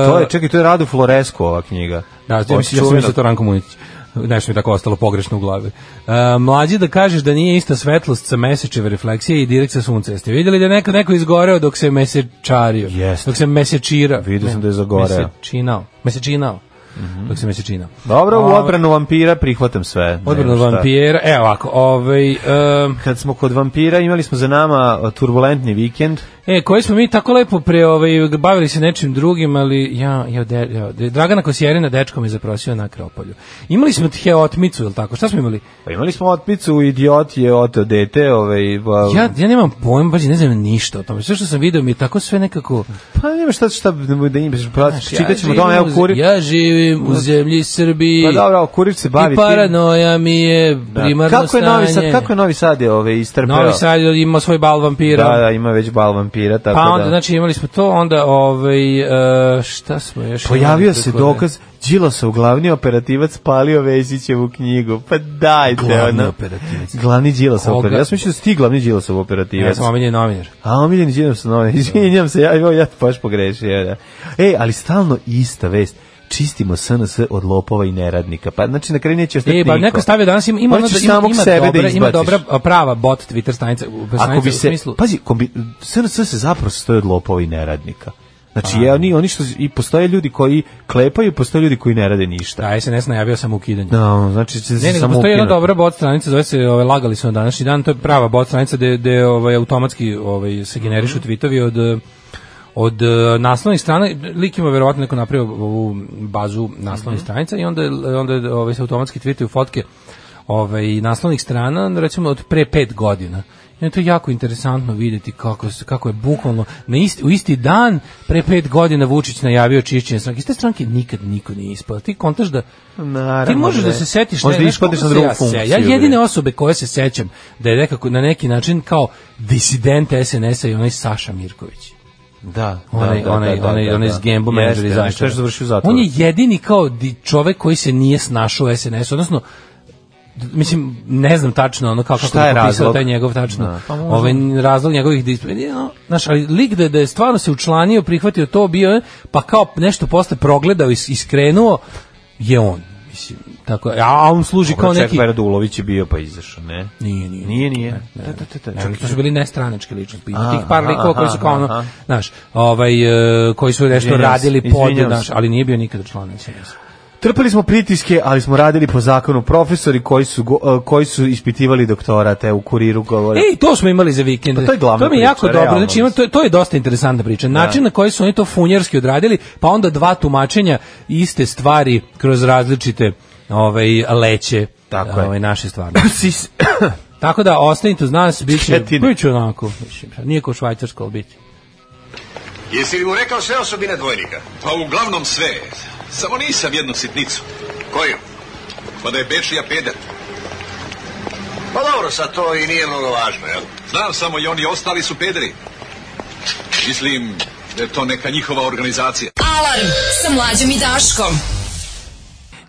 E: To je, čekaj, to je Radu Floresku ova knjiga.
F: Da, ja
E: Od
F: mislim, ja sam
E: čuvenog-
F: mislio to Ranko Munić. Nešto mi je tako ostalo pogrešno u glavi. E, mlađi da kažeš da nije ista svetlost sa mesečeve refleksije i direkt sa sunca. Jeste vidjeli da je neko, neko izgoreo dok se mesečario?
E: Jeste.
F: Dok se mesečira?
E: Vidio sam
F: Ne,
E: da je zagoreo. Mhm.
F: Mesečinao. Mesečinao. dok se mesečina.
E: Dobro, u
F: Ovaj,
E: odbranu vampira prihvatam sve.
F: Odbranu
E: Nema šta.
F: vampira, e ovako, ovaj, em,
E: Kad smo kod vampira, imali smo za nama uh, turbulentni vikend.
F: E, koji smo mi tako lepo pre, ovaj, bavili se nečim drugim, ali ja, ja, de, ja de, Dragana Kosjerina dečko me zaprosio na Akropolju. Imali smo heotmicu, ili tako? Šta smo imali?
E: Pa imali smo otpicu, idiot je od dete, ovaj, pa,
F: Ja, ja nemam pojma, baš i ne znam ništa o tome. Sve što sam video mi je tako sve nekako...
E: pa nema šta, šta da im pa
F: Znaš,
E: prati. Čitaćemo
F: živim
E: doma, evo
F: u-
E: kurir.
F: Ja živim u zemlji Srbiji.
E: Pa dobro, evo, kurir se bavi
F: I
E: tim.
F: paranoja mi je
E: Da.
F: primarno
E: Kako je Novi Sad,
F: stanje.
E: kako je Novi Sad je ovaj, istrpeo?
F: Novi Sad ima svoj bal vampira.
E: Da, da, ima već bal vampira, tako
F: Pa onda,
E: da.
F: znači, imali smo to, onda, ovaj, e, šta smo još... imali
E: Pojavio se
F: tako da-
E: dokaz Đilasov glavni operativac palio Vesićevu knjigu. Pa dajte,
F: Glavni
E: ono.
F: operativac.
E: Glavni Đilasov
F: Koga?
E: operativac. Ja sam mislio da si ti glavni Đilasov operativac.
F: Ja sam omiljeni novinar.
E: A, omiljeni Đilasov se novi. Izvinjam se, ja, evo, ja to baš pogrešio. Da. E, ali stalno ista vest. Čistimo SNS od lopova i neradnika. Pa, znači, na kraju neće ostati
F: E, pa
E: niko.
F: neko stavio danas ima ima,
E: Morat
F: ono
E: ćeš
F: da, ima,
E: samog
F: ima,
E: sebe da
F: dobra, ima
E: izbaciš.
F: dobra a, prava bot Twitter stanica, u- stanica
E: Ako bi
F: u
E: se,
F: smislu.
E: pazi, kombi, SNS se zapravo sastoji od lopova i neradnika.
F: Pa,
E: Znači, je, oni, oni što, i postoje ljudi koji klepaju, i postoje ljudi koji ne rade ništa.
F: Da, SNS najavio sam ukidanje.
E: Da, znači, će se
F: Ne, nego
E: samo
F: postoji jedna
E: ukinuti.
F: dobra bot stranica, zove se, ovaj, lagali su na današnji dan, to je prava bot stranica gde, gde ovaj, automatski ovaj, se generišu
E: Mhm.
F: tweetovi od eh, od eh, naslovnih strana, lik ima verovatno neko napravio ovu bazu naslovnih
E: Mhm.
F: stranica i onda, je- onda je, ovaj, se automatski tweetuju fotke ovaj, naslovnih strana, recimo od pre pet godina. I onda je to jako interesantno vidjeti kako, se- kako je bukvalno na isti, u isti dan pre pet godina Vučić najavio čišćenje stranke. Iz te stranke nikad niko nije ispao. Ti kontaš da
E: Naravno,
F: ti možeš
E: da
F: da,
E: je.
F: se setiš
E: Možda
F: ne,
E: ispadneš
F: znaš
E: na
F: koga
E: drugu
F: se ja se-
E: funkciju,
F: Ja jedine
E: bre.
F: osobe koje se sećam da je nekako na neki način kao disident SNS-a i onaj Saša Mirković.
E: Da,
F: Onaj,
E: da, da,
F: onaj,
E: da, da,
F: onaj,
E: da,
F: onaj
E: da.
F: s Gembo
E: Jeste,
F: menadžer iz
E: onaj
F: Zaječara.
E: što je završio u zatvoru.
F: On je jedini kao di, čovek koji se nije snašao u SNS, odnosno d- mislim ne znam tačno ono kako
E: Šta je
F: kako
E: razlog?
F: taj njegov tačno
E: Da. Pa možda.
F: ovaj razlog njegovih disciplina no, znaš ali lik da, je- da je stvarno se učlanio prihvatio to bio je, pa kao nešto posle progledao i s- iskrenuo je on mislim tako a on služi kao
E: Dobro, ček,
F: neki
E: Radulović je bio pa izašao, ne?
F: Nije, nije.
E: Nije, nije.
F: Ne,
E: Da, da, da, da.
F: ne, to su bili nestranačke ličnosti. Ima
E: A,
F: tih par
E: aha,
F: likova koji su kao ono,
E: aha.
F: znaš, ovaj, e, koji su nešto
E: Izvinjam se,
F: radili pod,
E: izvinjam
F: znaš,
E: se.
F: ali nije bio nikada član SNS.
E: Trpeli smo pritiske, ali smo radili po zakonu profesori koji su, go- eh, koji su ispitivali doktorate u kuriru govore.
F: Ej, to smo imali za vikend.
E: Pa to je glavna
F: mi je
E: priča,
F: jako dobro.
E: realno,
F: Znači, ima, to, je- to je dosta interesantna priča. Način na koji su oni to funjerski odradili, pa onda dva tumačenja iste stvari kroz različite ovaj, leće
E: Tako je.
F: ovaj, naše stvarno.
E: Sis-
F: Tako da, ostanite uz nas, bit će,
E: Četine.
F: bit će onako. mislim, Nije kao švajcarsko, ali bit će.
I: Jesi li mu rekao sve osobine dvojnika? Pa uglavnom sve. Samo nisam jednu sitnicu. Koju? Pa da je Bečija peder. Pa dobro, sad to i nije mnogo važno, jel? Znam samo i oni ostali su pederi. Mislim da je to neka njihova organizacija.
D: Alarm sa mlađom i Daškom.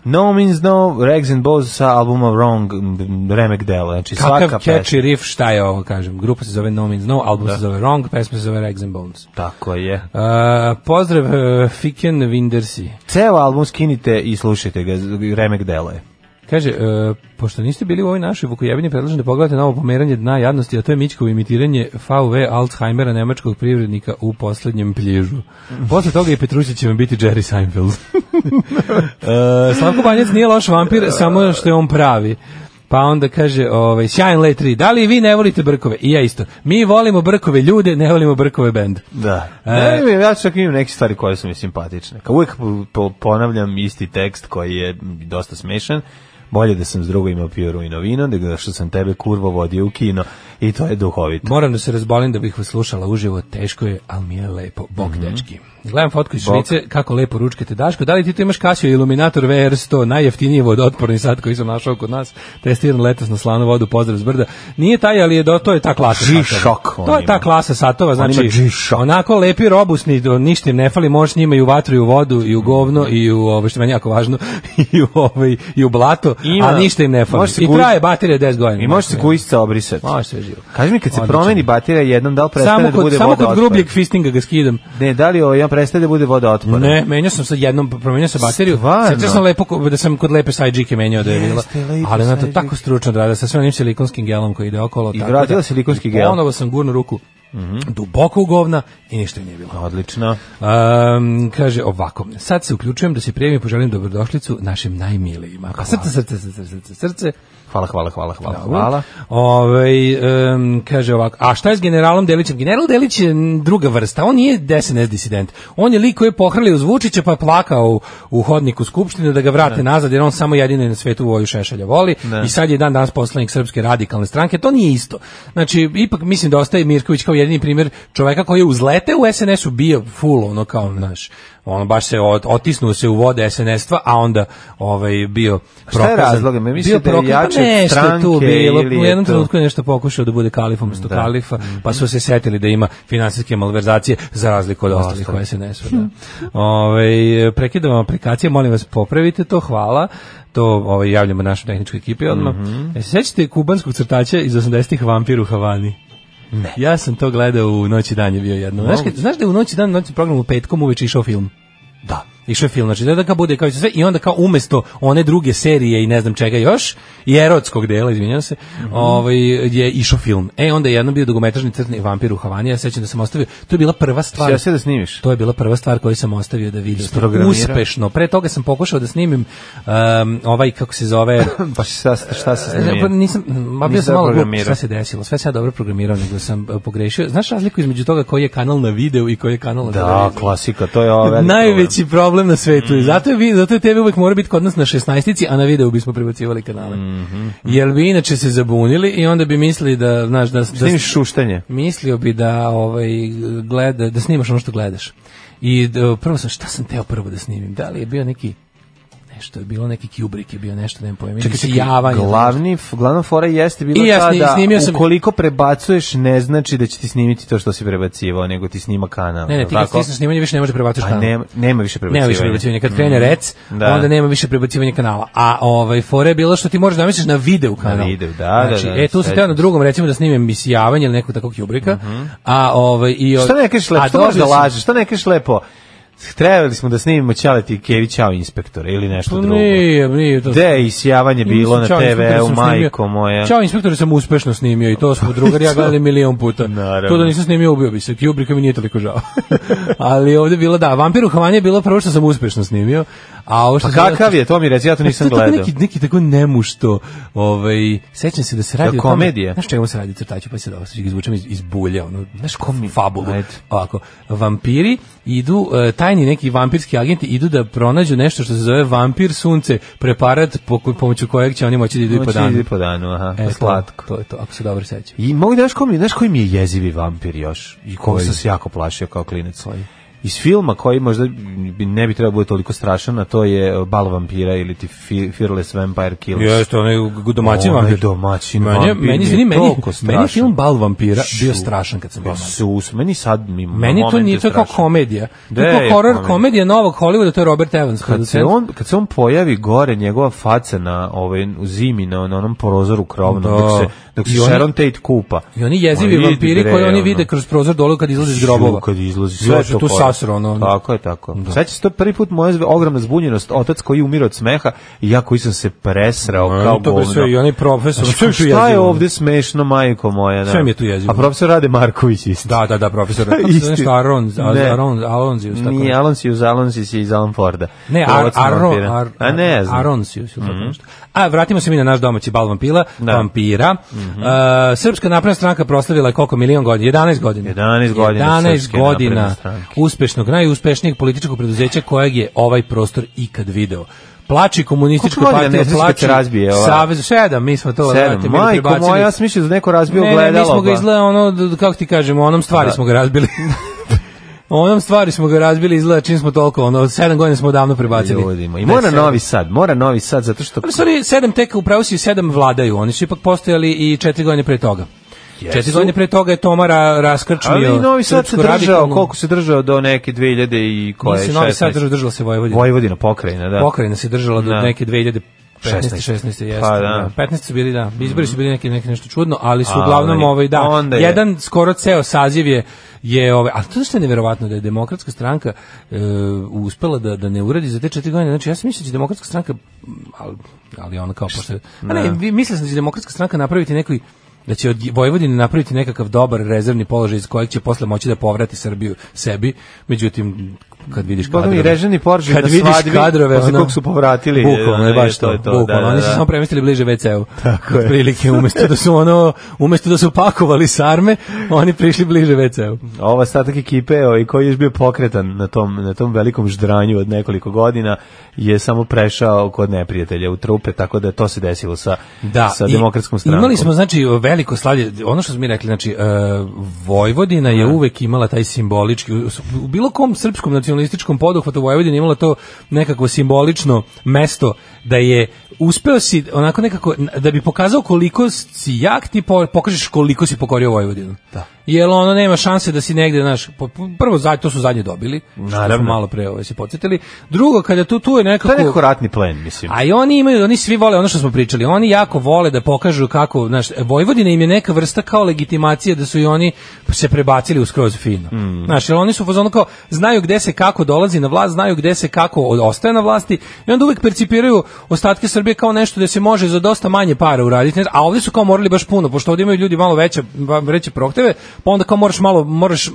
E: No means no, Rags and Bows sa albuma Wrong, m, remek dela. Znači, svaka
F: Kakav
E: pesma.
F: catchy riff, šta je ovo, kažem. Grupa se zove No Means No, album se zove Wrong, pesma se zove Rags and Bones.
E: Tako je.
F: Uh, pozdrav uh, Fiken Windersi.
E: Ceo album skinite i slušajte ga, z- remek dela je.
F: Kaže, uh, pošto niste bili u ovoj našoj vukojebini, predlažem da pogledate novo pomeranje dna jadnosti, a to je Mićkovo imitiranje VV Alzheimera nemačkog privrednika u poslednjem plježu. Posle toga i Petrušić će vam biti Jerry Seinfeld. uh, Slavko Banjac nije loš vampir, samo što je on pravi. Pa onda kaže, ovaj, sjajan lej 3, da li vi ne volite brkove? I ja isto. Mi volimo brkove ljude, ne volimo brkove bend.
E: Da.
F: E,
E: Ne, ne, ja čak imam neke stvari koje su mi simpatične. Kao uvijek po- po- ponavljam isti tekst koji je dosta smešan. Bolje da sam s drugovima pio rujno vino, nego da što sam tebe kurvo vodio u kino. I to je duhovito.
F: Moram da se razbolim da bih vas slušala uživo, teško je, ali mi je lepo. Bog dečki. Gledam fotku iz
E: Mhm. Bog.
F: Švice, kako lepo ručkate Daško. Da li ti tu imaš Casio Illuminator VR100, najjeftiniji vodootporni sat koji sam našao kod nas, testiran letos na slanu vodu, pozdrav s brda. Nije taj, ali je do, to je ta klasa satova.
E: G-Shock on
F: To je ta
E: ima.
F: klasa satova,
E: On ima
F: znači
E: G-Shock.
F: onako lepi, robusni, do- ništa im ne fali, možeš s njima i u vatru, i u vodu, i u govno, i u, ovo što je meni jako važno, i u, ovaj, i u blato,
E: Ima.
F: a ništa im ne fali.
E: Može se
F: I
E: kući-
F: traje baterija 10 godina.
E: I može se kujica obrisati.
F: Može sve živo.
E: Kaži mi kad se
F: Odlično.
E: promeni baterija jednom, da li prestane
F: Samo
E: da
F: kod,
E: bude
F: samo kod
E: vodootporan?
F: grubljeg fistinga ga skidam.
E: Ne, da li ovaj, ja prestaje da bude vodootporan?
F: Ne, menjao sam sad jednom, promenio sam bateriju.
E: Pa Stvarno?
F: Sjećao sam lepo ko- da sam kod lepe sajđike menjao da je bila.
E: Jeste, lepe
F: Ali ona to
E: sajđike.
F: tako stručno rada sa svojim silikonskim gelom koji ide okolo.
E: I
F: tako
E: vratila
F: da-
E: silikonski gel. Mhm.
F: Ponovo sam gurnu ruku duboko u govna i ništa im nije bilo.
E: Odlično.
F: Um, kaže ovako, sad se uključujem da se prijavim i poželim dobrodošlicu našim najmilijima.
E: Pa
F: A srce, srce, srce, srce, srce.
E: Hvala, hvala, hvala, hvala.
F: Dobro.
E: Hvala.
F: Ovaj, em, kaže ovako, a šta je s generalom Delićem? General Delić je m, druga vrsta, on nije SNS disident. On je lik koji je pohrlio uz Vučića pa je plakao u, u hodniku Skupštine da ga vrate nazad jer on samo jedini na svetu Voju Šešelja voli i sad je dan danas poslanik Srpske radikalne stranke, to nije isto. Znači, ipak mislim da ostaje Mirković kao jedini primjer čoveka koji je uzlete u SNS-u bio full ono kao naš ono baš se ot- otisnuo se u vode SNS-tva, a onda ovaj bio
E: Šta je
F: prokazan.
E: razlog? Me mislite
F: Bio
E: da je
F: prokazan,
E: jače
F: pa nešto je tu
E: stranke
F: bilo.
E: ili Mhm.
F: U
E: je
F: jednom
E: to-
F: trenutku je nešto pokušao da bude kalif umjesto kalifa, pa su se setili da ima finansijske malverzacije za razliku od ostalih koje se nesu. Da. Ove, prekidam vam aplikacije, molim vas popravite to, hvala. To ovaj, javljamo našoj tehničkoj ekipi odmah.
E: Mhm.
F: E, se sećate kubanskog crtača iz 80-ih vampir u Havani? Ne. Ja sam to gledao u Noći dan je bio jedno. Znaš, kad- znaš da je u Noći dan, noći programu petkom uveče išao film? Da. Išao je film, znači da da kao bude kao i sve i onda kao umesto one druge serije i ne znam čega još, i erotskog dela, izvinjam se, ovaj, je išao film. E, onda je jednom bio dogometražni crtni vampir u Havani, ja se sećam da sam ostavio, to je bila prva stvar.
E: Sjeo si da snimiš?
F: To je bila prva stvar koju sam ostavio da vidim.
E: Isprogramirao?
F: Uspešno. Pre toga sam pokušao da snimim um, ovaj, kako se zove,
E: Pa šta, šta se
F: E, pa
E: snimio?
F: nisam, ma bio
E: Nisi
F: sam
E: dobro
F: malo glup,
E: programirao.
F: šta se desilo, sve sam ja dobro programirao, nego sam e, pogrešio. Znaš razliku između toga koji je kanal na video i koji je kanal na
E: Da,
F: televiziji?
E: klasika, to je ovaj Mhm. ova velika
F: Najveći problem. na svetu. je. Zato je, vi- zato je TV uvijek mora biti kod nas na 16 a na videu bismo prebacivali kanale.
E: Mhm.
F: Jer bi inače se zabunili i onda bi mislili da, znaš, da, da,
E: Snimiš šuštanje.
F: mislio bi da ovaj gleda, da snimaš ono što gledaš. I e, prvo sam, šta sam teo prvo da snimim? Da li je bio neki nešto je bilo neki kubrik je bio nešto ne pojma
E: Čekaj, čekaj,
F: javanje
E: glavni, f- glavna fora jeste bila
F: I ja
E: ta
F: sni-
E: da
F: snimio sam-
E: ukoliko prebacuješ ne znači da će ti snimiti to što si prebacivao, nego ti snima kanal.
F: Ne, ne,
E: jel
F: ti kad
E: tako?
F: stisneš snimanje više ne može prebaciti
E: Pa
F: kanal.
E: nema, nema više prebacivanja.
F: Nema više prebacivanja. Kad krene rec,
E: Mm, Da.
F: onda nema više prebacivanja kanala. A ovaj fore je bilo što ti možeš da misliš na video kanal.
E: video, da,
F: znači,
E: da, da,
F: E, tu sam
E: sećam
F: teo na
E: se. Mhm.
F: drugom recimo da snimim misijavanje ili nekog takvog jubrika. A ovaj i
E: Šta ne kažeš lepo?
F: a
E: Što možeš da
F: dobio sam-
E: lažeš? Što ne kažeš lepo? Trebali smo da snimimo Ćaleti i Kevi Ćao inspektora ili nešto
F: Pa
E: drugo.
F: Nije, nije to.
E: Gde je isjavanje bilo na
F: Čao, inspektore,
E: TV-u,
F: sam snimio-
E: majko moja?
F: Ćao, inspektore sam uspešno snimio i to smo drugar i ja gledali milion puta.
E: Naravno.
F: To da nisam snimio, ubio bi se. Kubrika mi nije toliko žao. Ali ovdje je bilo, da, Vampir u Havani je bilo prvo što sam uspešno snimio. A ovo što
E: Pa
F: sam-
E: kakav je, to mi reci, ja to nisam
F: To je tako
E: gledao.
F: Neki, neki tako nemušto, ovaj, sećam se da se radi
E: Da,
F: o tome-
E: komedije.
F: Znaš čemu se radi crtaću, pa se da osjećam, izvučem iz, iz bulja, ono, znaš kom fabulu.
E: Ajde.
F: Ovako, vampiri idu, e, tajni neki vampirski agenti idu da pronađu nešto što se zove vampir sunce, preparat po, ko- pomoću kojeg će oni moći da idu i po
E: Noći
F: danu.
E: ide Znači, po danu, aha,
F: E, to-
E: slatko.
F: To je to, ako se dobro sećam.
E: I mogu da znaš ko mi, znaš koji mi je jezivi vampir još? I koga
F: Koji?
E: sam se jako plašio kao klinec. Iz filma koji možda bi- ne bi trebao biti toliko strašan, a to je e, Bal vampira ili ti Fe- Fearless Vampire Killers.
F: Jeste, onaj gu- Ovaj domaćin
E: Onaj
F: vampir.
E: domaćin
F: meni, je-
E: vampir mi
F: Meni,
E: je
F: izvini, meni,
E: toliko
F: meni
E: strašan.
F: je film Bal vampira bio
E: Šu.
F: strašan kad sam bio
E: Pa
F: mali.
E: sus, meni sad mi na
F: Meni to
E: momente
F: nije, to je kao
E: strašno.
F: komedija. To
E: Gde
F: je
E: je
F: kao horror
E: komedija?
F: komedija novog Hollywooda, to je Robert Evans.
E: Kad se,
F: producent.
E: on, kad se on pojavi gore, njegova faca na ovaj, u zimi, na, na onom porozoru krovnom,
F: Da.
E: dok se, dok se
F: I oni-
E: Sharon Tate kupa.
F: I oni jezivi
E: Ma, idi
F: vampiri
E: bre,
F: koji oni
E: ono.
F: vide kroz prozor dole kad izlaze iz grobova.
E: Ju, Kad izlazi
F: Ja
E: sve
F: ću
E: to
F: tu
E: pojede.
F: sasro, ono.
E: Tako je, tako. Da. Sad će se to prvi put moja zve- ogromna zbunjenost, otac koji umire od smeha i ja koji sam se presrao
F: Ma,
E: kao
F: to bi
E: govno.
F: sve, i onaj profesor,
E: Znači,
F: sve je tu
E: šta je
F: jezivo.
E: ovde smešno, majko moja? Da.
F: Sve mi je tu jezivo.
E: A profesor Rade Marković isto.
F: Da, da, da, profesor. Kako se zove
E: Isti.
F: nešto Aron, A-
E: Ne.
F: Aron, Alonzius, tako
E: Nije
F: nešto.
E: Alonsius, Alonsius je iz Alan Forda.
F: Ne, Ar,
E: Lovac
F: Aron,
E: vampira.
F: Ar,
E: A ne znam. Mhm.
F: Aronsius ili tako nešto. A vratimo se mi na naš domaći bal vampila,
E: Da. Mhm.
F: vampira. E, Srpska napredna stranka proslavila je koliko milion godina? 11 godina.
E: 11 godina
F: 11
E: Srpske napredne
F: godina
E: stranke.
F: uspešnog, najuspešnijeg političkog preduzeća kojeg je ovaj prostor ikad video. Plači komunistička
E: Koliko godina
F: partija,
E: nesrećka
F: plači
E: te razbije, ova?
F: Savez, sedam, mi smo to
E: Sedam.
F: vrate, bili
E: Majko
F: prebacili.
E: moja, ja sam mislio da neko razbio
F: ne, Ne, mi
E: ogledalo,
F: smo ga
E: ba.
F: izgleda ono, d- d- kako ti kažemo, onom stvari smo ga razbili. onom stvari smo ga razbili, izgleda čim smo toliko, ono, sedam godina smo odavno prebacili.
E: Ljudima. I
F: Ne,
E: mora
F: sedam.
E: Novi Sad, mora Novi Sad, zato što...
F: Ali sorry, sedam teka upravo si sedam vladaju, oni su ipak postojali i četiri godine pre toga. Četiri godine pre toga je Tomara raskrčmio.
E: Ali i Novi Sad se
F: srpsku
E: držao,
F: radikalnu-
E: koliko se držao do neke 2000 i koje?
F: Nije se Novi Sad
E: 16?
F: držao, držala se Vojvodina.
E: Vojvodina pokrajina, da.
F: Pokrajina se držala do
E: Da.
F: neke 2015. 16. 16. jeste.
E: Pa, da.
F: da. 15 su bili, da. Izbori su bili neki, neki nešto čudno, ali su
E: Ali,
F: uglavnom ovaj, da.
E: onda je-
F: Jedan skoro ceo saziv je je ovaj, ali to što je nevjerovatno da je demokratska stranka e, uspela da, da ne uradi za te četiri godine, znači ja sam mislio da će demokratska ono stranka, m, ali, ali ona kao pošto, a ne, vi- mislio sam da će demokratska stranka napraviti neki da će od Vojvodine napraviti nekakav dobar rezervni položaj iz kojeg će posle moći da povrati Srbiju sebi. Međutim, kad vidiš
E: Boga mi,
F: kadrove...
E: Režani Poržin
F: kad
E: na
F: vidiš
E: svadbi,
F: kadrove,
E: posle
F: ono-
E: kog su povratili,
F: Bukvalno je
E: ono,
F: baš
E: to
F: to.
E: je to,
F: bukvalno.
E: da,
F: Oni
E: da,
F: su
E: da.
F: samo premestili bliže WC-u. Tako je. Prilike, umesto da su ono, umesto da su pakovali sarme, oni prišli bliže WC-u.
E: A Ova ostatak ekipe ovaj, koji je još bio pokretan na tom, na tom velikom ždranju od nekoliko godina je samo prešao kod neprijatelja u trupe, tako da je to se desilo sa,
F: da,
E: sa
F: i
E: demokratskom strankom.
F: Imali smo znači veliko slavlje, ono što smo mi rekli, znači e, Vojvodina je uvek imala taj simbolički u, u bilo kom srpskom nacionalističkom poduhvatu Vojvodina je imala to nekako simbolično mesto da je uspeo si onako nekako da bi pokazao koliko si jak ti po- pokažeš koliko si pokorio Vojvodinu. Da. Jer ono nema šanse da si negde, znaš, po- prvo za- to su zadnje dobili, što su
E: Naravno.
F: malo pre ovaj, se podsjetili. Drugo, kada tu, tu je
E: To je
F: nekako...
E: neko ratni plen, mislim.
F: A i oni imaju, oni svi vole ono što smo pričali. Oni jako vole da pokažu kako, znaš, Vojvodina im je neka vrsta kao legitimacije da su i oni se prebacili u skroz fino.
E: Mm.
F: Znaš, jer oni su u fazonu kao znaju gde se kako dolazi na vlast, znaju gde se kako o- ostaje na vlasti i onda uvek percipiraju ostatke Srbije kao nešto da se može za dosta manje para uraditi, znaš, a ovde su kao morali baš puno, pošto ovde imaju ljudi malo veće va- veće prohteve, pa onda kao moraš malo moraš e,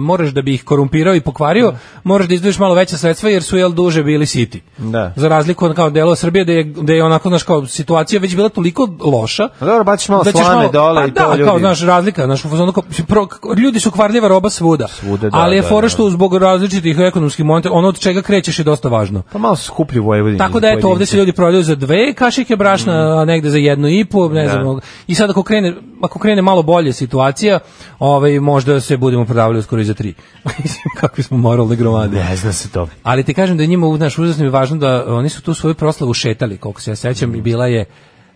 F: moraš da bi ih korumpirao i pokvario, moraš da izdvojiš malo veća sredstva jer su jel duže bili siti
E: Da.
F: za razliku od kao dela Srbije da je da je onako znaš kao situacija već bila toliko loša.
E: A Pa dobro, baciš malo
F: ćeš
E: slame dole
F: pa
E: i
F: da,
E: to ljudi-
F: kao znaš razlika, znaš u fazonu kao, mislim, pro- kako- ljudi su kvarljiva roba svuda.
E: Svuda, da,
F: ali je
E: da,
F: fora
E: da.
F: što zbog različitih ekonomskih monetarnih ono od čega krećeš je dosta važno.
E: Pa malo skuplji Vojvodini.
F: Tako da eto ovde se ljudi prodaju za dve kašike brašna, a negde za jednu i po, ne
E: Mhm. Da.
F: znam. I sad ako krene, ako krene malo bolje situacija, ovaj možda se budemo prodavali uskoro i za tri. Mislim kakvi smo moralne gromade.
E: Ne zna se to.
F: Ali ti kažem da je njima znaš, užasno je važno da oni su tu svoju proslavu šetali, koliko se ja sećam, i bila je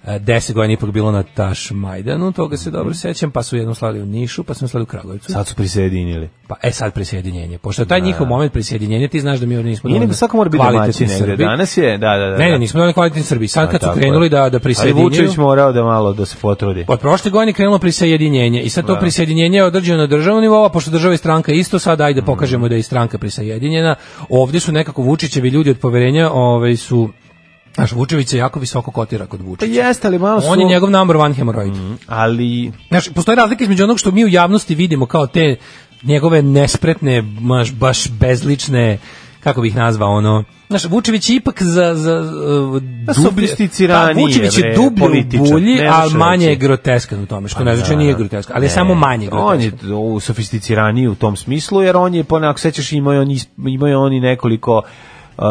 F: e, 10 godina ipak bilo na Taš Majdanu, toga se dobro sećam, pa su jednom slali u Nišu, pa su jednom slali u Kragovicu.
E: Sad su prisjedinili.
F: Pa e sad prisjedinjenje. Pošto je taj njihov moment prisjedinjenja, ti znaš da mi ovdje nismo
E: Nije nego svako mora biti domaći
F: kvalitetni
E: negde.
F: Srbi.
E: Danas je, da, da, da.
F: Ne,
E: da.
F: ne, nismo dovoljno kvalitetni Srbi. Sad kad
E: A,
F: su
E: tako
F: krenuli
E: je.
F: da, da
E: Ali
F: prisjedinjuju...
E: Vučević morao da malo da se potrudi.
F: Od prošle godine je krenulo prisajedinjenje i sad to prisajedinjenje je određeno na državnom nivou, a pošto država i stranka isto, sad ajde
E: Mhm.
F: pokažemo da je i stranka prisajedinjena. Ovdje su nekako Vučićevi ljudi od poverenja, ovaj su Znaš, Vučević se jako visoko kotira kod
E: Pa
F: Vučića.
E: jeste, ali malo su... Mhm.
F: On je njegov number one hemoroid.
E: Ali
F: Znaš, postoji razlika između onog što mi u javnosti vidimo kao te njegove nespretne, baš, baš bezlične, kako bih nazvao ono, Znaš, Vučević je ipak za... za uh,
E: su
F: dublje-
E: sofisticiraniji,
F: Pa, Vučević je
E: bre,
F: dublje u
E: političar,
F: bulji,
E: ne
F: ali
E: može
F: manje je
E: reći.
F: groteskan u tome, što ne znači
E: da,
F: da nije
E: da.
F: groteskan, ali je
E: Ne,
F: samo manje
E: On je
F: groteskan.
E: u- sofisticiraniji u tom smislu, jer on je, ponak, sećaš, imaju oni, imaju oni nekoliko uh,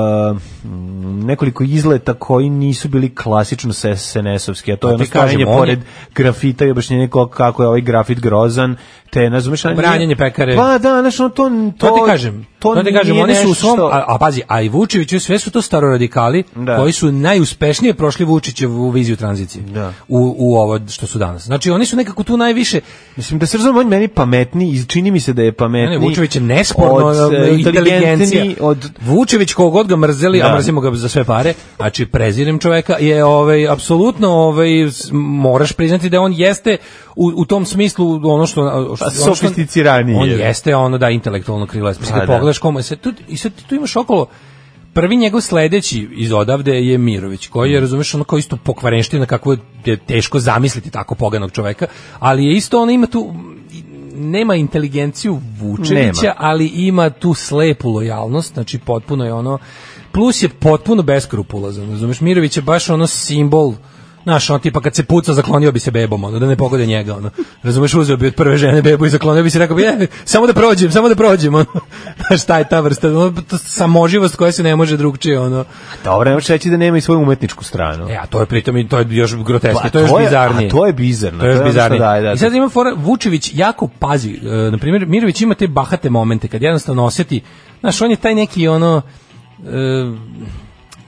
E: mm, nekoliko izleta koji nisu bili klasično SNS-ovski, a to
F: Pa
E: je ono
F: ti kažem,
E: stavljanje
F: on je-
E: pored grafita i objašnjenje ko- kako je ovaj grafit grozan, te ne znam šta nije-
F: Branjenje pekare.
E: Pa da, znaš, on to,
F: To, ti kažem, to, ti
E: nije
F: kažem, oni su u
E: nešto
F: svom,
E: što-
F: a, a pazi, a i Vučević i sve su to staroradikali
E: Da.
F: koji su najuspešnije prošli Vučićevu viziju tranzicije
E: Da.
F: u, u ovo što su danas. Znači oni su nekako tu najviše,
E: Mislim da se razumem, on je meni pametni, iz- čini mi se da je pametni.
F: Ne, ne, Vučević je nesporno uh,
E: od, e,
F: inteligencija.
E: inteligentniji Od,
F: Vučević kogod ga mrzeli,
E: Da.
F: a mrzimo ga za sve pare, znači prezirem čoveka, je ovaj, apsolutno ovaj, s- moraš priznati da on jeste u, u tom smislu ono što... ono što
E: Pa sofisticiraniji
F: On
E: je.
F: jeste ono da intelektualno krilo. Mislim,
E: Pa,
F: kad
E: da.
F: pogledaš komu je se... Tu, I sad tu imaš okolo Prvi njegov sledeći iz odavde je Mirović, koji
E: Mm.
F: je, razumeš, ono kao isto pokvarenština, kako je teško zamisliti tako poganog čoveka, ali je isto, on ima tu, nema inteligenciju Vučevića,
E: Nema.
F: ali ima tu slepu lojalnost, znači potpuno je ono, plus je potpuno beskrupulazan, razumeš, Mirović je baš ono simbol Znaš, on tipa kad se puca, zaklonio bi se bebom, ono, da ne pogode njega, ono. Razumeš, uzeo bi od prve žene bebu i zaklonio bi se, rekao bi, je, samo da prođem, samo da prođem, ono. Znaš, šta je ta vrsta, ono, to samoživost koja se ne može drugčije, ono.
E: Dobro, ne možeš reći da nema i svoju umetničku stranu.
F: E, a to je pritom i to je još grotesknije,
E: Pa,
F: to je još
E: to je-
F: bizarnije.
E: a to je bizarno,
F: To je još
E: to je ono što
F: bizarnije.
E: daje, da,
F: I sad ima fora, Vučević jako pazi, e, na primjer, Mirović ima te bahate momente kad jednostavno osjeti, znaš, on je taj neki ono, e,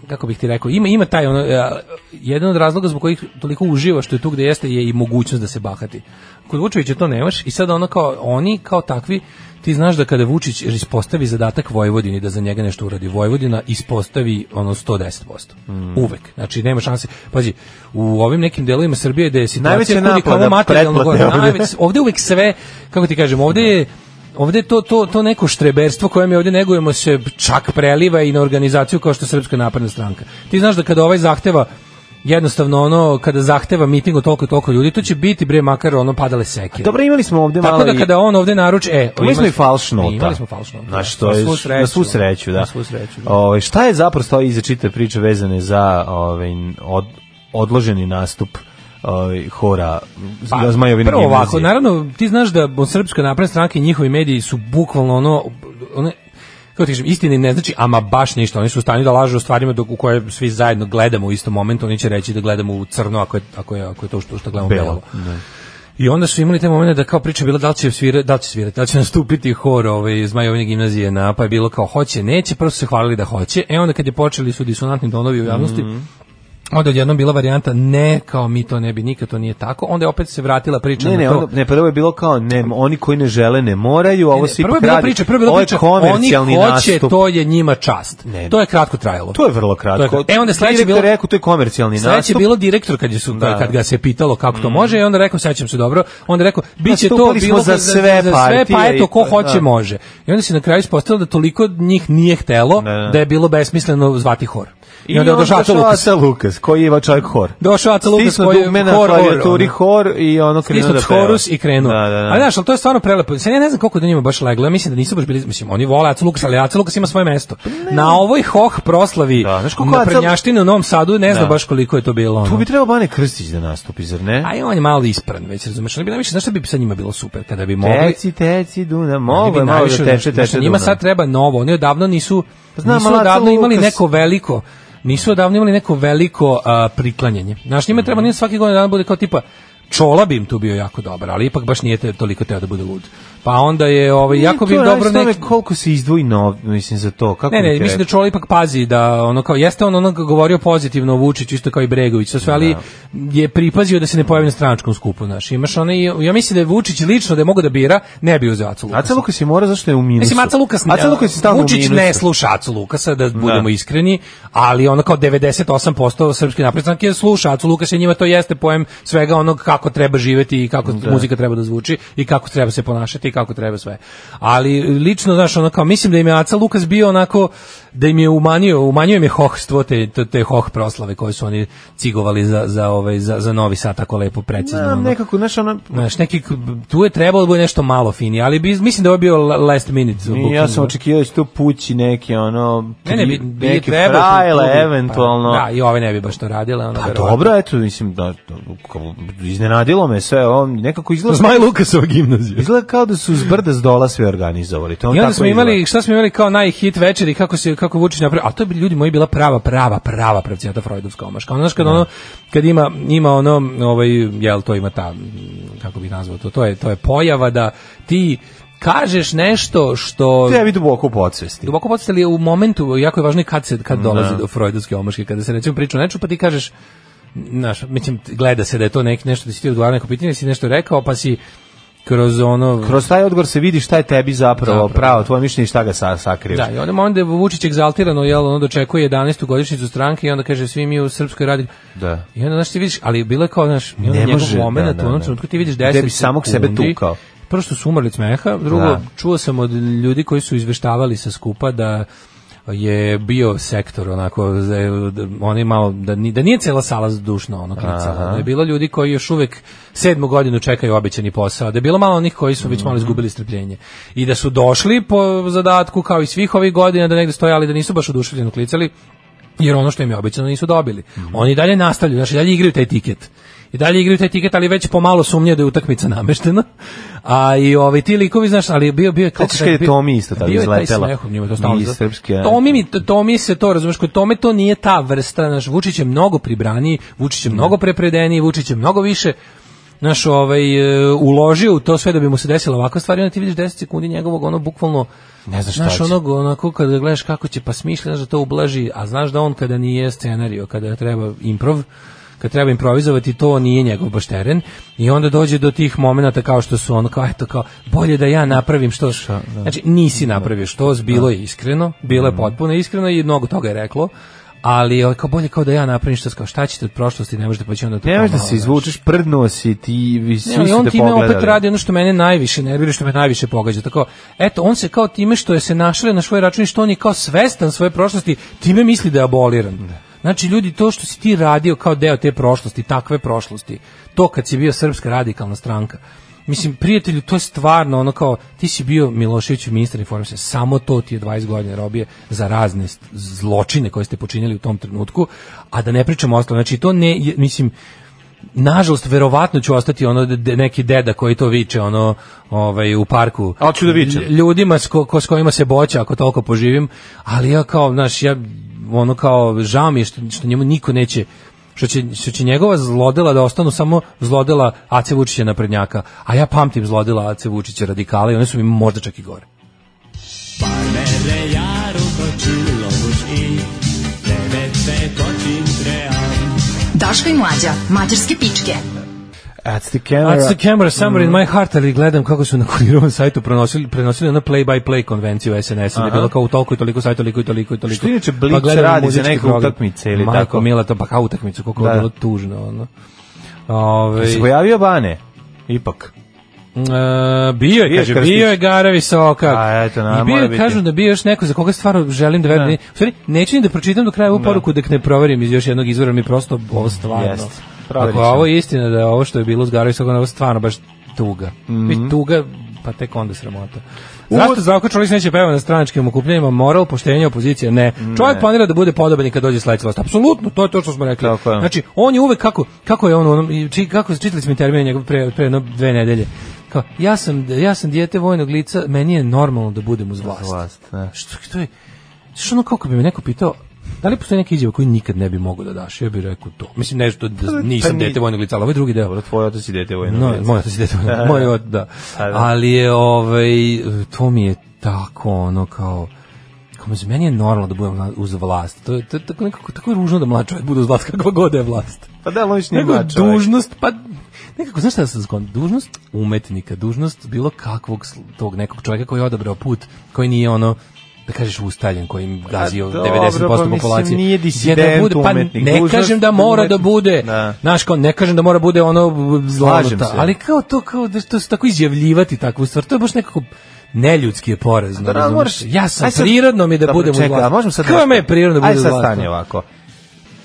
F: kako bih ti rekao, ima, ima taj ono, e, jedan od razloga zbog kojih toliko uživa što je tu gde jeste je i mogućnost da se bahati. Kod Vučevića to nemaš i sad ono kao, oni kao takvi, ti znaš da kada Vučić ispostavi zadatak Vojvodini da za njega nešto uradi Vojvodina, ispostavi ono 110%.
E: Mm.
F: Uvek. Znači nema šanse. Pazi, u ovim nekim delovima Srbije da je
E: Najveća
F: situacija kudi
E: naplata
F: kao materijalno gore.
E: pretplate ovde.
F: Najveć- ovde uvek sve, kako ti kažem, ovde je Ovde to, to, to neko štreberstvo koje mi ovde negujemo se čak preliva i na organizaciju kao što je Srpska napredna stranka. Ti znaš da kada ovaj zahteva jednostavno ono kada zahteva miting od toliko i toliko ljudi, to će biti bre makar ono padale seke.
E: Dobro, imali smo ovde malo...
F: Tako da
E: i-
F: kada on ovde naruči, e,
E: Mi smo i falš
F: falšno
E: nota.
F: Imali smo falš nota.
E: Na što je,
F: svu sreću.
E: na svu sreću, da.
F: Na svu sreću, da.
E: Ovaj, šta je zapravo stoji iza čitave priče vezane za ovaj, od, odloženi nastup ovaj, hora pa, Zmajovine
F: Prvo
E: gimnazije?
F: ovako, naravno, ti znaš da Srpska napredna stranka i njihovi mediji su bukvalno ono, one, kako ti kažem, istini ne znači ama baš ništa. Oni su u stanju da lažu o stvarima dok, u koje svi zajedno gledamo u istom momentu. Oni će reći da gledamo u crno ako je, ako je, ako je to što, što gledamo
E: Belo,
F: belo. I onda su imali te momente da kao priča je bila da li će svirati, da li će svirati, da li će nastupiti hor ovaj, iz Majovine gimnazije na, pa je bilo kao hoće, neće, prvo su se hvalili da hoće. E onda kad je počeli su disonantni tonovi u javnosti,
E: Mhm.
F: onda je odjednom bila varijanta ne, kao mi to ne bi nikad, to nije tako. Onda je opet se vratila priča
E: Ne,
F: na
E: ne,
F: to.
E: onda, ne, prvo je bilo kao, ne, oni koji ne žele ne moraju, ovo
F: Ne,
E: se
F: E, prvo je
E: ipak
F: bila
E: radi.
F: priča, prvo je bila
E: Ovo je
F: priča, oni
E: komercijalni
F: hoće,
E: nastup.
F: to je njima čast. To je kratko trajalo.
E: To je vrlo kratko.
F: To je- E onda sledeće
E: Direktor
F: bilo
E: je rekao, to je komercijalni
F: Sledeće je
E: nastup.
F: bilo direktor kad je su
E: Da. Mm.
F: kad ga se pitalo kako to može i onda rekao sećam se dobro, onda je rekao biće to
E: Nastupali smo
F: bilo
E: za sve
F: pa
E: partije
F: eto
E: i
F: ko
E: to-
F: hoće
E: da.
F: može. I onda se na kraju ispostavilo da toliko njih nije htelo
E: Ne, ne.
F: da je bilo besmisleno zvati hor. I onda je došao Aca Lukas.
E: Lukas. Lukas, koji je čovjek hor.
F: Došao Aca Lukas
E: Stisnuo
F: koji je
E: dugme na
F: hor, hor,
E: klavijeturi
F: ono.
E: hor i ono krenuo
F: Stisnuo
E: da peva.
F: chorus i krenuo.
E: Da, da, da.
F: A znaš, ali to je stvarno prelepo. Sad ja ne znam koliko je do njima baš leglo. Ja mislim da nisu baš bili, mislim, oni vole Aca Lukas, ali Aca Lukas ima svoje mesto. Na ovoj hoh proslavi
E: Pa Da,
F: da,
E: znaš
F: znaš
E: koliko Aca-
F: u Novom Sadu, ne znam
E: Da.
F: baš koliko je to bilo. Ono.
E: Tu bi trebao Bane Krstić da nastupi, zar ne?
F: A i on je malo ispran, već razumeš. Oni bi najviše, znaš šta bi sa njima bilo super kada bi mogli?
E: Teci, teci, Duna,
F: Oni
E: mogu
F: bi
E: je malo da
F: najviše,
E: teče,
F: znaš,
E: teče Duna.
F: njima sad treba novo. Oni odavno nisu,
E: Znam,
F: nisu
E: ali Aca
F: odavno imali
E: Lukas-
F: neko veliko nisu odavno imali neko veliko a, priklanjanje. Znaš, njima
E: Mhm.
F: treba, njima svaki godin dana bude kao tipa, Čola bi im tu bio jako dobar, ali ipak baš nije te, toliko teo da bude lud. Pa onda je, ovaj, jako bi im dobro neki...
E: Koliko se izdvoji nov, mislim, za to? Kako
F: Ne,
E: bi
F: ne,
E: ti
F: mislim da
E: rekao?
F: Čola ipak pazi da ono kao jeste on ono govorio pozitivno o Vučiću isto kao i Bregović, to sve ali je pripazio da se ne pojavi na stranačkom skupu, znaš. Imaš onaj ja mislim da je Vučić lično da je mogao da bira, ne bi uzeo Acu Lukasa.
E: Aca Lukas je mora zašto je u minusu.
F: Mislim, Aca Lukas,
E: Aca Lukas je stalno u
F: Vučić
E: minusu.
F: ne sluša Acu Lukasa, da budemo iskreni, ali ono kao 98% srpske naprednjake sluša Acu Lukasa i njima to jeste pojem svega onog kako treba živeti i kako muzika treba da zvuči i kako treba se ponašati i kako treba sve. Ali lično, znaš, ono kao, mislim da im je Aca Lukas bio onako, da im je umanjio, umanjio im je hohstvo te, te, te hoh proslave koje su oni cigovali za, za, ovaj, za, za novi sat tako lepo precizno.
E: Znam,
F: ono.
E: nekako, znaš, ono...
F: Znaš, neki, tu je trebalo da bude nešto malo finije, ali bi, mislim da je ovo bio la- last minute.
E: I
F: booking,
E: ja sam
F: ono.
E: očekivao da će to pući neki, ono...
F: Ne, ne, bi,
E: tri-
F: bi
E: neki
F: trebao tu
E: frajle,
F: klubu, pa,
E: eventualno.
F: da, i ove ne bi baš to radile. Ono,
E: Pa
F: verovatno.
E: dobro, eto, mislim, da, kao, iznenadilo me sve, on nekako izgleda...
F: Zmaj Lukasova gimnazija.
E: Izgleda kao da su s brda s dola sve organizovali. To on
F: I onda
E: tako
F: smo
E: izgleda.
F: imali, šta smo imali kao najhit večeri, kako se kako Vučić napravio, a to bi ljudi moji bila prava, prava, prava pravcijata Freudovska omaška. Ono, znaš, kad ono, kad ima, ima ono, ovaj, jel, to ima ta, m, kako bih nazvao to, to je, to je pojava da ti kažeš nešto što...
E: Tebi duboko u podsvesti.
F: Duboko podstali u momentu, jako je važno i kad, se, kad dolazi do freudovske omaške, kada se recimo priča o nečemu, pa ti kažeš, znaš, mislim, gleda se da je to nek, nešto da si ti odgovarao na neko pitanje, si nešto rekao, pa si kroz ono...
E: Kroz taj odgovor se vidi šta je tebi zapravo,
F: Zapravo,
E: pravo, tvoje mišljenje i šta ga sa, sakrivaš.
F: Da, i onda moment da je Vučić egzaltirano, jel, ono dočekuje 11. godišnjicu stranke i onda kaže svi mi u Srpskoj radi...
E: Da.
F: I onda, znaš, ti vidiš, ali bilo je kao, znaš, i onda
E: Ne
F: njegov
E: može,
F: moment,
E: da, da,
F: u onom
E: da.
F: trenutku ti vidiš 10
E: Gde bi samog sebe
F: sekundi.
E: tukao.
F: Prvo što su umrli od smeha, drugo,
E: Da.
F: čuo sam od ljudi koji su izveštavali sa skupa da je bio sektor onako za- da oni malo da ni da nije cela sala zdušno ono klicala da je bilo ljudi koji još uvek sedmu godinu čekaju obećani posao da je bilo malo onih koji su već malo izgubili strpljenje i da su došli po zadatku kao i svih ovih godina da negde stoje ali da nisu baš oduševljeno klicali jer ono što im je obećano nisu dobili. Oni dalje nastavljaju, znači dalje igraju taj tiket. I dalje igraju taj tiket, ali već pomalo sumnje da je utakmica nameštena. A i ovaj ti likovi, znaš, ali bio bio kako
E: Sećaš kad je Tomi isto tako
F: bio je taj
E: izletela?
F: smeh u njemu, to stalno.
E: Iz Srpske, a?
F: Tomi mi Tomi se to razumeš, kod Tome to nije ta vrsta, naš Vučić je mnogo pribraniji, Vučić je mnogo prepredeniji, Vučić je mnogo više naš ovaj e, uložio u to sve da bi mu se desila ovakva stvar i onda ti vidiš 10 sekundi njegovog ono bukvalno
E: Ne znaš šta
F: znaš
E: će.
F: onog onako kada gledaš kako će pa smišljaš da to ublaži a znaš da on kada nije scenario kada treba improv kad treba improvizovati to nije njegov baš teren i onda dođe do tih momenata kao što su ono kao eto kao bolje da ja napravim što znači nisi napravio što bilo je iskreno
E: Mm.
F: bilo je potpuno iskreno i mnogo toga je reklo ali ovaj, kao bolje kao da ja napravim što kao šta ćete od prošlosti ne možete pa će onda to
E: Ne
F: kao
E: možeš da
F: malo,
E: se
F: znaš.
E: izvučeš, prdnuo si ti, vi svi
F: Ne, ali
E: su
F: on
E: te
F: time opet
E: pogledali.
F: radi ono što mene najviše nervira, što me najviše pogađa. Tako, eto, on se kao time što je se našalio na svoj račun i što on je kao svestan svoje prošlosti, time misli da je aboliran. Znači, ljudi, to što si ti radio kao deo te prošlosti, takve prošlosti, to kad si bio srpska radikalna stranka, Mislim, prijatelju, to je stvarno ono kao, ti si bio Milošević ministar informisanja, samo to ti je 20 godina robije za razne st- zločine koje ste počinili u tom trenutku, a da ne pričamo ostalo, znači to ne, je- mislim, nažalost, verovatno ću ostati ono de, neki deda koji to viče ono ovaj u parku.
E: A hoću da vičem.
F: Lj- Ljudima s, ko, ko- s kojima se boća ako toliko poživim, ali ja kao, znaš, ja ono kao žao mi je što, što njemu niko neće što će, što će njegova zlodela da ostanu samo zlodela Ace Vučića naprednjaka, a ja pamtim zlodela Ace Vučića radikala i one su mi možda čak i gore.
D: Daško i mlađa, mađarske pičke.
E: At the camera.
F: That's the camera somewhere
E: Mm.
F: in my heart, ali gledam kako su na kurirovom sajtu prenosili, prenosili ono play-by-play konvenciju SNS-a, da je
E: Aha.
F: bilo kao u toliko i toliko sajta, toliko i toliko i toliko.
E: Što
F: Pa
E: inače Blic
F: gledam
E: radi za
F: muzički
E: neke
F: program.
E: utakmice ili
F: Majko
E: tako?
F: Mila, to pa kao utakmicu, koliko
E: Da.
F: je bilo tužno, ono. Ovaj, Ove,
E: Mm. Se pojavio Bane? Ipak.
F: e, bio je,
E: Bio je
F: kaže,
E: Krstić.
F: bio je Gara Visoka.
E: A, eto, na,
F: I bio
E: mora
F: je,
E: biti.
F: kažu da bio još neko za koga stvarno želim da verujem.
E: Da.
F: Da. U stvari, neću ni da pročitam do kraja ovu poruku dok ne proverim iz još jednog izvora, mi prosto ovo stvarno.
E: Jest. Proverit
F: Ako je ovo
E: ćemo.
F: istina da je ovo što je bilo s Gara Visoka, onda je ovo stvarno baš tuga.
E: Mhm.
F: Biti tuga, pa tek onda sramota. Zašto Zdravko Čolić neće peva na stranačkim okupljenjima? Moral, poštenje, opozicija? Ne. Čovjek planira da bude podoben i kad dođe sledeća vlast. Apsolutno, to je to što smo rekli.
E: Tako je.
F: Znači, on je uvek kako kako je on u onom i či, kako čitali smo termin njegov pre pre jedno dve nedelje. Kao ja sam ja sam dijete vojnog lica, meni je normalno da budem uz vlast.
E: vlast, da.
F: Što to je? Što ono kako bi me neko pitao Da li postoji neka izjava koju nikad ne bi mogao da daš? Ja bih rekao to. Mislim, nešto da nisam
E: ni-
F: dete vojnog lica, ali ovaj drugi deo.
E: Tvoj otac i dete vojno.
F: No, moj otac je dete vojnog lica. Moj ot- da.
E: Pa da.
F: Ali je, ovaj, to mi je tako, ono, kao, kao mislim, meni je normalno da budem na- uz vlast. To je, to je tako nekako, tako je ružno da mlad čovjek bude uz vlast, kakva god da je vlast.
E: Pa da, Lović nije
F: Nego
E: mlad čovjek.
F: dužnost, pa nekako, znaš šta sam skon, dužnost umetnika, dužnost bilo kakvog sl- tog nekog čovjeka koji je odabrao put, koji nije ono, da kažeš ustaljen kojim gazio
E: Pa dobro,
F: 90%
E: pa mislim,
F: populacije.
E: nije
F: Je da
E: disident
F: bude, pa
E: umetnik,
F: ne
E: dužnost
F: kažem da mora da
E: umetnik.
F: bude.
E: Da.
F: Znaš, kao, ne kažem da mora bude ono
E: Slažem
F: zlažem
E: se.
F: ali kao to kao da to se tako izjavljivati takvu stvar, to je baš nekako neljudski je porazno.
E: Da, da,
F: razumeš?
E: moraš,
F: ja sam
E: Aj sad-
F: prirodno mi je da
E: Dobro,
F: budem
E: čekaj, a možemo sad...
F: Kako me je prirodno da budem
E: Aj sad
F: uz vlast?
E: stani ovako.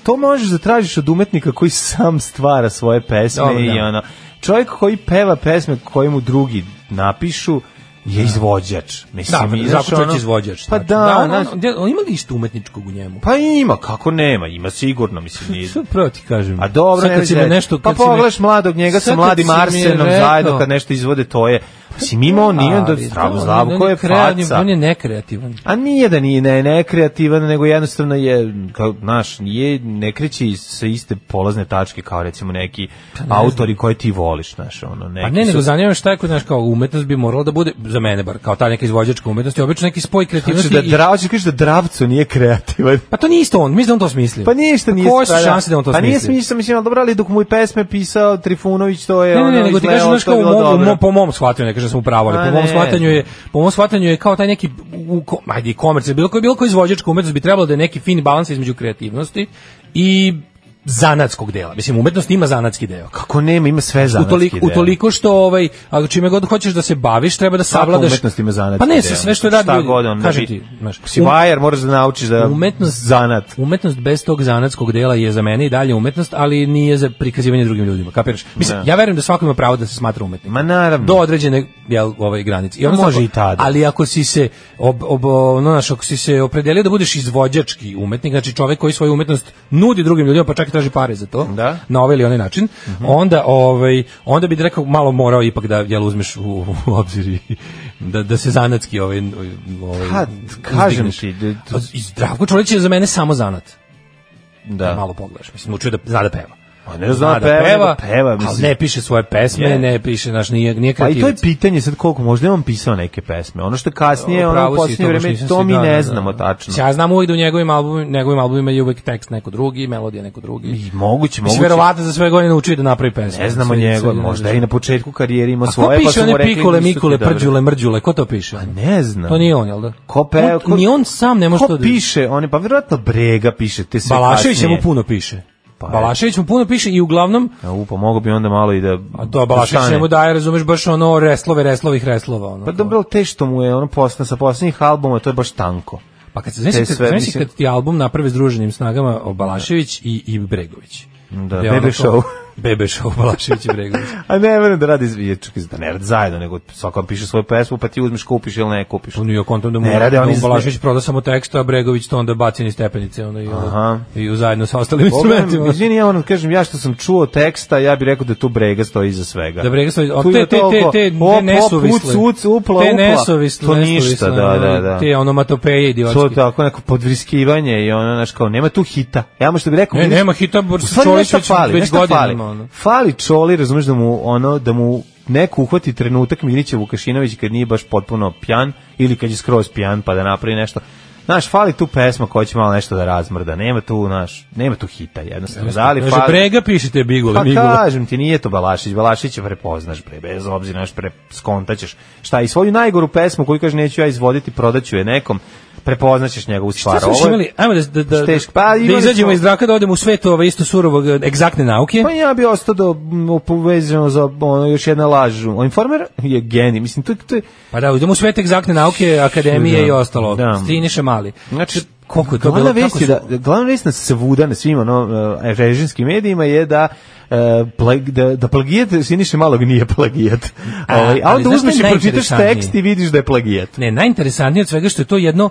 E: To možeš da tražiš od umetnika koji sam stvara svoje pesme
F: Dobro,
E: i
F: da.
E: ono... Čovjek koji peva pesme koje mu drugi napišu je izvođač.
F: Da,
E: Mislim,
F: pa
E: izaš
F: Zdravko Čolić
E: ono-
F: je izvođač.
E: Pa
F: znači.
E: da,
F: on, on,
E: znaš-
F: on, on ima li isto umetničkog u njemu?
E: Pa ima, kako nema, ima sigurno, mislim, nije.
F: Sve pravo ti kažem.
E: A dobro,
F: Sad
E: ne
F: kad si me
E: reći.
F: nešto...
E: pa
F: kad si me-
E: pogledaš mladoga, njega
F: Sad
E: sa
F: kad si
E: mladim
F: mi
E: Arsenom
F: rekao- Pa
E: zajedno kad nešto izvode, to je... Mislim, imao nije on da
F: Ali,
E: zdravo,
F: da,
E: zdravo,
F: on
E: ko je
F: kreativni,
E: faca.
F: On je nekreativan. Pa
E: A nije da nije ne, ne kreativan, nego jednostavno je, kao, znaš, nije, ne kreće iz- sa iste polazne tačke kao recimo neki autori koje ti voliš, znaš, ono, neki
F: Pa ne,
E: su-
F: nego zanima me šta je kod znaš, kao umetnost bi morala da bude, za mene bar, kao ta neka izvođačka umetnost, je obično neki spoj
E: Hoćeš
F: kreativnosti
E: da,
F: znači i-
E: dra, hoćeš kaži da Dravcu nije kreativan.
F: Pa to nije isto on, mislim da on to smislio.
E: Pa ništa nije.
F: Koje su
E: pa da.
F: šanse da on to
E: Pa nije
F: smislio?
E: smišno, mislim, ali dobro, ali dok mu je pesme pisao Trifunović, to je
F: Ne,
E: ono,
F: ne, ne, nego ti
E: izgledalo,
F: kažem, znaš
E: to
F: kao
E: je
F: u
E: bilo
F: mom, u
E: dobro.
F: mom, po mom shvatanju, ne kažem da sam upravo, ali
E: A,
F: po mom
E: ne.
F: shvatanju je, po mom shvatanju je kao taj neki, u, ko- ajde, i komercijalni, bilo koji, bilo koji izvođačka umetnost bi trebalo da je neki fin balans između kreativnosti i zanatskog dela. Mislim, umetnost ima zanatski deo.
E: Kako nema, ima sve zanatski
F: utoliko,
E: deo.
F: utoliko što ovaj a čime god hoćeš da se baviš treba da
E: Svaka
F: savladaš
E: umetnost ima zanatski
F: pa ne
E: deo.
F: sa sve što radi
E: Šta
F: ljudi,
E: god on da
F: kažem
E: bi-
F: ti znaš
E: Si
F: um-
E: vajer, moraš da naučiš da
F: umetnost
E: zanat.
F: Umetnost bez tog zanatskog dela je za mene i dalje umetnost, ali nije za prikazivanje drugim ljudima, kapiraš? Mislim,
E: Ne.
F: ja verujem da svako ima pravo da se smatra umetnikom.
E: Ma naravno.
F: Do određene jel, ovaj granice. I
E: Ma
F: odnosno
E: može
F: ako-
E: i tada.
F: Ali ako si se ob, ob, ono, znaš, ako si se opredelio da budeš izvođački umetnik, znači čovek koji svoju umetnost nudi drugim ljudima, pa čak i traži pare za to,
E: Da. Mhm.
F: na ovaj ili onaj način, onda ovaj onda bi rekao malo morao ipak da jel uzmeš u, u obzir i da da se zanatski ovaj ovaj
E: Pa, kažem
F: uzdigneš.
E: ti, pa, da-
F: A i Zdravko Čolić je za mene samo zanat. Da.
E: Da.
F: Malo pogledaš, mislim, učio da zna da peva.
E: A pa ne zna da peva, nego peva,
F: ali
E: mislim.
F: ne piše svoje pesme,
E: Je.
F: ne piše, znaš, nije, nije
E: Pa i to je
F: kreativac.
E: pitanje sad koliko, možda je on pisao neke pesme. Ono što je kasnije,
F: O,
E: ono
F: pravo
E: u
F: si,
E: posljednje
F: to baš
E: vreme,
F: nisam
E: to
F: si-
E: mi
F: da,
E: ne
F: da,
E: znamo
F: da.
E: tačno.
F: Ja znam uvijek da u njegovim albumima, njegovim albumima je uvijek tekst neko drugi, melodija neko drugi.
E: I moguće,
F: Mislim,
E: moguće.
F: verovatno za sve godine naučio da napravi pesme.
E: Ne znamo
F: Sve-
E: njegov,
F: sve-
E: možda je i na početku karijere imao
F: A ko
E: svoje, pa
F: piše
E: su mu
F: one
E: rekli...
F: pikule,
E: nisu ti
F: mikule,
E: dobre.
F: prđule, mrđule, ko to piše?
E: Pa ne znam.
F: To nije on, jel da?
E: Ko peva,
F: On-
E: ko-
F: Ni on sam ne može
E: Ko
F: to da...
E: piše, one, pa vjerojatno Brega piše, te sve
F: Balašević
E: kasnije.
F: mu puno piše.
E: Pa,
F: Balašević mu puno piše i uglavnom
E: Ja, upa, mogo bi onda malo i da...
F: A to Balašić
E: stane.
F: njemu daje, razumeš, baš ono reslove, reslovih reslova. Ono,
E: Pa dobro, te što mu je ono posna, sa posljednjih albuma, to je baš tanko.
F: Pa kad se znaš,
E: Te
F: kad,
E: sve,
F: znaš
E: mislim-
F: kad ti album naprave združenim snagama Obalašević i, i Bregović.
E: Da,
F: Je ono
E: Bebe
F: to-
E: Show.
F: Bebe show Obalašević i Bregović.
E: A ne verujem da radi iz- čekaj, da ne radi zajedno, nego svako vam piše svoju pesmu, pa ti uzmeš, kupiš ili ne kupiš.
F: On je kontom da mu
E: Ne rade
F: da
E: oni
F: mu
E: za-
F: Balašević proda samo tekst, a Bregović to onda baci niz stepenice ono, i, ono,
E: Aha.
F: i u- zajedno sa ostalim
E: Pogledam,
F: instrumentima.
E: izvini, ja ono kažem, ja što sam čuo teksta, ja bih rekao da tu brega stoji iza svega.
F: Da brega stoji- o,
E: Tu
F: te-
E: ima
F: te- te-
E: toliko,
F: te- te
E: op, op,
F: nesuvisle.
E: uc, uc, upla,
F: Te
E: upla.
F: nesuvisle,
E: To ništa,
F: nesuvisle,
E: da, da,
F: ono,
E: da.
F: Te onomatopeje idiotske.
E: To je tako neko podvriskivanje i ono, znaš, kao, nema tu hita. Ja mu što bih rekao...
F: Ne,
E: vidiš-
F: nema hita, Boris
E: U stvari
F: Čolić
E: nešto
F: već-
E: fali,
F: već
E: nešto fali.
F: godinama, ono.
E: Fali Čoli, razumeš da mu, ono, da mu neko uhvati trenutak Milića Vukašinović kad nije baš potpuno pijan ili kad je skroz pijan pa da napravi nešto. Znaš, fali tu pesma koja će malo nešto da razmrda. Nema tu, znaš, nema tu hita jednostavno. Da li
F: Kaže,
E: fali...
F: brega pišite bigule,
E: Pa
F: migule.
E: kažem ti, nije to Balašić, Balašića prepoznaš bre, bez obzira naš pre skontaćeš. Šta i svoju najgoru pesmu koju kažeš neću ja izvoditi, prodaću je nekom, prepoznaćeš njegovu stvar.
F: Šta smo još
E: Pa Ovo je-
F: imali? Ajmo da, da, da,
E: Šteš- pa
F: da
E: imali
F: izađemo
E: smo-
F: iz zraka, da odemo u svet ove isto surovog e, egzaktne nauke.
E: Pa ja bi ostao do m, povezano za ono, još jedna laž. O, Informer je genij, mislim, to, to je...
F: Pa da, idemo u svet egzaktne nauke, akademije
E: Da.
F: i ostalo.
E: Da.
F: Stiniše mali.
E: Znači,
F: koliko je to
E: Glavna
F: bilo?
E: vest je
F: kako
E: da, glavna vest na svuda, na svim ono, e, režimskim medijima je da e, plag, da, da plagijat Siniše Malog nije plagijat.
F: A,
E: Ovaj, a
F: ali
E: onda
F: znaš šta
E: uzmeš
F: je
E: i pročitaš
F: najinteresantnije?
E: tekst i vidiš da je plagijat.
F: Ne, najinteresantnije od svega što je to jedno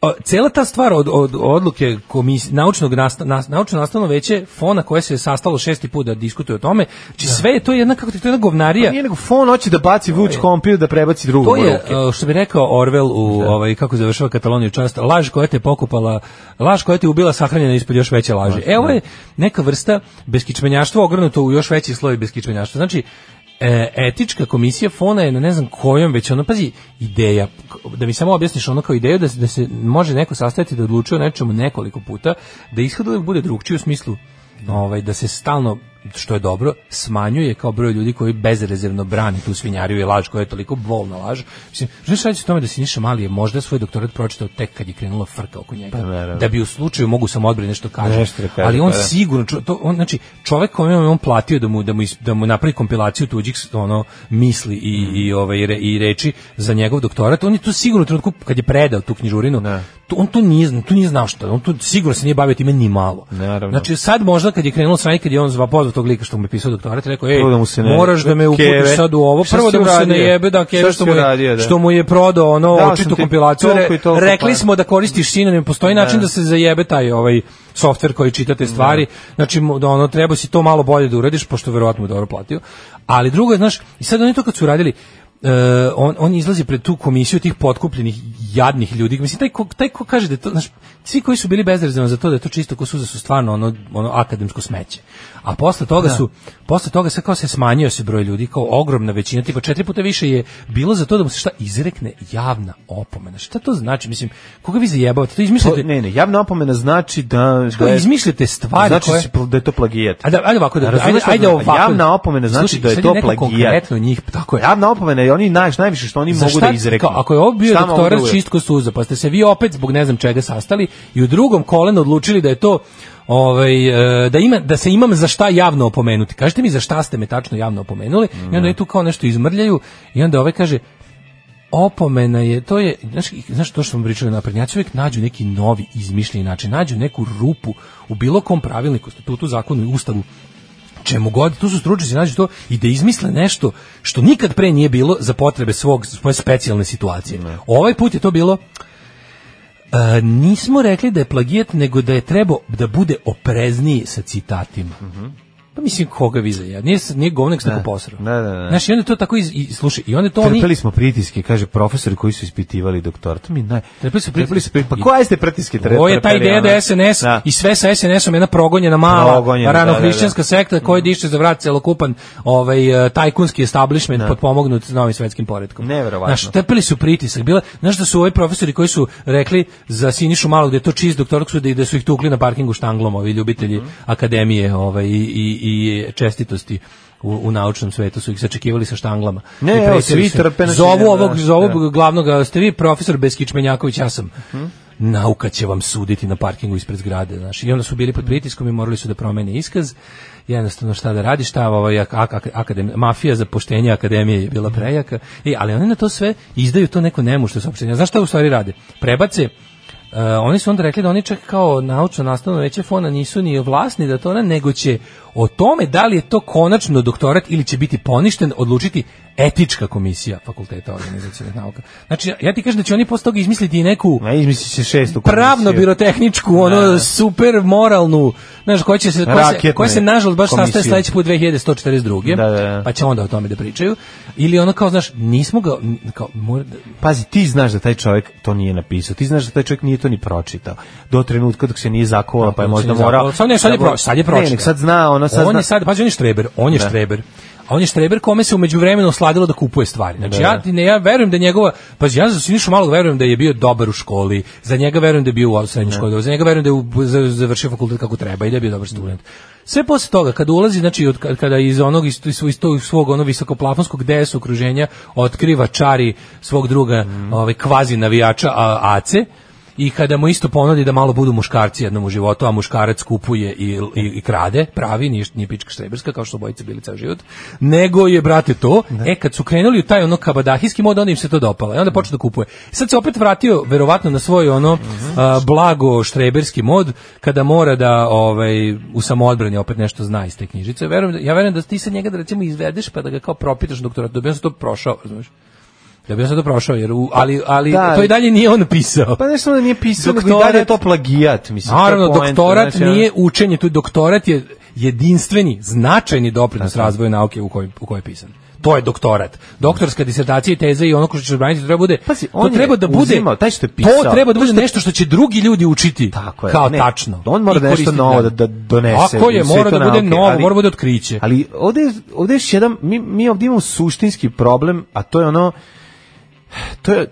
F: o, cela ta stvar od, od odluke komis, naučnog nasta, nas, naučno nastavno veće fona koje se je sastalo šesti put da diskutuje o tome, znači sve je to jedna kako ti to je jedna govnarija.
E: Pa Nije nego fon hoće da baci vuč kompiju da prebaci drugu
F: To
E: u
F: je,
E: ruke.
F: uh, što bi rekao Orwell u ovaj, kako završava Kataloniju čast, laž koja te pokupala, laž koja te ubila sahranjena ispod još veće laži. Evo je neka vrsta beskičmenjaštva ogrnuto u još veći sloj beskičmenjaštva. Znači, e, etička komisija fona je na ne znam kojom već ono pazi ideja da mi samo objasniš ono kao ideju da se, da se može neko sastaviti da odlučuje o nečemu nekoliko puta da ishod uvek bude drugčiji u smislu ovaj da se stalno što je dobro smanjuje kao broj ljudi koji bezrezervno brani tu svinjariju i laž koja je toliko bolna laž. Mislim, znaš radi se o tome da Siniša Mali je možda svoj doktorat pročitao tek kad je krenula frka oko njega.
E: Pa naravno.
F: da bi u slučaju mogu sam odbrati nešto kaže.
E: Nešto da kaže,
F: ali on
E: pa da.
F: sigurno ču- to on znači čovjek kojem je on platio da mu da mu is- da mu napravi kompilaciju tuđih ono misli i
E: Mm.
F: i ovaj re- i reči za njegov doktorat, on je to sigurno u trenutku kad je predao tu knjižurinu, to, on to nije zna- to nije znao šta, on to sigurno se nije bavio time ni malo.
E: Naravno.
F: Znači sad možda kad je krenulo sve kad je on zvao pozvao tog lika što mu je pisao doktorat, rekao ej,
E: Prvo da mu se ne-
F: moraš da me uputiš
E: Keve.
F: sad u ovo,
E: Šta
F: prvo
E: si
F: da mu se
E: uradio?
F: ne jebe da
E: Šta
F: Keve
E: si
F: što mu je,
E: uradio, da?
F: što mu je prodao ono
E: Dao sam
F: očitu
E: ti
F: kompilaciju.
E: toliko i toliko
F: Rekli
E: para.
F: smo da koristiš sinonim, postoji način da se zajebe taj ovaj softver koji čita te stvari. Znači mo- da ono treba si to malo bolje da uradiš pošto verovatno mu je dobro platio. Ali drugo je, znaš, i sad oni to kad su uradili e, on, on izlazi pred tu komisiju tih potkupljenih jadnih ljudi. Mislim, taj ko, taj ko kaže da je to, znaš, svi koji su bili bezrezano za to da je to čisto ko suza su stvarno ono, ono akademsko smeće. A posle toga su, posle toga sve kao se smanjio se broj ljudi, kao ogromna većina, tipa četiri puta više je bilo za to da mu se šta izrekne javna opomena. Šta to znači? Mislim, koga vi zajebavate? To
E: To-
F: izmišljate,
E: ne, ne, javna opomena znači da...
F: kao
E: da je-
F: izmišljate stvari
E: znači
F: koje-
E: si pl- da je to plagijat.
F: Ajde, ajde ovako da,
E: A razumeš
F: ajde,
E: šta
F: ajde
E: znači?
F: ovako.
E: Javna opomena znači
F: Slušaj,
E: da je
F: sad
E: to
F: neko
E: plagijat.
F: Konkretno njih, tako je.
E: Javna opomena je oni naj, najviše što oni
F: Za
E: mogu
F: šta-
E: da izreknu.
F: kao, ako je ovo bio
E: Šta mogu
F: doktorat
E: da urade?
F: čistko suza, pa ste se vi opet zbog ne znam čega sastali i u drugom kolenu odlučili da je to ovaj, e, da, ima, da se imam za šta javno opomenuti. Kažite mi za šta ste me tačno javno opomenuli i onda je tu kao nešto izmrljaju i onda ovaj kaže opomena je, to je, znaš, i- znaš to što smo pričali na prednjaci, uvijek nađu neki novi izmišljeni način, nađu neku rupu u bilo kom pravilniku, statutu, zakonu i ustavu čemu god, tu su stručnjaci nađu to i da izmisle nešto što nikad pre nije bilo za potrebe svog, svoje specijalne situacije. Ovaj put je to bilo e, nismo rekli da je plagijat, nego da je trebao da bude oprezniji sa citatima. Pa mislim, koga vi za Nije, s- nije govnek se tako posrao.
E: da, da, da.
F: Znaš, i onda to tako, iz, i, slušaj, i onda to oni...
E: Trpeli smo pritiske, kaže profesori koji su ispitivali doktor. To mi je naj...
F: Trpeli su pritiske.
E: Pa koje ste pritiske trpeli?
F: Ovo je ta ideja
E: ono?
F: da je SNS
E: Da.
F: i sve sa SNS-om jedna progonjena mala
E: Progonjena, da, Mm.
F: ranohrišćanska sekta koja diše za vrat celokupan ovaj, eh, tajkunski establishment potpomognut novim svetskim poredkom.
E: Neverovatno.
F: Znaš, trpeli su pritisak. Bila, znaš da su ovi profesori koji su rekli za Sinišu Malog da je to čist doktorak su da, i da su ih tukli na parkingu štanglom ovi ljubitelji
E: Mhm.
F: akademije ovaj, i, i, i čestitosti u, u naučnom svetu su ih sačekivali sa štanglama.
E: Ne,
F: I
E: evo,
F: pretili
E: svi
F: su.
E: trpe, znači,
F: Zovu
E: da,
F: ovog,
E: da. Mhm.
F: zovu glavnog, a ste vi profesor Beskičmenjaković, ja sam. Nauka će vam suditi na parkingu ispred zgrade, znaš. I onda su bili pod pritiskom i morali su da promene iskaz. Jednostavno šta da radi, šta ovaj ak- ak- akadem- mafija za poštenje akademije je bila prejaka. E, ali oni na to sve izdaju to neko nemušto saopštenje. Znaš šta u stvari rade? Prebace E, oni su onda rekli da oni čak kao naučno nastavno veće fona nisu ni vlasni da to ona, nego će o tome da li je to konačno doktorat ili će biti poništen odlučiti etička komisija fakulteta organizacionih nauka. Znači, ja ti kažem da će oni posle toga izmisliti i neku
E: Ma izmisli se šestu komisiju.
F: pravno birotehničku, ono super moralnu, znaš, koja će se koja se,
E: Raketne
F: koja se nažalost baš
E: komisije.
F: sastaje sledeći put 2142.
E: Da, da, da.
F: Pa će onda o tome da pričaju ili ono kao znaš, nismo ga n- kao mora,
E: Pazi, ti znaš da taj čovjek to nije napisao. Ti znaš da taj čovjek nije to ni pročitao. Do trenutka dok se nije zakovala, pa je
F: Dok se
E: možda
F: nije
E: morao.
F: zapravo- Sad ne, sad je, pro, sad je pročitao.
E: Ne, nek sad zna, ona sad
F: on
E: zna.
F: je sad, pazi, on je štreber, on je
E: Da.
F: štreber. A on je štreber kome se umeđu vremenu osladilo da kupuje stvari. Znači, ja, ti ne, ja verujem da njegova, pa ja za Sinišu malog verujem da je bio dobar u školi, za njega verujem da je bio u srednjoj školi, za njega verujem da je u- za- završio fakultet kako treba i da je bio dobar student. Sve posle toga, kada ulazi, znači, od, kad- kada iz onog, iz, iz, iz tog svog ono visokoplafonskog DS okruženja otkriva čari svog druga
E: Mm.
F: ovaj, kvazi navijača a, Ace, i kada mu isto ponudi da malo budu muškarci jednom u životu, a muškarac kupuje i, i, i krade, pravi, nije, nije pička štreberska, kao što su obojice bili ceo život, nego je, brate, to, e, kad su krenuli u taj ono kabadahijski mod, onda im se to dopalo, i onda počeo da kupuje. Sad se opet vratio, verovatno, na svoj ono
E: Mhm.
F: a, blago štreberski mod, kada mora da ovaj, u samoodbrani opet nešto zna iz te knjižice. Verujem, da- ja verujem da ti sad njega da recimo izvedeš, pa da ga kao propitaš doktorat, da bi on sad to prošao, razumeš? Da bi on sad to prošao, jer u, ali, ali
E: Da.
F: to i dalje nije on pisao.
E: Pa nešto da nije pisao, nego i
F: Doktorat-
E: dalje je to plagijat. Mislim, to je
F: Naravno,
E: poenta,
F: doktorat
E: znači, ono-
F: nije učenje, tu doktorat je jedinstveni, značajni doprinos razvoju nauke u kojoj, u kojoj je pisan. To je doktorat. Doktorska disertacija i teza i ono ko što će braniti treba bude,
E: Pazi,
F: to
E: on je
F: treba da bude,
E: uzimao, taj što je pisao,
F: to treba da bude nešto što će drugi ljudi učiti
E: Tako je,
F: kao
E: ne,
F: tačno.
E: on mora
F: i
E: da nešto
F: koristiti
E: novo
F: dalje.
E: da- da donese
F: Tako je,
E: u svetu
F: mora da bude
E: nauke,
F: novo,
E: ali-
F: mora da bude otkriće.
E: Ali ovde, je- ovde je još jedan, mi, mi ovde imamo suštinski problem, a to je ono, to je,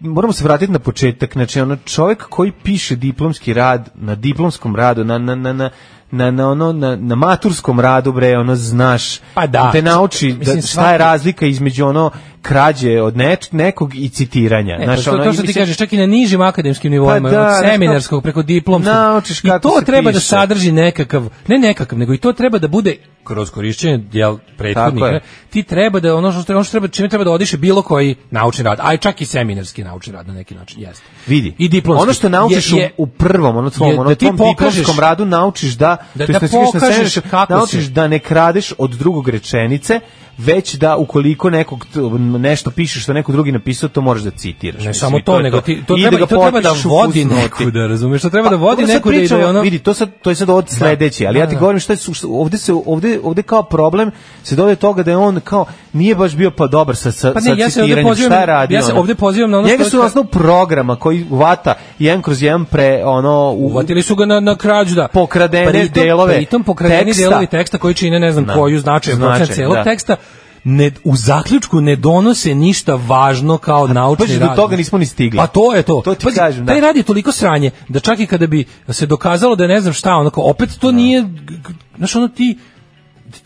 E: moramo se vratiti na početak, znači ono, čovjek koji piše diplomski rad, na diplomskom radu, na, na, na, na na na ono na, na maturskom radu bre ono znaš
F: Pa da.
E: te nauči da,
F: Mislim,
E: šta je
F: svaki-
E: razlika između ono krađe od neč, nekog i citiranja
F: E,
E: znaš,
F: pa što,
E: ono,
F: to što ti
E: mislim-
F: kažeš, čak i na nižim akademskim nivoima,
E: Pa da,
F: od
E: znaš
F: seminarskog preko diplomskog.
E: Naučiš
F: I
E: kako
F: to
E: se
F: treba da
E: piše.
F: sadrži nekakav, ne nekakav, nego i to treba da bude kroz korišćenje jel prethodnika.
E: Tako je.
F: Ti treba da ono što treba, ono što treba čime treba da odiše bilo koji naučni rad, aj čak i seminarski naučni rad na neki način, jeste.
E: Vidi.
F: I diplomski.
E: Ono što naučiš
F: Je- je-
E: u, u prvom, ono
F: je
E: svom, ono
F: da
E: da
F: ti
E: tom
F: pokažeš-
E: diplomskom radu naučiš da,
F: Da-
E: to
F: da
E: jest sviš na
F: pokažeš
E: scenu, znači
F: kako
E: naučiš
F: si.
E: da ne kradeš od drugog rečenice, već da ukoliko nekog t- nešto pišeš što neko drugi napisao, to moraš da citiraš.
F: Ne
E: Mislim,
F: samo
E: i
F: to,
E: je
F: nego ti, to
E: I
F: treba,
E: ga
F: to treba da
E: potpišeš u
F: vodi
E: fusnoti.
F: neku, da razumeš, to treba da
E: Pa,
F: vodi
E: ovo sad
F: neku da ide
E: pričamo,
F: ono...
E: Vidi, to sad to je sad od sledeće, ali ja ti
F: da.
E: govorim šta je su, ovde se ovde ovde kao problem se dovede do toga da je on kao nije baš bio pa dobar sa sa
F: Pa ne,
E: sa
F: ja se ovde
E: citiranjem,
F: pozivam-
E: šta je radio.
F: ja se
E: ono?
F: ovde pozivam na ono
E: Njega
F: što-
E: su na osnovu programa koji vata jedan kroz jedan pre ono u,
F: Uvatili su ga na, na krađu, da.
E: Pokradene delove
F: Pritom pokradeni
E: teksta.
F: delovi teksta koji čine, ne znam
E: Da.
F: koju značajan
E: Značaj,
F: procenat celog
E: da.
F: teksta, ne, u zaključku ne donose ništa važno kao naučni
E: pazi,
F: rad.
E: do toga nismo ni stigli.
F: Pa to je to.
E: To ti
F: Pazi,
E: kažem, da.
F: Taj rad je toliko sranje, da čak i kada bi se dokazalo da je ne znam šta, onako, opet to nije, g- g- znaš, ono ti,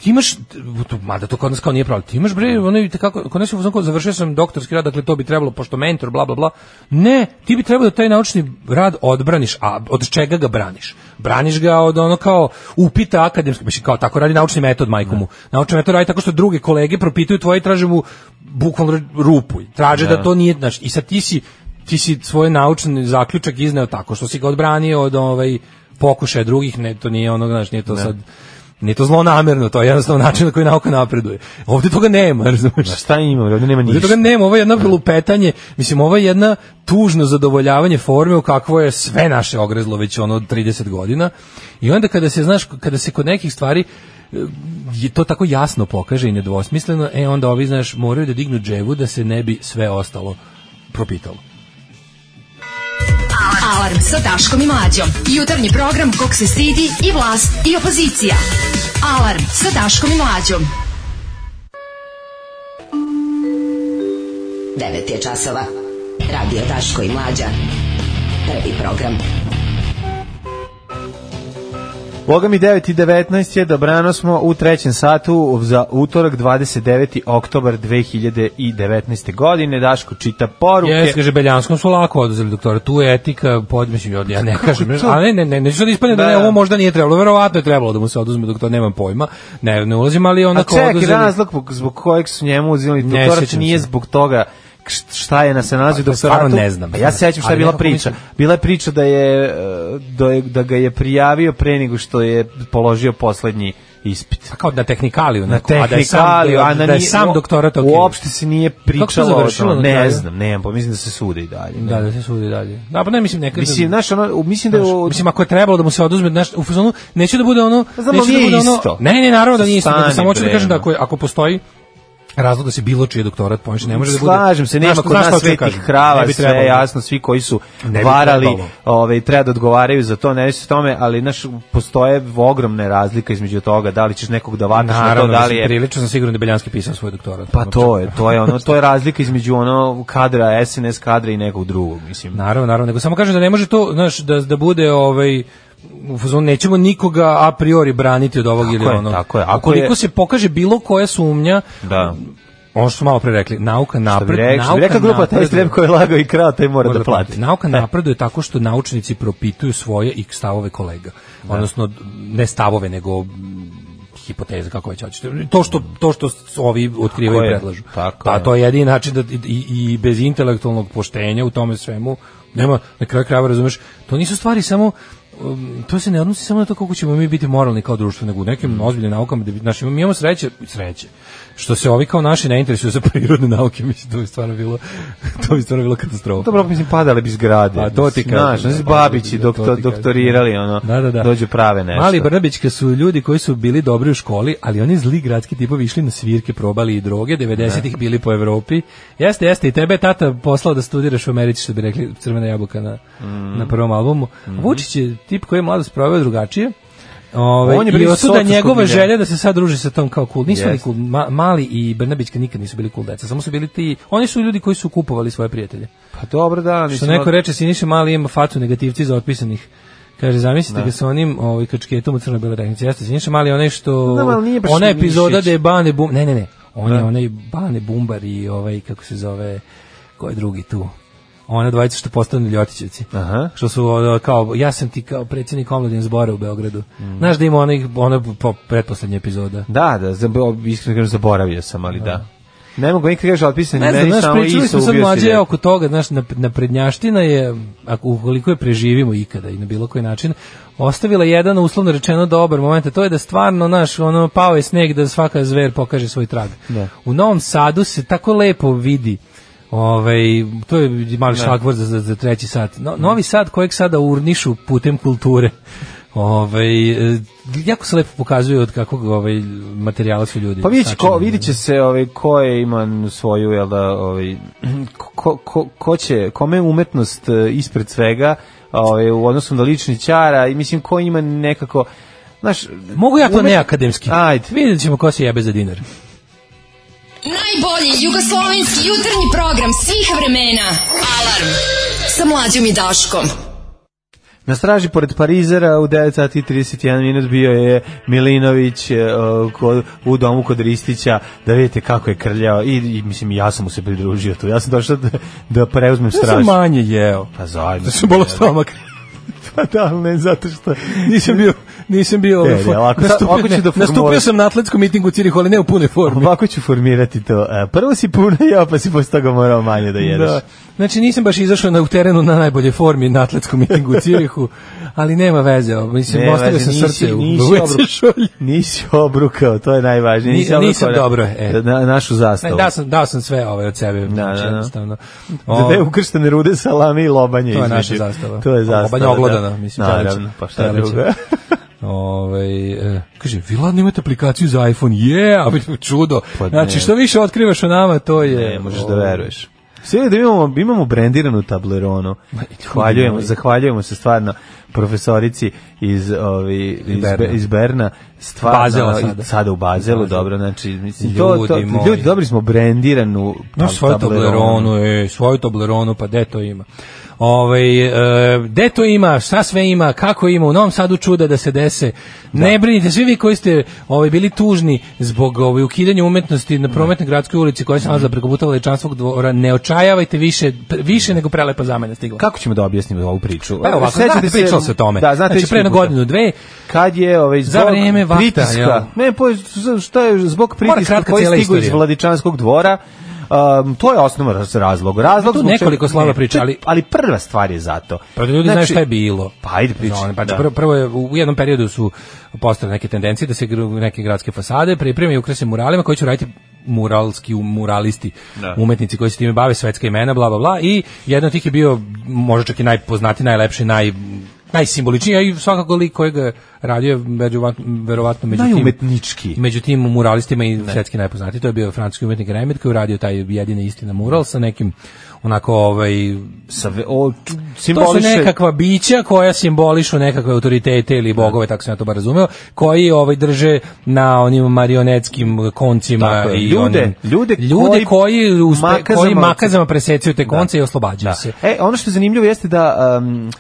F: ti imaš, to- mada to kod nas kao nije pravo, ti imaš bre, ono i kako, kod nas je u fazonu kao, završio sam doktorski rad, dakle to bi trebalo, pošto mentor, bla, bla, bla. Ne, ti bi trebalo da taj naučni rad odbraniš, a od čega ga braniš? Braniš ga od ono kao upita akademski, mislim kao tako radi naučni metod, majku mu. Naučni metod radi tako što druge kolege propituju tvoje i traže mu bukvalno rupu, traže da to nije, znaš, i sad ti si, ti si svoj naučni zaključak izneo tako što si ga odbranio od ovaj pokušaja drugih, ne, to nije ono, znaš, nije to sad nije to zlonamerno, to je jednostavno način na koji nauka napreduje. Ovde toga nema, razumeš?
E: Ma šta ima, ovde nema
F: Ovde
E: ništa.
F: toga nema, ovo je jedno lupetanje, mislim, ovo je jedna tužno zadovoljavanje forme u kakvo je sve naše ogrezlo već ono od 30 godina. I onda kada se, znaš, kada se kod nekih stvari e, je to tako jasno pokaže i nedvosmisleno, e onda ovi, znaš, moraju da dignu dževu da se ne bi sve ostalo propitalo.
D: Alarm sa Daškom i Mlađom. Jutarnji program kog se stidi i vlast i opozicija. Alarm sa Daškom i Mlađom.
H: 9 je časova. Radio Daško i Mlađa. Prvi program.
E: Boga mi 9 i 19 je, dobrano smo u trećem satu za utorak 29. oktobar 2019. godine. Daško čita poruke.
F: Jes, kaže, Beljanskom su lako oduzeli doktora, tu je etika, pod, mislim, ja- ja ne kažem,
E: je to?
F: ali ne, ne, neću sad ispadne da,
E: Da.
F: ne, ovo možda nije trebalo, verovatno je trebalo da mu se oduzme doktor, nemam pojma, ne, ne ulazim, ali
E: A
F: onako
E: čekaj,
F: oduzeli.
E: razlog zbog- zbog kojeg su njemu uzimali
F: Ne
E: doktorat
F: sjećam
E: nije
F: se.
E: zbog toga šta je na se nalazi
F: Pa,
E: u
F: to
E: doktoratu.
F: stvarno ne znam.
E: A ja se sećam šta je
F: Ali
E: bila
F: nekako
E: priča.
F: mislim-
E: Bila je priča da je e, da, je- da ga je prijavio pre nego što je položio poslednji ispit.
F: A Pa kao na tehnikaliju,
E: Na
F: onako, a da je sam,
E: tehnikaliju, a na
F: da je
E: nije-
F: sam doktorat ok.
E: Uopšte se nije pričalo o
F: završilo
E: tome.
F: na
E: Ne
F: kraju?
E: znam, ne, pa mislim da se sude i dalje. ne.
F: Da, da se sudi dalje. Da, pa ne, mislim, nekad...
E: Mislim, znaš, ono, mislim da je...
F: Znaš,
E: u-
F: mislim ako je trebalo da mu se oduzme znaš, u fazonu neću da bude ono
E: Pa znam,
F: neću
E: ali
F: da
E: nije
F: bude
E: isto.
F: ono ne ne naravno da nije isto nego
E: Stani,
F: samo hoću da
E: bre,
F: kažem da
E: ono.
F: ako je- ako postoji razlog da se bilo čiji doktorat poniš ne može da bude
E: Slažem se, nema
F: Znaš-
E: kod
F: znaš šta
E: nas
F: hoću da
E: svetih
F: kažem? Ne
E: krava,
F: bi
E: sve
F: trebalo.
E: je jasno, svi koji su
F: Ne bi
E: varali,
F: trebalo.
E: ovaj, treba da odgovaraju za to, ne već se tome, ali naš, postoje ogromne razlike između toga, da li ćeš nekog da vataš na to,
F: naravno
E: da li
F: mislim,
E: je...
F: prilično sam siguran da je Beljanski pisao svoj doktorat
E: Pa to je, to je ono, to je razlika između ono kadra, SNS kadra i nekog drugog, mislim.
F: Naravno, naravno, nego samo kažem da ne može to, znaš, da, da bude ovaj u fazonu nećemo nikoga a priori braniti od ovog
E: Tako
F: ili
E: je,
F: onog.
E: tako je. Ako
F: Ukoliko
E: je-
F: se pokaže bilo koja sumnja,
E: Da.
F: ono što smo malo pre rekli, nauka
E: Što bi
F: napred,
E: rekao, što bi rekla grupa, taj strep koji je lagao i krao, taj mora da plati. E.
F: Nauka napreduje tako što naučnici propituju svoje i stavove kolega. Odnosno, ne stavove, nego mm, hipoteze kako već hoćete. To što to što s- ovi otkrivaju
E: Tako
F: i
E: je,
F: predlažu.
E: tako
F: pa
E: je.
F: to je jedini način da i, i bez intelektualnog poštenja u tome svemu nema na kraju krajeva razumeš. To nisu stvari samo um, to se ne odnosi samo na to kako ćemo mi biti moralni kao društvo, nego u
E: Mm.
F: nekim ozbiljnim naukama da bi, znači, mi imamo sreće, sreće, što se ovi kao naši ne interesuju za prirodne nauke, mislim, to bi stvarno bilo, to bi stvarno bilo katastrofa.
E: Dobro, mislim, padale bi zgrade.
F: A Pa, to ti kažem,
E: Znaš,
F: da,
E: znaš,
F: padale
E: babići
F: bi, da, to
E: doktor-
F: ti kažem.
E: doktorirali, ono,
F: Da, da, da.
E: dođu prave nešto.
F: Mali Brnabićka su ljudi koji su bili dobri u školi, ali oni zli gradski tipovi išli na svirke, probali i droge, 90-ih bili po Evropi. Jeste, jeste, i tebe je tata poslao da studiraš u Americi, što bi rekli Crvena jabuka na,
E: Mm.
F: na prvom albumu. Vučić je tip koji je mladost proveo drugačije. Ove,
E: On je
F: I
E: bio iz
F: osuda
E: socijskog
F: njegova
E: miljea.
F: želja da se sad druži sa tom kao cool. Nisu oni
E: Jeste.
F: cool. Ma, mali i Brnabićka nikad nisu bili cool deca. Samo su bili ti... Oni su ljudi koji su kupovali svoje prijatelje.
E: Pa dobro, da,
F: Što
E: mislim, ono-
F: neko
E: od-
F: reče, Siniša Mali ima fatu negativci za otpisanih. Kaže, zamislite ga sa onim ovaj, kačketom u crnoj beloj tehnici. Jeste, Siniša Mali je onaj što...
E: Da, ali nije baš
F: ona
E: Sinišić.
F: epizoda da je Bane Bum... Ne, ne, ne. On je onaj Bane Bumbar i ovaj, kako se zove, ko je drugi tu? Ona dvojica što postanu Ljotićevci.
E: Aha.
F: Što su ono, kao, ja sam ti kao predsjednik omladin zbora u Beogradu.
E: Mm.
F: Znaš da ima onaj, ona po, pretposlednja epizoda.
E: Da, da, zab- iskreno kažem, zaboravio sam, ali da. Ne mogu nikad kažem, ali pisan
F: Ne znam,
E: meni
F: znaš,
E: samo
F: pričali
E: Iso
F: smo sad
E: ubio si
F: mlađe
E: dete.
F: oko toga, znaš, na, na prednjaština je, ako, ukoliko je preživimo ikada i na bilo koji način, ostavila jedan uslovno rečeno dobar moment, a to je da stvarno, naš, ono, pao je sneg da svaka zver pokaže svoj trag. U Novom Sadu se tako lepo vidi Ovaj to je mali šlagvor za, za, za treći sat. No, novi Sad kojeg sada urnišu putem kulture. Ovaj e, jako se lepo pokazuje od kakvog ovaj materijala su ljudi.
E: Pa vidit će, ko,
F: sačinjeni.
E: vidit će se ovaj, ko je ima svoju, jel da, ovaj, ko, ko, ko će, kome je umetnost e, ispred svega, ovaj, u odnosu na lični ćara i mislim ko ima nekako, znaš,
F: Mogu ja to
E: umet-
F: neakademski?
E: Ajde.
F: Vidjet ćemo ko se jebe za dinar.
D: Najbolji jugoslovenski jutarnji program svih vremena. Alarm sa mlađom i Daškom.
E: Na straži pored Parizera u 9 sati i 31 minut bio je Milinović e, o, ko- u domu kod Ristića da vidite kako je krljao i, i mislim ja sam mu se pridružio tu. Ja sam došao da, da preuzmem stražu.
F: manje jeo.
E: Pa zajedno.
F: Da sam bolo stomak.
E: Pa da, ali ne, zato što...
F: Nisam bio, nisam bio...
E: Ne,
F: ovaj,
E: ne, ovako- ovako ću
F: ne,
E: da formuliram.
F: nastupio sam na atletskom mitingu u Cirihu, ali ne u pune formi.
E: Ovako ću formirati to. E, Prvo si puno jeo, pa si posle toga morao manje da jedeš.
F: Da. Znači nisam baš izašao na u terenu na najbolje formi na atletskom mitingu u Cirihu, ali nema veze, o, mislim,
E: Ne,
F: ostavio
E: važi,
F: sam
E: nisi-
F: srce u
E: nisi
F: u WC
E: obruk-
F: šolji.
E: Nisi obrukao, to je najvažnije.
F: Ni-
E: Nisi obrukao
F: nisam
E: na-
F: dobro, e.
E: na- našu
F: Ne,
E: zastavu.
F: dao sam, dao sam sve ovaj od sebe, znači,
E: da, da.
F: jednostavno.
E: Da
F: O,
E: je ukrštene rude salame i lobanje.
F: To je
E: između.
F: naša zastava.
E: To je zastava.
F: Lobanje
E: da.
F: oglodana, mislim,
E: Naravno,
F: čelić.
E: pa šta
F: Čelić.
E: drugo.
F: Ovaj e, kaže, vi ladno imate aplikaciju za iPhone, je, a bi čudo.
E: Pa ne.
F: znači, što više otkrivaš o nama, to je... ovaj,
E: Ne, E, možeš da veruješ. Sve je da imamo, imamo brendiranu tableronu. Hvaljujemo,
F: moj.
E: zahvaljujemo se stvarno profesorici iz, ovi, iz,
F: Berna.
E: Be- iz Berna. Stvarno,
F: Bazela sada.
E: sada u Bazelu, dobro, znači, mislim, to, to,
F: Ljudi moji.
E: ljudi, dobili smo brendiranu
F: No,
E: tab-
F: svoju tableronu, e, svoju tableronu, pa de to ima. Ovaj e, de to ima, šta sve ima, kako ima, u Novom Sadu čuda da se dese. Ne brinite, svi vi koji ste ovaj, bili tužni zbog ovaj, ukidanja umetnosti na prometnoj gradskoj ulici koja se nalaza preko puta Veličanskog dvora, ne očajavajte više, pre- više nego prelepa zamena stigla.
E: Kako ćemo da objasnimo ovu priču?
F: Pa evo ovako,
E: Sećate
F: da, pričalo se o tome.
E: Da, znate,
F: znači, pre na
E: puta.
F: godinu, dve,
E: kad je ovaj
F: Za
E: zbog
F: vreme vakta,
E: pritiska,
F: jel?
E: ne pa šta je zbog pritiska
F: kratka
E: koji
F: cijela
E: stigu iz
F: istorija.
E: Vladičanskog dvora Um, to je osnova raz- razlog. Razlog
F: Tu
E: zbog čega-
F: nekoliko slova
E: ne,
F: priča,
E: to je-
F: ali-
E: ali prva stvar je zato.
F: Pa da ljudi znaju šta je bilo.
E: Pa ajde pričaj.
F: Ono, pa
E: Da.
F: prvo, prvo je, u jednom periodu su postale neke tendencije da se gru- neke gradske fasade pripreme i ukrase muralima koji će raditi muralski muralisti,
E: Da.
F: umetnici koji se time bave, svetska imena, bla, bla, bla. I jedan od tih je bio možda čak i najpoznatiji, najlepši, naj najsimboličniji, a i svakako lik kojeg je radio je među, verovatno među tim-
E: Najumetnički.
F: među tim muralistima i svetski najpoznatiji. To je bio francuski umetnik Remet koji je uradio taj jedini istina mural sa nekim onako ovaj
E: Sa, ve- o, ču-
F: to su
E: simboliše-
F: nekakva bića koja simbolišu nekakve autoritete ili bogove, tako sam ja to bar razumeo, koji ovaj drže na onim marionetskim koncima
E: Tako je.
F: i
E: Ljude-
F: onim-
E: ljude
F: ljude
E: koji
F: koji, uspe-
E: makazama-
F: koji makazama presecaju te konce i oslobađaju se.
E: E, ono što je zanimljivo jeste da um,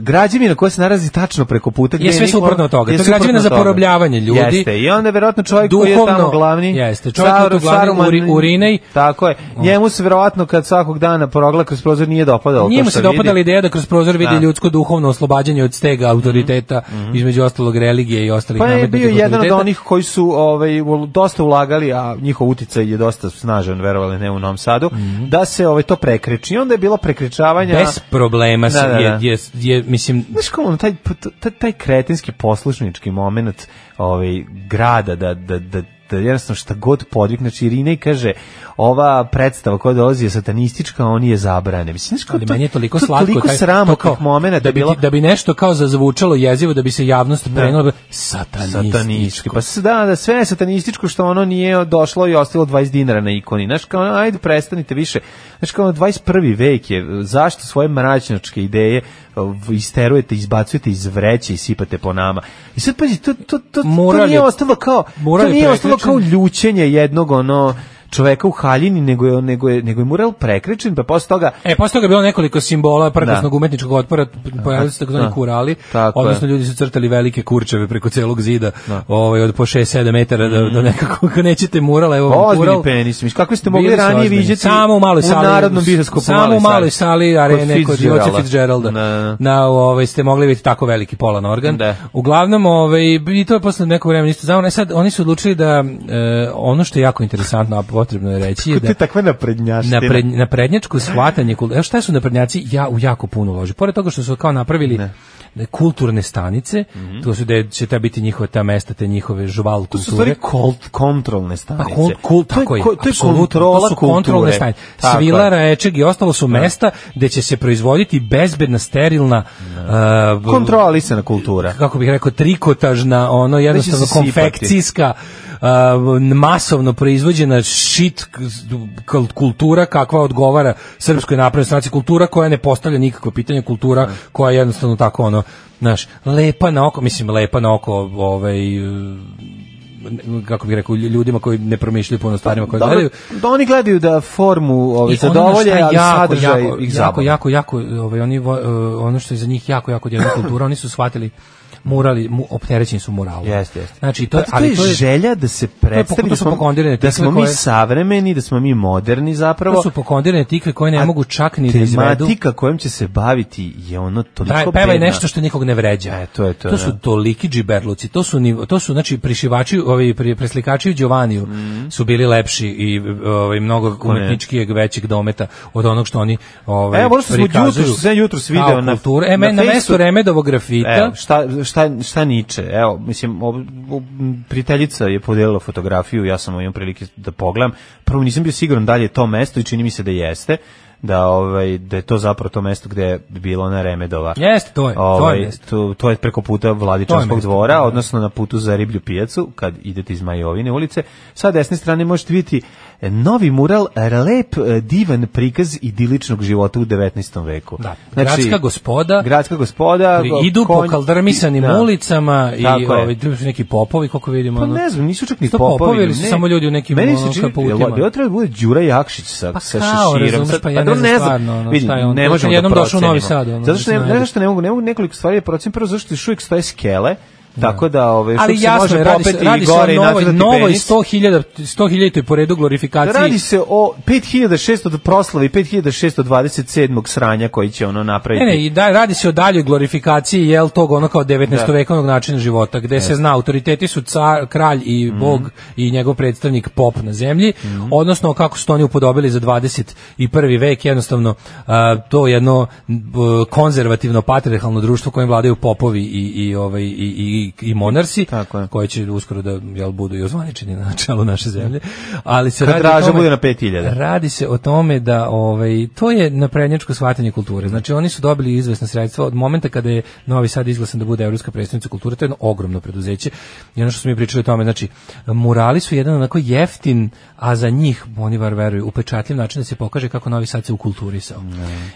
E: građevina koja se nalazi tačno preko puta gdje
F: Je sve
E: niko-
F: suprotno od toga.
E: je
F: To je
E: suprotno
F: građevina
E: od
F: za
E: toga.
F: porobljavanje ljudi.
E: Jeste. I onda verovatno čovjek koji je
F: Duhovno,
E: tamo glavni.
F: jeste. Čovjek koji je tu glavni
E: Saruman-
F: uri- urinej.
E: Tako je. Njemu se verovatno kad svakog dana porogla kroz prozor nije dopadalo. to što
F: Njemu se
E: vidi.
F: dopadala ideja da kroz prozor vidi
E: Da. Mhm,
F: ljudsko duhovno oslobađanje od stega autoriteta, između ostalog religije i ostalih
E: Pa je bio
F: nametnutih
E: jedan od
F: autoriteta.
E: onih koji su ovaj, ul- dosta ulagali, a njihov uticaj je dosta snažan, verovali ne u Novom Sadu, da se ovaj, to prekreči. I onda je bilo prekrečavanja...
F: Mhm. Bez problema
E: Da, da, da.
F: je, je, je, mislim,
E: Znaš kao ono, taj, taj, taj kretinski poslušnički moment ovaj, grada, da, da, da, da jednostavno šta god podvik, znači Irina i kaže ova predstava koja dolazi je satanistička, a oni je zabrane. Mislim, znaš kao
F: ali meni je toliko
E: to je
F: slatko
E: toliko
F: taj-
E: sramo
F: to kao-
E: tih momenata
F: da bi
E: bilo
F: ti- da bi nešto kao zazvučalo jezivo da bi se javnost prenela satanistički,
E: satanistički. Pa s- da, da, sve je satanističko što ono nije došlo i ostalo 20 dinara na ikoni. Znaš kao, ono, ajde prestanite više. Znaš kao, ono, 21. vek je, zašto svoje mračnjačke ideje uh, isterujete, izbacujete iz vreće i sipate po nama. I sad pazi, to, to, to,
F: Moral
E: to
F: je-
E: nije ostalo kao,
F: moral
E: to
F: je
E: nije ostalo kao
F: prekrečen.
E: ljućenje jednog ono, čoveka u haljini, nego je, nego je, nego je mural prekrečen, pa posle toga
F: E, posle toga je bilo nekoliko simbola prkosnog
E: Da.
F: umetničkog otpora, pojavili se takozvani
E: Da.
F: kurali,
E: Tako je.
F: odnosno ljudi su crtali velike kurčeve preko celog zida, ovaj, od po 6-7 metara do, do nekako, ako nećete murala, evo vam
E: Ozbiljni
F: mural.
E: penis, mislim, kako ste mogli
F: Bili su
E: ranije
F: ozbiljni.
E: viđati
F: samo u maloj sali,
E: narodnom bioskopu
F: Samo u maloj sali arene kod Joća Fitzgeralda.
E: Da, da, da.
F: Na, ovaj, ste mogli vidjeti tako veliki polan organ.
E: Da.
F: Uglavnom, ovaj, i to je posle nekog vremena isto zamano. E sad, oni su odlučili da e, ono što je jako interesantno, a potrebno je reći, je
E: Kako
F: da
E: ti takve naprednjaština?
F: na, pred, na prednjačku shvatanje kulture. Evo šta su naprednjaci ja, u jako puno uloži. Pored toga što su kao napravili kulturne stanice, to su da će ta biti njihova ta mesta, te njihove žval kulture.
E: Mhm. To su stvari kult, kontrolne stanice.
F: Pa kul, kul,
E: to je,
F: tako je,
E: ko- to je
F: apsolutno,
E: kontrola
F: to su kontrolne
E: kulture.
F: stanice.
E: Tako je.
F: Svila, Rečeg i ostalo su mesta gde će se proizvoditi bezbedna, sterilna, uh, b-
E: Kontrolisana kultura.
F: kako bih rekao, trikotažna, ono
E: se
F: jednostavno
E: sipati.
F: konfekcijska, uh, masovno proizvođena šit k- k- kultura kakva odgovara srpskoj naprednoj stranci, kultura koja ne postavlja nikakvo pitanje, kultura koja je jednostavno tako ono, znaš, lepa na oko, mislim lepa na oko, ovaj uh, ne- kako bih rekao, lju- ljudima koji ne promišljaju puno o stvarima koje
E: Dobro,
F: gledaju.
E: da oni gledaju da formu ovaj,
F: I ono na šta
E: zadovolje,
F: je
E: ali
F: jako,
E: sadržaj
F: jako,
E: ih
F: jako,
E: zabava.
F: jako, jako, ovaj, oni, vo- eh, ono što je za njih jako, jako djelna kultura, oni su shvatili murali, mu, opterećeni su muralom.
E: Jeste, jeste.
F: Znači, to, je-
E: Pa
F: ali to je,
E: želja da se
F: to
E: predstavi
F: su
E: da smo,
F: pokondirane
E: da smo
F: tikve
E: mi
F: koje-
E: savremeni, da smo mi moderni zapravo.
F: to su pokondirane tikve koje ne
E: A
F: mogu čak ni da izvedu.
E: Tematika kojom će se baviti je ono
F: Daj,
E: toliko
F: pevaj
E: bedna.
F: nešto što nikog ne vređa.
E: E, to je to, da.
F: su toliki džiberluci, to su nivo, to su znači prišivači, ovi pri- preslikači u Đovaniju
E: Mhm.
F: su bili lepši i ovaj mnogo umetničkijeg većeg dometa od onog što oni ovaj
E: Evo, ono što smo
F: prikazuju
E: jutros- sam jutros
F: kao
E: video na-
F: kulturu. E,
E: na
F: me- na,
E: Facebooku.
F: mestu Remedovog grafita.
E: Evo, šta, šta, šta Niče? Evo, mislim, ob, ob- m, prijateljica je podijelila fotografiju, ja sam imao prilike da pogledam. Prvo nisam bio siguran da li je to mesto i čini mi se da jeste, da, ovaj, da je to zapravo to mesto gde je bila ona Remedova.
F: Jeste, to je, to je
E: Ovaj,
F: mesto.
E: to, to je preko puta
F: To je
E: Vladičanskog
F: mesto,
E: dvora,
F: da.
E: odnosno na putu za Riblju pijacu, kad idete iz Majovine ulice. Sa desne strane možete vidjeti e, novi mural, e, lep, e, divan prikaz idiličnog života u 19. veku. Znači,
F: Da, gradska gospoda,
E: Gradska gospoda.
F: Pri-
E: go-
F: idu po
E: konj-
F: kaldramisanim
E: da.
F: ulicama i
E: Tako je.
F: ovaj tu su neki popovi koliko vidimo.
E: Pa
F: ono.
E: ne znam, nisu čak ni
F: Su to
E: popovi.
F: ili su
E: ne.
F: samo ljudi u nekim
E: Meni
F: ono,
E: se čini,
F: kaputima?
E: jel- jel treba da bude Đura Jakšić sa,
F: Pa
E: sa
F: kao,
E: šeširom.
F: razumeš,
E: Sad-
F: pa ja ne
E: dobro,
F: znam stvarno, ono,
E: Vidi,
F: šta je on, to
E: ne
F: je
E: možemo da
F: jednom došao u Novi
E: procenimo.
F: Sad, ono,
E: Zato što ne,
F: mislim,
E: ne,
F: ajde.
E: zašto ne mogu, ne mogu nekoliko stvari da procenim. Prvo, zašto još uvijek stoje skele Tako da, ovaj,
F: Ali
E: što se
F: jasno
E: može
F: je, radi se,
E: popeti
F: radi
E: i
F: se
E: gore
F: o novoj,
E: i nacrtati
F: novoj
E: penis.
F: 100.000 100.000 po redu glorifikaciji.
E: Radi se o 5600 proslave i 5627. sranja koji će ono napraviti.
F: Ne, ne, i da, radi se o daljoj glorifikaciji jel tog ono kao 19.
E: Da.
F: vekovnog načina života, gde se zna autoriteti su car, kralj i
E: Mhm.
F: bog i njegov predstavnik pop na zemlji, odnosno kako su to oni upodobili za 21. vek, jednostavno a, to jedno m, konzervativno patriarhalno društvo kojim vladaju popovi i i ovaj i i, i monarsi
E: Tako je.
F: koji će uskoro da jel budu i ozvaničeni na čelu naše zemlje. Ali se
E: Kad
F: radi o
E: Draža
F: tome-
E: bude na 5000.
F: Radi se o tome da ovaj to je naprednjačko shvatanje kulture. Znači oni su dobili izvesna sredstva od momenta kada je Novi Sad izglasan da bude evropska predstavnica kulture, to je jedno ogromno preduzeće. I ono što smo mi pričali o tome, znači murali su jedan onako jeftin, a za njih oni bar veruju upečatljiv način da se pokaže kako Novi Sad se ukulturisao.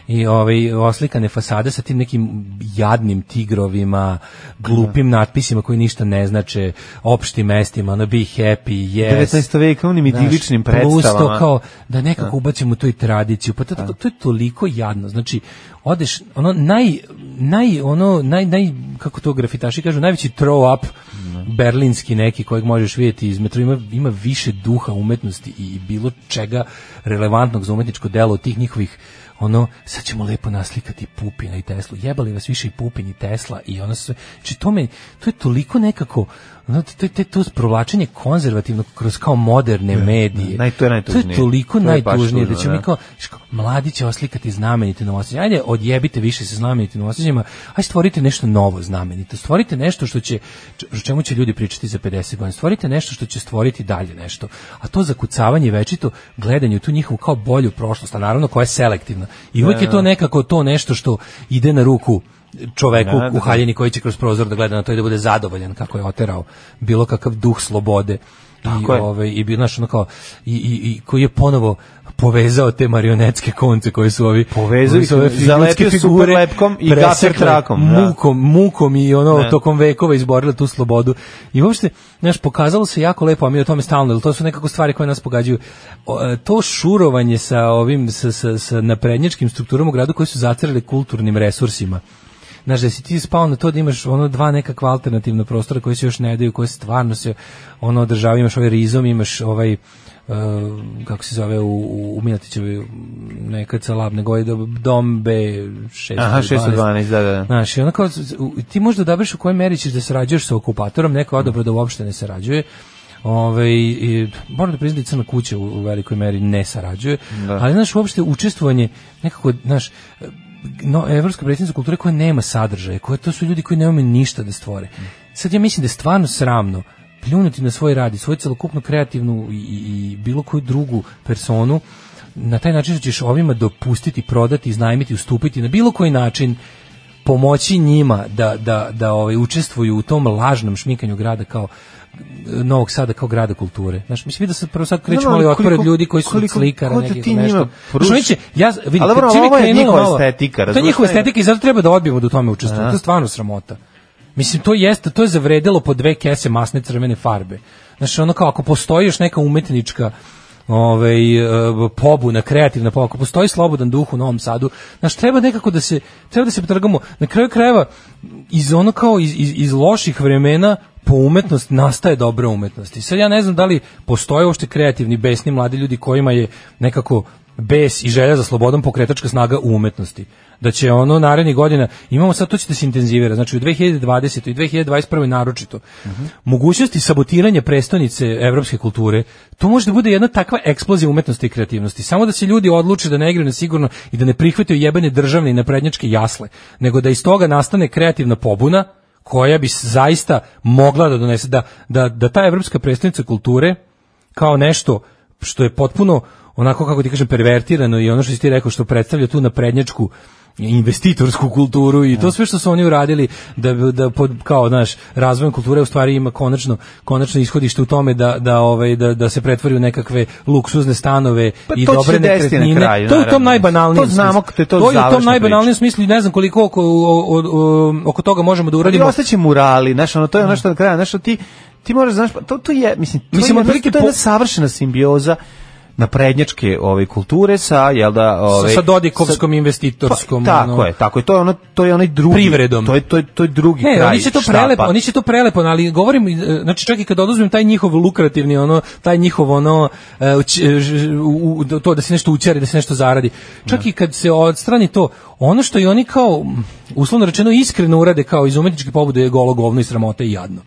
F: I ovaj oslikane fasade sa tim nekim jadnim tigrovima, glupim natpisima koji ništa ne znače, opštim mestima, ono be happy, yes.
E: 19. veka onim
F: Znaš,
E: idiličnim
F: Plus to
E: predstavama.
F: kao da nekako ubacimo tu i tradiciju. Pa to, to, to je toliko jadno. Znači, odeš, ono, naj, naj, ono, naj, naj, kako to grafitaši kažu, najveći throw up berlinski neki kojeg možeš vidjeti iz metro. Ima, ima više duha umetnosti i bilo čega relevantnog za umetničko delo od tih njihovih ono, sad ćemo lepo naslikati Pupina i Teslu. Jebali vas više i Pupin i Tesla i ono sve. Znači, to, me, to je toliko nekako, ono, to, je- to, je to provlačenje konzervativno kroz kao moderne medije.
E: naj- to je najtužnije.
F: To je toliko
E: To je baš
F: najtužnije da
E: tužno,
F: ćemo mi
E: da.
F: kao, znaš, kao, mladi će oslikati znamenite novosađe. Ajde, odjebite više sa znamenitim novosađima. Ajde, stvorite nešto novo znamenito. Stvorite nešto što će, č- o čemu će ljudi pričati za 50 godina. Stvorite nešto što će stvoriti dalje nešto. A to zakucavanje večito gledanje u tu njihovu kao bolju prošlost, a naravno koja je selektivna. I uvijek je to nekako to nešto što ide na ruku čoveku
E: Da, da, da.
F: u haljini koji će kroz prozor da gleda na to i da bude zadovoljan kako je oterao bilo kakav duh slobode.
E: Tako
F: I,
E: je.
F: ovaj i bio znaš, ono kao i, i, i koji je ponovo povezao te marionetske konce koje su ovi
E: Povezao
F: koji
E: ih,
F: su ove ljudske
E: zalepio
F: figure
E: superlepkom i gafer
F: presekle
E: trakom, da.
F: mukom mukom i ono
E: Da.
F: tokom vekova izborile tu slobodu i uopšte znaš pokazalo se jako lepo a mi o tome stalno jer to su nekako stvari koje nas pogađaju O, e, to šurovanje sa ovim sa sa sa naprednjačkim strukturama u gradu koji su zatrli kulturnim resursima Znaš, da si ti spao na to da imaš ono dva nekakva alternativna prostora koji se još ne daju, koji stvarno se ono održavaju, imaš ovaj rizom, imaš ovaj e, kako se zove u, u, u Miletićevoj neka celabne gojde dom B 612.
E: Aha, 612, da, da, da.
F: Znaš, i ono kao, u- ti možda odabereš u kojoj meri ćeš da sarađuješ sa okupatorom, neko je odobro da uopšte ne sarađuje. Ove, i, moram da priznam da i Crna kuća u, u velikoj meri ne sarađuje, ali znaš, uopšte učestvovanje nekako, znaš, no, evropska predstavnica kulture koja nema sadržaja, koja to su ljudi koji ne umeju ništa da stvore. Sad ja mislim da je stvarno sramno pljunuti na svoj rad i svoju celokupnu kreativnu i, i- i bilo koju drugu personu na taj način što ćeš ovima dopustiti, prodati, iznajmiti, ustupiti na bilo koji način pomoći njima da, da, da ovaj, učestvuju u tom lažnom šmikanju grada kao e, Novog Sada kao grada kulture. Znaš, mislim da se prvo sad krećemo
E: Znam,
F: ali
E: ali
F: otpore od
E: koliko-
F: ljudi koji su
E: koliko-
F: slikara
E: ko da
F: nekih
E: ti
F: nešto.
E: njima
F: Znaš, oni će- ja, vidim,
E: Ali dobro,
F: čim
E: ovo je
F: krenulo
E: njihova
F: malo-
E: estetika,
F: To je
E: razumeš,
F: njihova
E: to je-
F: estetika i zato treba da odbijemo da u tome učestvujemo. To je stvarno sramota. Mislim, to jeste, to je zavredelo po dve kese masne crvene farbe. Znači, ono kao, ako postoji još neka umetnička ovaj, e, pobuna, kreativna pobuna, ako postoji slobodan duh u Novom Sadu, znači, treba nekako da se, treba da se potrgamo. Na kraju krajeva, iz ono kao, iz, iz, iz loših vremena, po umetnost nastaje dobra umetnost. I sad ja ne znam da li postoje uopšte kreativni, besni mladi ljudi kojima je nekako bes i želja za slobodom pokretačka snaga u umetnosti. Da će ono narednih godina, imamo sad, to će da se intenzivira, znači u 2020. i 2021. naročito. Mogućnosti sabotiranja prestonice evropske kulture, to može da bude jedna takva eksplozija umetnosti i kreativnosti. Samo da se ljudi odluče da ne igraju na sigurno i da ne prihvataju jebene državne i naprednjačke jasle, nego da iz toga nastane kreativna pobuna koja bi zaista mogla da donese, da, da, da ta evropska predstavnica kulture kao nešto što je potpuno onako kako ti kažem pervertirano i ono što si ti rekao što predstavlja tu naprednjačku investitorsku kulturu i to sve što su oni uradili da da pod kao znaš razvojem kulture u stvari ima konačno konačno ishodište u tome da da ovaj da da se pretvori u nekakve luksuzne stanove
E: Pa
F: i
E: to će
F: dobre
E: se desiti na
F: nekretnine
E: kraju,
F: to je u
E: naravno.
F: tom najbanalnijem
E: To znamo,
F: smislu.
E: to je to
F: je u tom
E: završna
F: najbanalnijem smislu i ne znam koliko oko, o- o- o- oko toga možemo da
E: Ali
F: uradimo
E: ostaće murali, znaš, ono, to je ono što na kraju, znaš, ti, ti moraš, znaš, pa to, to je, mislim, to
F: Mislim,
E: je,
F: otprilike
E: to je
F: po-
E: jedna savršena simbioza naprednjačke ove kulture sa jel da
F: Sa,
E: ove
F: sa Dodikovskom investitorskom.
E: Pa, tako
F: ono,
E: je, tako je. To je ono to je onaj drugi
F: Privredom.
E: To je to je, to je drugi
F: Ne,
E: kraj.
F: oni će to
E: štapa.
F: prelepo, oni će to prelepo, ali govorim, e, znači čak i kad oduzmem taj njihov lukrativni ono, taj njihov ono e, uć- e, ž- u, u- to da se nešto učari, da se nešto zaradi. Čak i kad se odstrani to, ono što i oni kao m, uslovno rečeno iskreno urade kao iz umetničke pobude je golo govno i sramota i jadno.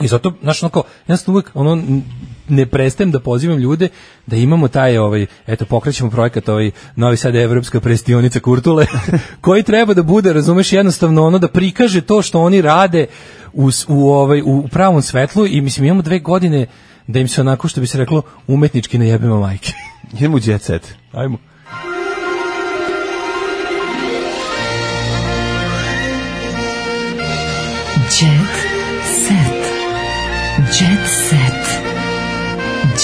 F: I zato, znaš, ono kao, ja sam uvijek, ono, n- ne prestajem da pozivam ljude da imamo taj, ovaj, eto, pokrećemo projekat, ovaj, novi sad evropska prestionica Kurtule, koji treba da bude, razumeš, jednostavno ono, da prikaže to što oni rade u, s- u, ovaj, u pravom svetlu i, mislim, imamo dve godine da im se onako, što bi se reklo, umetnički ne jebimo majke.
E: Idemo u jet set.
F: Ajmo.
D: Jet set. Jet set.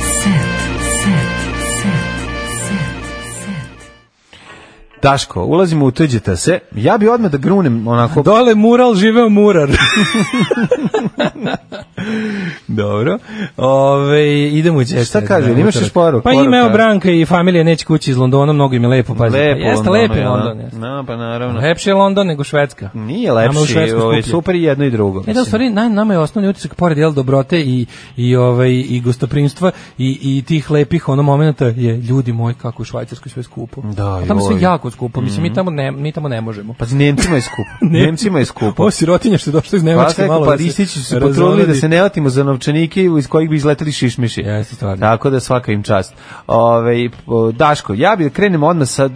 D: set. Set. Set.
E: Daško, ulazimo u tuđeta se. Ja bi odmah da grunem onako
F: Dole mural, živeo murar.
E: dobro.
F: Ove, idemo u jet
E: E, Šta
F: set,
E: kaže,
F: da,
E: imaš još
F: utorak.
E: poruku?
F: Pa ima evo
E: Poruka.
F: Branka i familija neće kući iz Londona, mnogo im je lepo, pazi.
E: Lepo.
F: pa jeste
E: Londonu,
F: lepo je
E: jel da?
F: London. jeste.
E: No, pa naravno.
F: Lepše je London nego Švedska.
E: Nije
F: Nama u
E: lepši,
F: Švedskoj
E: ovaj,
F: skuplje.
E: super i jedno i drugo.
F: E da, u
E: mislim.
F: stvari, na, nama je osnovni utisak, pored jel, dobrote i, i, ovaj, i gostoprimstva i, i tih lepih ono momenta je, ljudi moji, kako u Švajcarskoj sve skupo.
E: Da,
F: A tamo sve
E: joj. Mhm.
F: jako skupo, mislim, mi, tamo ne, mi tamo ne možemo.
E: Pa Nemcima je skupo. Nemcima je skupo.
F: Ovo sirotinja što je došla iz
E: Pa
F: Nemačke,
E: tako,
F: malo
E: pa
F: da se
E: Ristići su se
F: razonodi.
E: potrudili da se ne otimo za novčanike iz kojih bi izleteli šišmiši.
F: Jeste, stvarno.
E: Tako da svaka im čast. Ove, Daško, ja bi da krenem odmah sa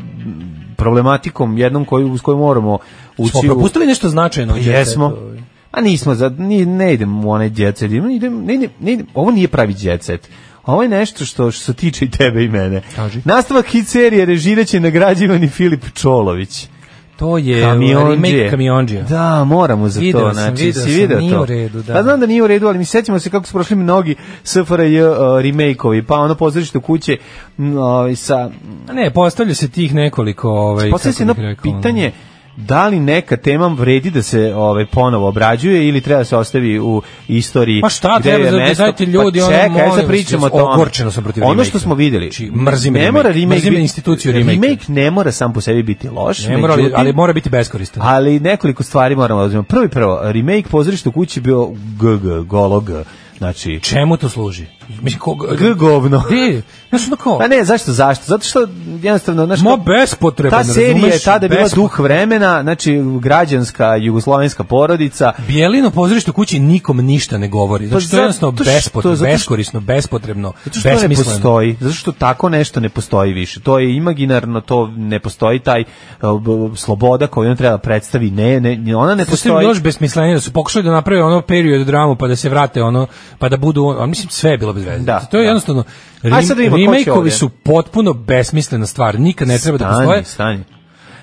E: problematikom jednom koju, s kojom moramo ući.
F: Smo
E: u- Pa
F: propustili nešto značajno. u Jet Setu,
E: Jesmo.
F: ovaj.
E: A nismo, za, ni, ne idem u onaj jet set. Idem, idem- ne, idem- ne idem- ovo nije pravi jet set. Ovo je nešto što, što se tiče i tebe i mene.
F: Kaži.
E: Nastavak hit serije režiraće nagrađivani Filip Čolović.
F: To je ovaj,
E: Kamionđije.
F: remake Kamionđija.
E: Da, moramo za
F: Video
E: to.
F: sam,
E: Znači,
F: video
E: si
F: sam,
E: video
F: nije
E: to.
F: u redu, da.
E: Pa znam da nije u redu, ali mi sećamo se kako su prošli mnogi SFRJ uh, remake-ovi, pa ono pozorište kuće m, ovaj, sa...
F: A ne, postavlja se tih nekoliko... Ovaj,
E: Postavlja se
F: kako
E: jedno
F: bih rekao, ono.
E: pitanje da li neka tema vredi da se ovaj ponovo obrađuje ili treba da se ostavi u istoriji
F: Pa šta
E: gde
F: treba,
E: je
F: da- da
E: mesto?
F: dajte ljudi,
E: pa
F: ono,
E: čekaj,
F: molim
E: sad
F: vas,
E: pričamo o
F: jes-
E: tome
F: ogorčeno sam protiv
E: ono što
F: remake-a.
E: smo vidjeli
F: Znači, mrzim
E: ne
F: remake.
E: mora remake
F: Mrzim
E: biti-
F: instituciju remake-a.
E: remake ne mora sam po sebi biti loš
F: ono, Ne mora, ali,
E: međutim-
F: ali mora biti beskoristan.
E: ali nekoliko stvari moramo da uzmemo. Prvi prvo, remake pozorište u kući je bio GG, golo G. Znači,
F: Čemu to služi? Mislim, koga...
E: G govno.
F: Gde? Znaš, ono kao...
E: Pa ne, zašto, zašto? Zato što jednostavno, znaš,
F: Ma
E: kao-
F: bespotrebno,
E: ta serija je
F: razumeš?
E: tada bila
F: Bespotrebno.
E: duh vremena, znači građanska jugoslovenska porodica,
F: Bijelino pozorište u kući nikom ništa ne govori. Znači,
E: Pa
F: to je
E: zato
F: jednostavno
E: što-
F: bespotrebno,
E: zato što-
F: beskorisno, bespotrebno,
E: Zato što to ne
F: besmisleno.
E: postoji, zato što tako nešto ne postoji više. To je imaginarno, to ne postoji taj uh, b- sloboda koju on treba predstavi. Ne, ne, ona ne
F: Postoji
E: postoji.
F: još besmislenije da su pokušali da naprave ono period dramu pa da se vrate ono pa da budu ono, mislim sve je bilo bez veze.
E: Da,
F: to je
E: da.
F: jednostavno
E: Ajde sad da vidimo ko će
F: remake-ovi
E: ovdje.
F: su potpuno besmislena stvar, nikad ne E, treba da
E: Stani,
F: postoje.
E: Stani,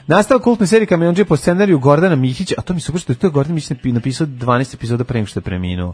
E: Nastavak kultne serije Kamionđe po scenariju Gordana Mihića, a to mi se upravo što je to Gordan Mihić napi- napisao 12 epizoda pre nego što je preminuo.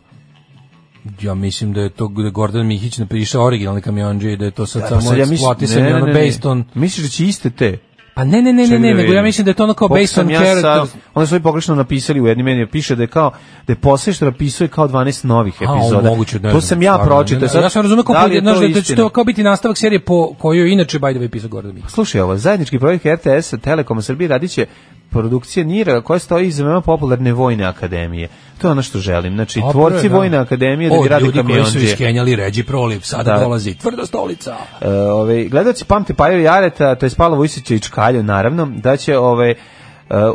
F: Ja mislim da je to da je Gordon Mihić napisao originalni kamionđe i da je to sad
E: Pa
F: samo
E: sad
F: ja
E: mislim-
F: eksploatisanje
E: ne, ne,
F: ono
E: ne, ne.
F: based on
E: Misliš da će iste te?
F: Pa ne, ne, ne, ne,
E: Čekaj
F: ne,
E: da
F: nego ja
E: vidim.
F: mislim da je to ono kao
E: Koliko
F: based
E: sam
F: on
E: ja
F: characters.
E: sa- onda su ovi pogrešno napisali u jednim meni piše da je kao da je posle što napisao je kao 12 novih
F: A,
E: epizoda.
F: moguće, ne
E: to
F: znam,
E: sam ja
F: stvarno, ne,
E: pročitao.
F: ne,
E: sad,
F: Ja sam razumio kao
E: da li je
F: da,
E: to
F: da će
E: istina?
F: to kao biti nastavak serije po kojoj je inače by the way pisao Gordon Mihić.
E: Slušaj ovo, zajednički projekt RTS-a Telekoma Srbije radit će produkcije NIRA koja stoji iza veoma popularne Vojne akademije. To je ono što želim. Znači,
F: Dobro je,
E: tvorci
F: da.
E: Vojne akademije da
F: Od
E: bi radi
F: ljudi koji su
E: kamionđe.
F: iskenjali Ređi proliv, sada
E: Da.
F: dolazi tvrda stolica.
E: E, ovaj gledaoci pamte Paju i Jareta, to je Pavla Vujsića i Čkalju naravno, da će ovaj e,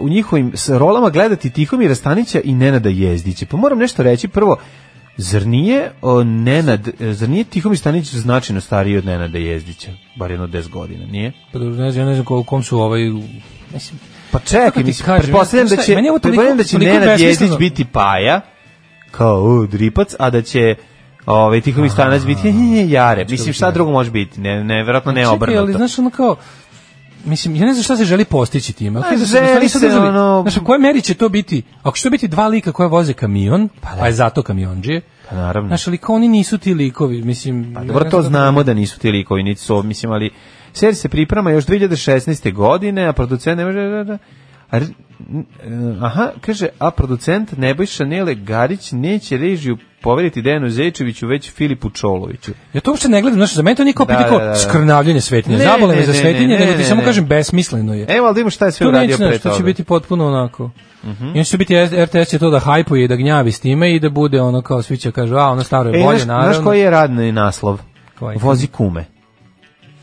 E: u njihovim s rolama gledati Tihomira Stanića i Nenada Jezdića. Pa moram nešto reći prvo Zar nije o, Nenad, e, zar nije Tihomir Stanić značajno stariji od Nenada Jezdića, bar jedno 10 godina, nije?
F: Pa dobro, ne znam, ja ne znam ko- kom su ovaj... Mislim,
E: Pa
F: Kako
E: čekaj,
F: ti
E: mislim,
F: kažem,
E: pretpostavljam da
F: meni-
E: će,
F: meni je ovo toliko-
E: pretpostavljam da će
F: toliko
E: Nenad Jezdić
F: besmisleno.
E: biti Paja, kao u, dripac, a da će ovaj Tihomir Stanić biti nje, Jare. Mislim, šta drugo može biti? Ne, ne, verovatno ne
F: čekaj,
E: E, obrnuto.
F: ali znaš ono kao, Mislim, ja ne znam šta se želi postići time. Okay,
E: A,
F: da
E: Pa želi
F: stvarno sad
E: se,
F: uzeli-
E: ono-
F: Znaš, u kojoj meri će to biti? Ako će to biti dva lika koja voze kamion, pa, je zato kamionđije.
E: Pa naravno.
F: Znaš, ali kao oni nisu ti likovi, mislim...
E: Pa
F: ja
E: dobro,
F: ne
E: to
F: znam kako-
E: znamo da nisu ti likovi, niti su, mislim, ali serija se priprema još 2016. godine, a producent ne može... Da, da, a, r- n- e, aha, kaže, a producent Nebojša Nele Garić neće režiju poveriti Dejanu Zečeviću, već Filipu Čoloviću.
F: Ja to uopšte ne gledam, znači za mene to nije kao
E: Da,
F: pitanje kao
E: da, da.
F: skrnavljenje svetinje,
E: Ne,
F: zabole
E: ne,
F: me za
E: ne,
F: svetinje,
E: ne,
F: nego ti
E: ne, E,
F: samo
E: ne.
F: kažem besmisleno je.
E: Evo, ali da imamo šta je sve
F: to
E: uradio
F: neće
E: pre
F: nešto,
E: toga. Mhm.
F: to će biti potpuno onako. I onda će biti RTS će to da hajpuje i da gnjavi s time i da bude ono kao svi će kažu, a ono staro je
E: E,
F: bolje,
E: znaš,
F: naravno.
E: znaš koji je radni naslov?
F: Koji?
E: Vozi kume.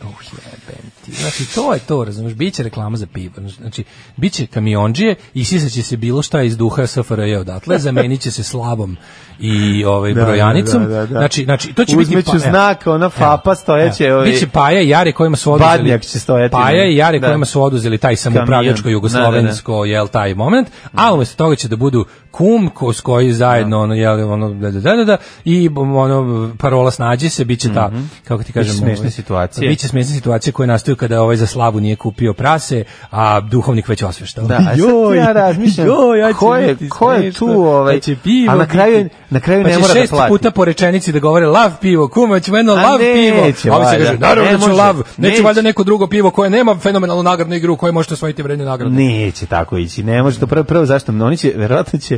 F: Oh, jebem ti. Znači, to je to, razumiješ, bit će reklama za pivo. Znači, bit će kamionđije i sisaće se bilo šta iz duha SFRJ odatle, zamenit će se slabom i ovaj,
E: Da,
F: brojanicom.
E: da, da, da.
F: Znači, znači, to će biti...
E: Uzmeću
F: pa- evo.
E: znak, ona Fapa
F: Evo,
E: stojeće,
F: evo.
E: ovaj-
F: E, Biće Paja i Jare kojima su oduzeli...
E: Badnjak će stojati.
F: Paja i Jare
E: Da.
F: kojima su oduzeli taj samoupravljačko
E: Kamion.
F: jugoslovensko, jel, taj moment, a umjesto toga će da budu kum ko, s koji zajedno, ono, jel, ono, da, da, da, da, da, i ono, parola snađi se, bit će ta,
E: Mhm.
F: kako ti kažem,
E: smešne
F: ovaj,
E: situacije.
F: Biće smiješne situacije koje nastaju kada ovaj za slavu nije kupio prase, a duhovnik već osveštao.
E: Da, a sad ja razmišljam,
F: joj, ja će
E: ko je,
F: biti
E: ko je
F: smešno,
E: tu, ovaj,
F: pa će pivo
E: a na kraju,
F: biti.
E: na kraju
F: pa
E: ne
F: će
E: mora da
F: šest
E: plati.
F: puta po rečenici da govore lav pivo, kuma, ćemo jedno
E: A
F: lav
E: neće,
F: pivo. A ovi se
E: valjda.
F: kaže, naravno
E: Ne
F: da ću
E: može,
F: lav, neću
E: neće.
F: valjda neko drugo pivo koje nema fenomenalnu nagradnu igru u kojoj možete osvojiti vredne nagrade.
E: Neće tako ići, ne može to prvo, prvo zašto, oni će, verovatno će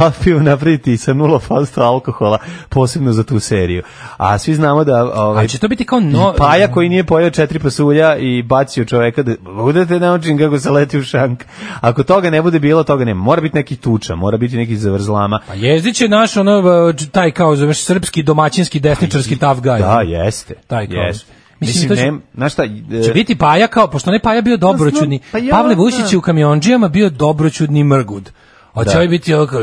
E: lapiju napraviti sa 0% alkohola, posebno za tu seriju. A svi znamo da... Ovaj,
F: A će to biti kao no...
E: Paja koji nije pojeo četiri pasulja i bacio čoveka da budete naučim kako se leti u šank. Ako toga ne bude bilo, toga ne. Mora biti neki tuča, mora biti neki zavrzlama.
F: Pa jezdić je naš ono, eh, taj kao zoveš srpski, domaćinski, desničarski tough guy.
E: Da, jeste.
F: Taj kao.
E: Jeste.
F: Mislim,
E: Mislim,
F: to će-
E: ne, znaš šta, e,
F: Će biti Paja kao, pošto ne Paja bio dobroćudni,
E: Pa ja,
F: Pavle Vušić
E: da.
F: je u kamionđijama bio dobroćudni mrgud. A će
E: Da.
F: ovaj biti ovako,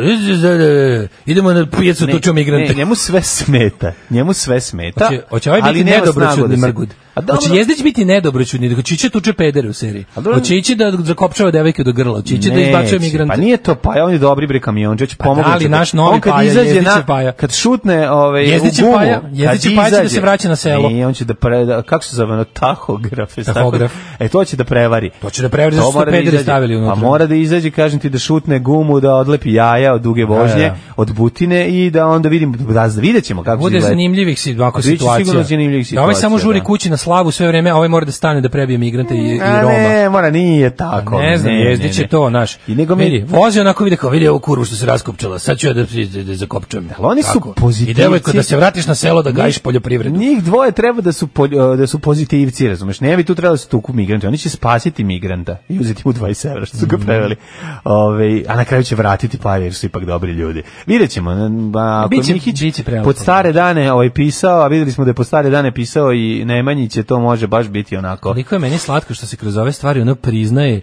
F: idemo na pijecu,
E: ne,
F: tučemo
E: ne,
F: migrante.
E: njemu sve smeta. Njemu sve smeta.
F: Hoće, hoće ovaj biti
E: ali nema snagu
F: nedobroćudni
E: da se-
F: mrgud.
E: A dobro,
F: Hoće Jezdić biti nedobroćudni, hoće ići da tuče pedere u seriji.
E: A dobro-
F: Hoće ići da zakopčava devojke do grla, hoće ići da
E: Neće,
F: izbacuje migrante.
E: Pa nije to Paja, on je dobri bre kamionđeć, pomogu.
F: da, ali naš novi Paja, Jezdić je Paja.
E: Kad šutne ovaj u
F: Jezdić je
E: gumu,
F: Paja,
E: kad
F: Jezdić je Paja će da
E: izađe-
F: se vraća na selo.
E: Ne, on će da pre, da- kako se zove, ono, tahograf, je,
F: Tahograf.
E: tako? E to će da prevari.
F: To će da prevari, zato
E: To
F: što su
E: mora
F: pederi
E: izađe.
F: stavili unutra.
E: Pa mora da izađe, kažem ti, da šutne gumu, da odlepi jaja od duge vožnje,
F: da.
E: od butine i da onda vidimo, da vidjet ćemo kako će
F: Bude
E: izgledati.
F: zanimljivih si, ovako
E: Biće
F: situacija.
E: sigurno zanimljivih
F: Da ovaj
E: situacija,
F: samo žuri
E: da.
F: kući na slavu sve vreme, a ovaj mora da stane da prebije migrante i, i
E: A
F: Roma. Pa
E: ne, mora, nije tako.
F: Ne znam, jezdić
E: ne,
F: je
E: ne.
F: to, naš.
E: I nego mi-
F: Vidi, vozi onako vidi kao, vidi ovu kurvu što se raskopčala, sad ću ja da, da, da zakopčam.
E: Ali oni su
F: Tako.
E: pozitivci.
F: I devojko, da se vratiš na selo da gajiš poljoprivredu.
E: Njih dvoje treba da su polj- da su pozitivci, razumeš? Ne bi tu trebalo da se tuku migranti, oni će spasiti migranta i uzeti mu 20 evra što su ga
F: Mhm.
E: preveli. Ove, a na kraju će vratiti pare jer su ipak dobri ljudi. Vidjet ćemo. n- A, ako
F: Biće-
E: Mihić
F: biće prelepo.
E: pod stare dane ovaj, pisao, a videli smo da je pod stare dane pisao i Nemanjić je to može baš biti onako.
F: Koliko je meni slatko što se kroz ove stvari ono priznaje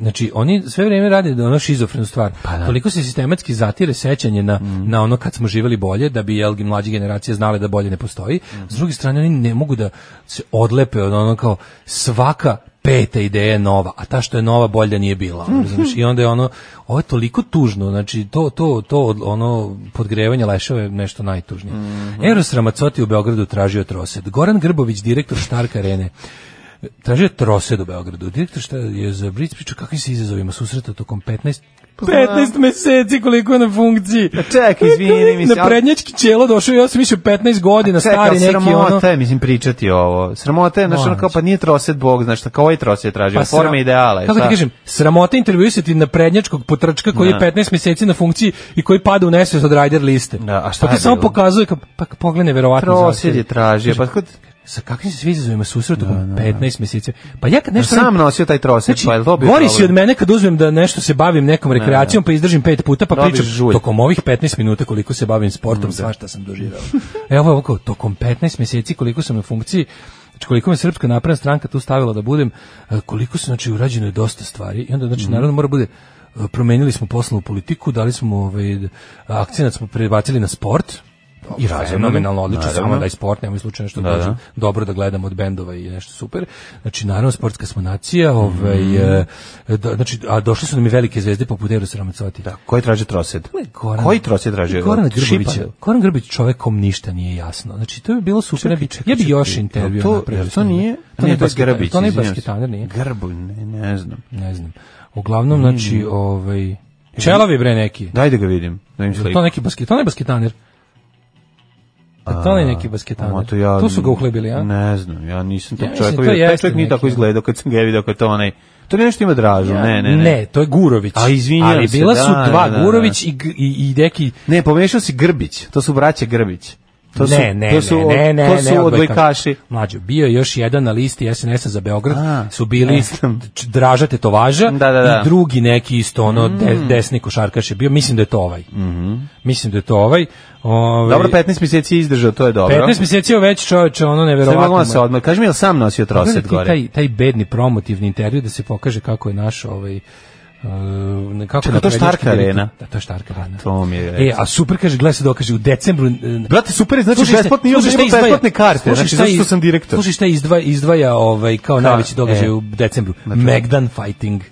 F: Znači, oni sve vrijeme rade da ono šizofrenu stvar. Toliko se sistematski zatire sećanje na, na ono kad smo živjeli bolje, da bi jel, mlađe generacije znale da bolje ne postoji. S druge strane, oni ne mogu da se odlepe od ono kao svaka peta ideja je nova, a ta što je nova bolja nije bila. ono, razumeš? I onda je ono, ovo je toliko tužno, znači to, to, to od- ono podgrevanje leševa je nešto najtužnije. Eros Ramacoti u Beogradu tražio trosed. Goran Grbović, direktor Štarka Arene, tražio je trosed u Beogradu. Direktor šta je za Bric pričao kakvim se izazovima susreta tokom 15 15 meseci koliko je na funkciji.
E: Pa čekaj, izvini, mislim,
F: Na prednjački čelo došao ja sam mislio 15 godina,
E: Čekaj,
F: stari
E: ali
F: neki
E: sramota
F: ono.
E: je, mislim, pričati ovo. Sramota je, znaš, ono kao, pa nije troset Bog, znaš, kao ovaj troset tražio,
F: Pa sra-
E: forme ideala. je,
F: Kako ti
E: šta?
F: kažem, sramota intervjuisati na prednjačkog potrčka koji
E: Da.
F: je 15 mjeseci na funkciji i koji pada u nesvest od rider liste.
E: Da, a šta
F: pa ti
E: je
F: samo
E: bilo?
F: pokazuje, kao, pa pogledaj verovatno.
E: Trosed je tražio, pa kod...
F: Sa kakvim se svi izazovima susretu u 15 mjeseci? Pa ja kad nešto...
E: Sam nosio taj trosed,
F: Znači,
E: pa je li to bio
F: gori si
E: problem?
F: od mene kad uzmem da nešto se bavim nekom rekreacijom, pa izdržim pet puta, pa
E: Dobiješ
F: pričam
E: žulj. Mm,
F: tokom ovih 15 minuta koliko se bavim sportom, svašta sam doživao. Evo ovako, tokom 15 mjeseci koliko sam na funkciji, znači koliko me Srpska napredna stranka tu stavila da budem, e, koliko se, znači, urađeno je dosta stvari, i onda, znači,
E: Mhm.
F: naravno mora bude, e, promenili smo poslovnu politiku, dali smo, ovaj, d- akcenat smo prebacili na sport, I razumno, nominalno odlično, samo
E: naravno.
F: da je sport, nemoj slučajno nešto da, dođe dobro da gledamo od bendova i nešto super. Znači, naravno, sportska smo nacija, ovaj,
E: Mhm.
F: e, do- znači, a došle su nam i velike zvezde poput Erosa Ramacoti. Da,
E: Koji traži trosed?
F: Goran,
E: Koji trosed traži?
F: Goran
E: Od
F: Grbović,
E: Šipa?
F: Goran Grbović čovekom ništa nije jasno. Znači, to bi bilo super. ja bi- ja bi još intervju
E: To,
F: napravio
E: Znači, jel
F: s
E: to
F: njim.
E: nije?
F: To nije
E: Ne, to je
F: basketa-
E: Grbić,
F: To nije
E: izvinjavam se.
F: basketaner, nije.
E: Grbu, ne, ne znam.
F: Ne znam. Uglavnom,
E: Mhm.
F: znači, ovaj... Čelovi bre neki.
E: Daj da ga vidim, da im sliku.
F: To neki basket, to ne basketaner. A to je neki basketaner.
E: Ma, to, ja,
F: Tu su ga uhlebili, a?
E: Ne znam, ja nisam tog
F: Ja mislim,
E: čovjeka
F: to
E: vidio. Taj
F: jeste
E: čovjek nije
F: neki,
E: tako
F: da.
E: izgledao kad sam ga je vidio kao to onaj... To je nešto ima dražu, ne, ne, ne.
F: to je Gurović.
E: A, izvinjavam
F: Ali
E: se,
F: bila
E: da,
F: su dva
E: da, da, da.
F: Gurović i, g- i, i neki
E: Ne, pomešao si Grbić. To su braće Grbić. To su,
F: ne, ne,
E: to su, od-
F: ne, ne, ne,
E: to su
F: ne,
E: odbojkaši.
F: Mlađo, bio je još jedan na listi SNS-a za Beograd,
E: A,
F: su bili
E: ne znam.
F: č- Draža Tetovaža
E: Da, da, Mm. da.
F: i drugi neki isto ono de- desni košarkaš je bio, mislim da je to ovaj. Mislim da je to ovaj. ovaj
E: Mhm. Dobro, 15 mjeseci je izdržao, to je dobro.
F: 15 mjeseci je već čoveče, ono
E: Sve
F: neverovatno.
E: mogla
F: mu je.
E: se odmah. Kaži mi, je li sam nosio
F: Pogledaj
E: troset
F: Pa ti
E: gore?
F: Taj, taj bedni promotivni intervju da se pokaže kako je naš ovaj Uh, kako
E: Čekaj, to je
F: naprednjački
E: Štarka
F: direktor-
E: arena. Pa
F: Da, to je Štarka arena.
E: to mi je
F: E, a super kaže, gledaj se dokaže u decembru. e,
E: Brate, super, je, znači
F: Slušaj,
E: besplatni,
F: šta-
E: imam
F: slušaj, šta izdvaja-
E: besplatne karte,
F: slušaj,
E: znači
F: šta
E: zato što
F: iz-
E: sam direktor.
F: Slušaj šta izdvaja, izdvaja ovaj, kao najveći događaj
E: e.
F: u decembru. Megdan Fighting.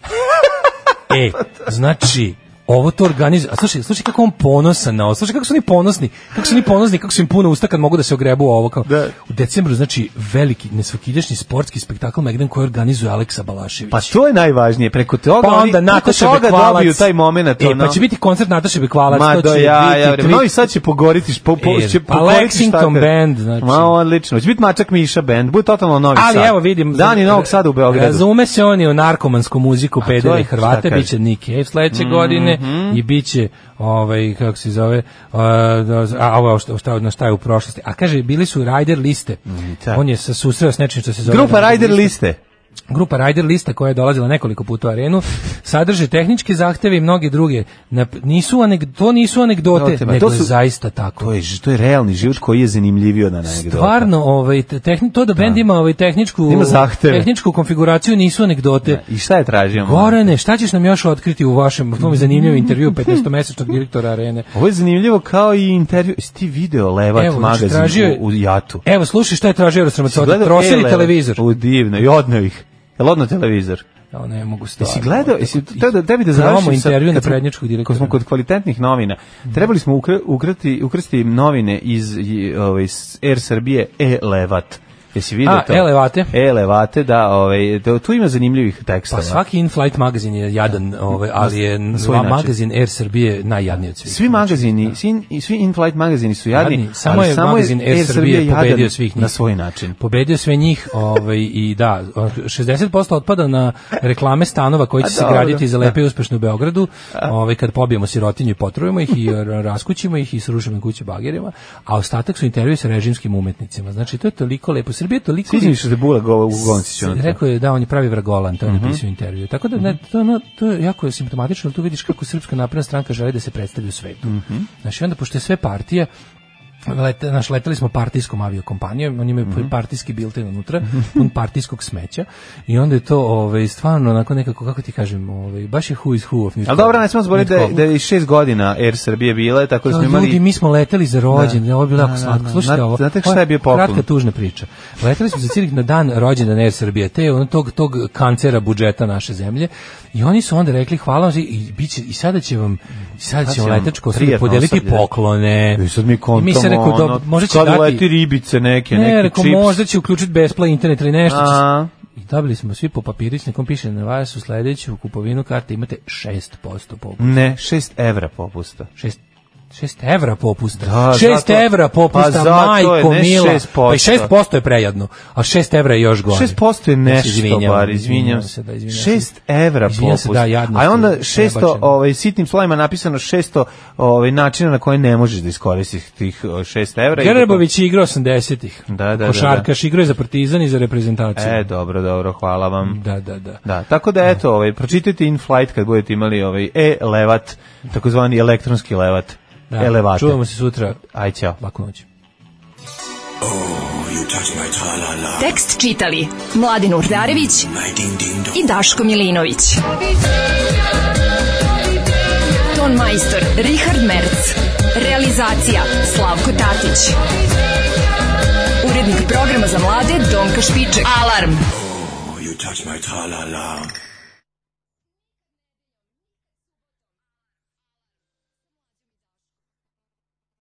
F: e, znači, ovo to organizuje. A slušaj, slušaj kako on ponosan na ovo. Slušaj kako su oni ponosni. Kako su oni ponosni, kako su im puno usta kad mogu da se ogrebu u ovo. Kao.
E: Da.
F: U decembru, znači, veliki, nesvakidašnji sportski spektakl Megdan koji organizuje Aleksa Balašević.
E: Pa to je najvažnije, preko toga
F: Pa
E: oni-
F: onda
E: preko
F: Nataša
E: toga
F: Bekvalac.
E: dobiju taj moment.
F: E,
E: ono.
F: pa će biti koncert Nataše Bekvalac.
E: Ma
F: to
E: do
F: će
E: ja,
F: biti
E: ja, vreme.
F: tri-
E: Novi Sad će pogoditi, š- po, po,
F: E,
E: će
F: pa
E: pokoriti
F: Lexington
E: štape.
F: band, znači.
E: Ma odlično, će biti Mačak Miša band, bude totalno Novi
F: Ali
E: Sad.
F: evo vidim.
E: Dani
F: za-
E: Novog Sada u Beogradu.
F: Razume se oni o narkomansku muziku
E: je,
F: pedeli Hrvata,
E: šta kaže? Mhm.
F: biće Nick Cave sledeće godine i biće ovaj kako se zove a, da- a ovo šta, šta, na šta je u prošlosti. A kaže bili su rider liste.
E: tako.
F: On je se susreo s nečim što se zove
E: Mhm, Grupa
F: rider
E: Rider Liste.
F: Grupa Rider Lista koja je dolazila nekoliko puta u arenu sadrži tehničke zahteve i mnoge druge. Nap- nisu aneg- to nisu anegdote,
E: Note, ma,
F: nego
E: to su-
F: je zaista tako.
E: To je, ž- to je realni život koji je zanimljivio na anegdota.
F: Stvarno, ovaj te- tehni, to da bend ima ovaj tehničku
E: Ima zahteve.
F: tehničku konfiguraciju nisu anegdote.
E: I šta je tražio?
F: Gorane, šta ćeš nam još otkriti u vašem u
E: Mm.
F: tome zanimljivom intervju 15-mesečnog direktora arene?
E: Ovo je zanimljivo kao i intervju. Jesi ti video Levat
F: Evo, znači,
E: magazin
F: tražio je-
E: u, u Jatu?
F: Evo, slušaj šta je tražio
E: Jesi
F: Rosramacota,
E: gledao- E,
F: trosili
E: Levat.
F: televizor.
E: U divno, i odneo ih. Jel odneo televizor?
F: Ja ne mogu stvarno.
E: Jesi gledao, jesi te da tebi da
F: Promo
E: završim sa-
F: intervju
E: kad
F: na
E: smo-
F: prednjačkog
E: Kad
F: direktora. Mhm.
E: smo kod kvalitetnih novina, trebali smo ukra- ukrati, ukrasti novine iz i, ovaj, s Air Srbije E-Levat. Jesi vidio
F: A,
E: to?
F: E-Levate.
E: E-Levate, da. Ovaj, to- tu ima zanimljivih tekstova.
F: Pa svaki in-flight magazin je jadan, ovaj, ali je
E: na svoj
F: ma-
E: način.
F: magazin Air Srbije najjadniji od svih.
E: Svi magazini, svi, svi in-flight magazini su jadni,
F: Jadni, samo
E: ali
F: je
E: samo
F: magazin Air Srbije
E: jadan
F: pobedio svih njih.
E: na svoj način.
F: Pobedio sve njih, ovaj i da, 60% otpada na reklame stanova koji će
E: A
F: se
E: dobro,
F: graditi za lepe i uspešne u Beogradu, ovaj kad pobijemo sirotinju i potrujemo ih i ra- raskućimo ih i srušimo im kuće bagerima, a ostatak su intervjui sa režimskim umetnicima. Znači to je toliko lepo. Srbija je toliko
E: Sviđa mi se da je Bula Go- u Gonciću. ono. na to. Mhm.
F: Rekao je da on je pravi vragolan, to je napisao u intervju. Tako da ne, to, je ono- to je jako simptomatično, jer tu vidiš kako srpska napredna stranka želi da se predstavi u svetu.
E: Mhm.
F: Znači onda pošto je sve partije Lete, naš, leteli smo partijskom aviokompanijom, oni imaju
E: Mhm.
F: partijski bilten unutra, pun partijskog smeća i onda je to ovaj, stvarno onako nekako, kako ti kažem, ovaj, baš je who is who of
E: Ali dobro, ne smemo zboriti da, da je šest godina Air Srbije bila, tako da smo
F: Kao,
E: imali...
F: Ljudi, mi smo leteli za rođendan, ovo je bilo
E: Da,
F: jako
E: da,
F: slatko.
E: da.
F: Slušajte
E: Znate-
F: ovo.
E: znate
F: ovo je
E: šta je bio poklon?
F: Kratka tužna priča. Leteli smo za Cirih na dan rođendana Air Srbije, te on tog tog kancera budžeta naše zemlje. I oni su onda rekli hvala vam i biće i sada će vam i sada će
E: će
F: vam
E: vam
F: letačko osoblje
E: prijatno
F: podeliti
E: osoblje.
F: poklone.
E: I E, sad mi kontamo,
F: I mi se rekao, dobro, možda će
E: kad
F: dati.
E: uleti ribice neke,
F: ne,
E: neki
F: rekao,
E: čips.
F: možda će uključiti besplatno internet ili nešto. će se-
E: A,
F: i dobili smo svi po papirić, nekom piše na vas u sledeću kupovinu karte imate 6% popusta.
E: ne, šest evra popusta.
F: 6 6 evra popusta.
E: Da,
F: 6
E: zato-
F: evra
E: pa
F: popusta,
E: zato je,
F: majko
E: ne
F: mila.
E: 6%.
F: Pa i 6% je prejadno, a 6 evra je još gore.
E: 6% je
F: Ja se
E: nešto,
F: izvinjavam,
E: bar, izvinjam
F: se.
E: se.
F: Da, izvinjam se.
E: 6 evra
F: Izvinjam se,
E: popust.
F: da, jadno
E: A je
F: ste,
E: onda 600,
F: prebačeno.
E: ovaj, sitnim slovima napisano 600 ovaj, načina na koje ne možeš da iskoristiš tih 6 evra. I
F: Grbović je igrao 80-ih.
E: Da, da, da, da.
F: Košarkaš igrao je za Partizan i za reprezentaciju.
E: E, dobro, dobro, hvala vam.
F: Da, da, da.
E: Da, tako da eto, ovaj pročitajte in flight kad budete imali ovaj e levat, takozvani elektronski levat.
F: da.
E: Elevate.
F: Čujemo se sutra.
E: Aj ćao.
F: Laku noć.
D: Tekst čitali Mladin Urdarević i Daško Milinović. Ton majstor Richard Merc. Realizacija Slavko Tatić. Urednik programa za mlade Donka Špiček. Alarm!
C: You touch my tra-la-la.